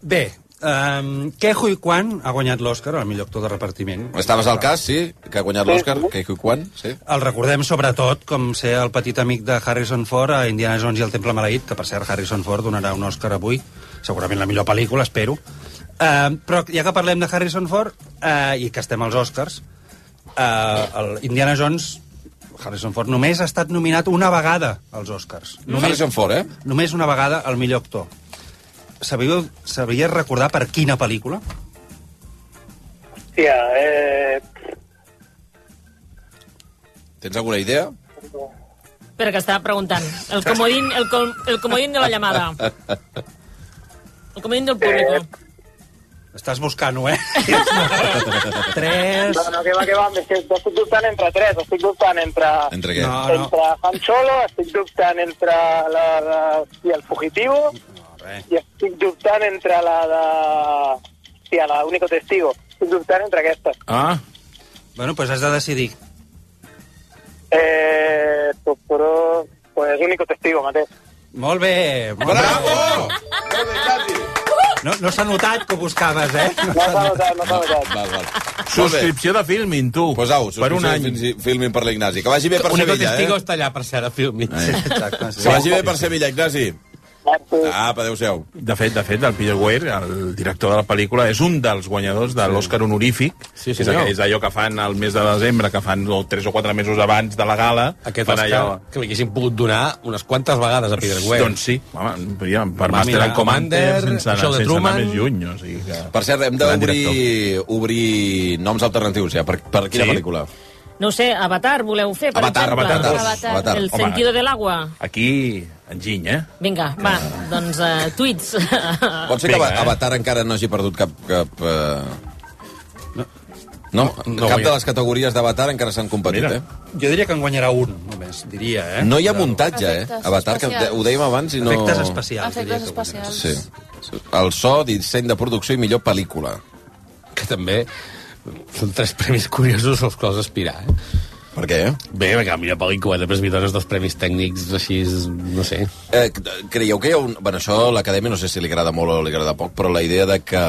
[SPEAKER 2] Bé, um, Kejo i Quan ha guanyat l'Oscar al millor actor de repartiment.
[SPEAKER 1] Estaves al cas, sí, que ha guanyat l'Òscar, que i quan, sí?
[SPEAKER 2] El recordem sobretot com ser el petit amic de Harrison Ford a Indiana Jones i el Temple Maleït, que per cert Harrison Ford donarà un Oscar avui, segurament la millor pel·lícula, espero. Uh, però ja que parlem de Harrison Ford uh, i que estem als Oscars, uh, el Indiana Jones, Harrison Ford, només ha estat nominat una vegada als Oscars.
[SPEAKER 1] Només... Harrison Ford, eh?
[SPEAKER 2] Només una vegada el millor actor. Sabíeu, sabíeu recordar per quina pel·lícula?
[SPEAKER 21] Hòstia, eh...
[SPEAKER 1] Tens alguna idea?
[SPEAKER 7] Espera, que estava preguntant. El comodín, el, com, el comodín de la llamada. El comodín del público.
[SPEAKER 2] Estàs buscant-ho, eh? Tres...
[SPEAKER 21] No, no, que va, que va, és que estic dubtant entre tres, estic dubtant entre...
[SPEAKER 1] Entre què?
[SPEAKER 2] No, no.
[SPEAKER 21] Entre Han Solo, estic dubtant entre la de... Hòstia, el fugitivo,
[SPEAKER 2] res.
[SPEAKER 21] i estic dubtant entre la de... Hòstia, la único testigo. Estic dubtant entre aquestes.
[SPEAKER 5] Ah.
[SPEAKER 2] Bueno, doncs has de decidir.
[SPEAKER 21] Eh... tu- Però... Pues único testigo, mateix.
[SPEAKER 2] Molt bé! Molt
[SPEAKER 1] Bravo!
[SPEAKER 2] No, no s'ha notat que ho buscaves, eh? No
[SPEAKER 21] s'ha notat, no s'ha notat.
[SPEAKER 1] Val, val.
[SPEAKER 5] Subscripció de Filmin, tu.
[SPEAKER 1] Pues au,
[SPEAKER 5] per un any.
[SPEAKER 1] subscripció Filmin per l'Ignasi. Que vagi bé per
[SPEAKER 4] Único
[SPEAKER 1] Sevilla,
[SPEAKER 4] testigo
[SPEAKER 1] eh?
[SPEAKER 4] està allà, per cert, a Filmin.
[SPEAKER 1] Sí,
[SPEAKER 2] exacte,
[SPEAKER 1] Que vagi bé per Sevilla, Ignasi. Apa, adéu-siau.
[SPEAKER 5] De fet, de fet, el Peter Weir, el director de la pel·lícula, és un dels guanyadors de l'Oscar honorífic.
[SPEAKER 4] Sí,
[SPEAKER 5] que és,
[SPEAKER 4] senyor.
[SPEAKER 5] aquell- és allò que fan el mes de desembre, que fan o, tres o quatre mesos abans de la gala.
[SPEAKER 4] Aquest
[SPEAKER 5] fan
[SPEAKER 4] Oscar
[SPEAKER 5] allò-
[SPEAKER 4] que l'haguessin pogut donar unes quantes vegades a Peter Weir.
[SPEAKER 5] Doncs sí, home, ja, per
[SPEAKER 4] Va
[SPEAKER 5] Master
[SPEAKER 4] mirar
[SPEAKER 5] and Commander,
[SPEAKER 4] Commander,
[SPEAKER 5] sense, anar,
[SPEAKER 4] Show de
[SPEAKER 5] sense anar
[SPEAKER 4] Truman.
[SPEAKER 5] més lluny. O sigui que...
[SPEAKER 1] Per cert, hem
[SPEAKER 5] Gran
[SPEAKER 1] d'obrir obrir noms alternatius, ja. Per, per quina
[SPEAKER 5] Sí?
[SPEAKER 1] pel·lícula?
[SPEAKER 7] No ho sé, Avatar voleu fer, per
[SPEAKER 1] Avatar,
[SPEAKER 7] exemple?
[SPEAKER 1] Avatar dos. Avatar.
[SPEAKER 7] El
[SPEAKER 1] Home.
[SPEAKER 7] sentido del agua.
[SPEAKER 5] Aquí, enginy, eh?
[SPEAKER 7] Vinga, va, doncs uh, tuits.
[SPEAKER 1] Pot ser que
[SPEAKER 5] Vinga, eh?
[SPEAKER 1] Avatar encara no hagi perdut cap... cap eh... No, no, cap
[SPEAKER 4] guanya.
[SPEAKER 1] de les categories d'Avatar encara s'han competit,
[SPEAKER 4] Mira.
[SPEAKER 1] eh?
[SPEAKER 2] Jo diria que en guanyarà un, només, diria, eh?
[SPEAKER 1] No hi ha muntatge, eh?
[SPEAKER 3] Efectes
[SPEAKER 1] Avatar, que
[SPEAKER 3] especials.
[SPEAKER 1] ho dèiem abans i no...
[SPEAKER 2] Efectes especials, diria
[SPEAKER 3] Efectes
[SPEAKER 2] que
[SPEAKER 3] especials.
[SPEAKER 1] Sí. El so, disseny de producció i millor pel·lícula.
[SPEAKER 4] Que també són tres premis curiosos als quals aspirar, eh?
[SPEAKER 1] Per què?
[SPEAKER 4] Bé, perquè la millor pel·lícula, després m'hi dones dos premis tècnics així, no sé.
[SPEAKER 1] Eh, creieu que hi ha un... Bueno, això a l'acadèmia no sé si li agrada molt o li agrada poc, però la idea de que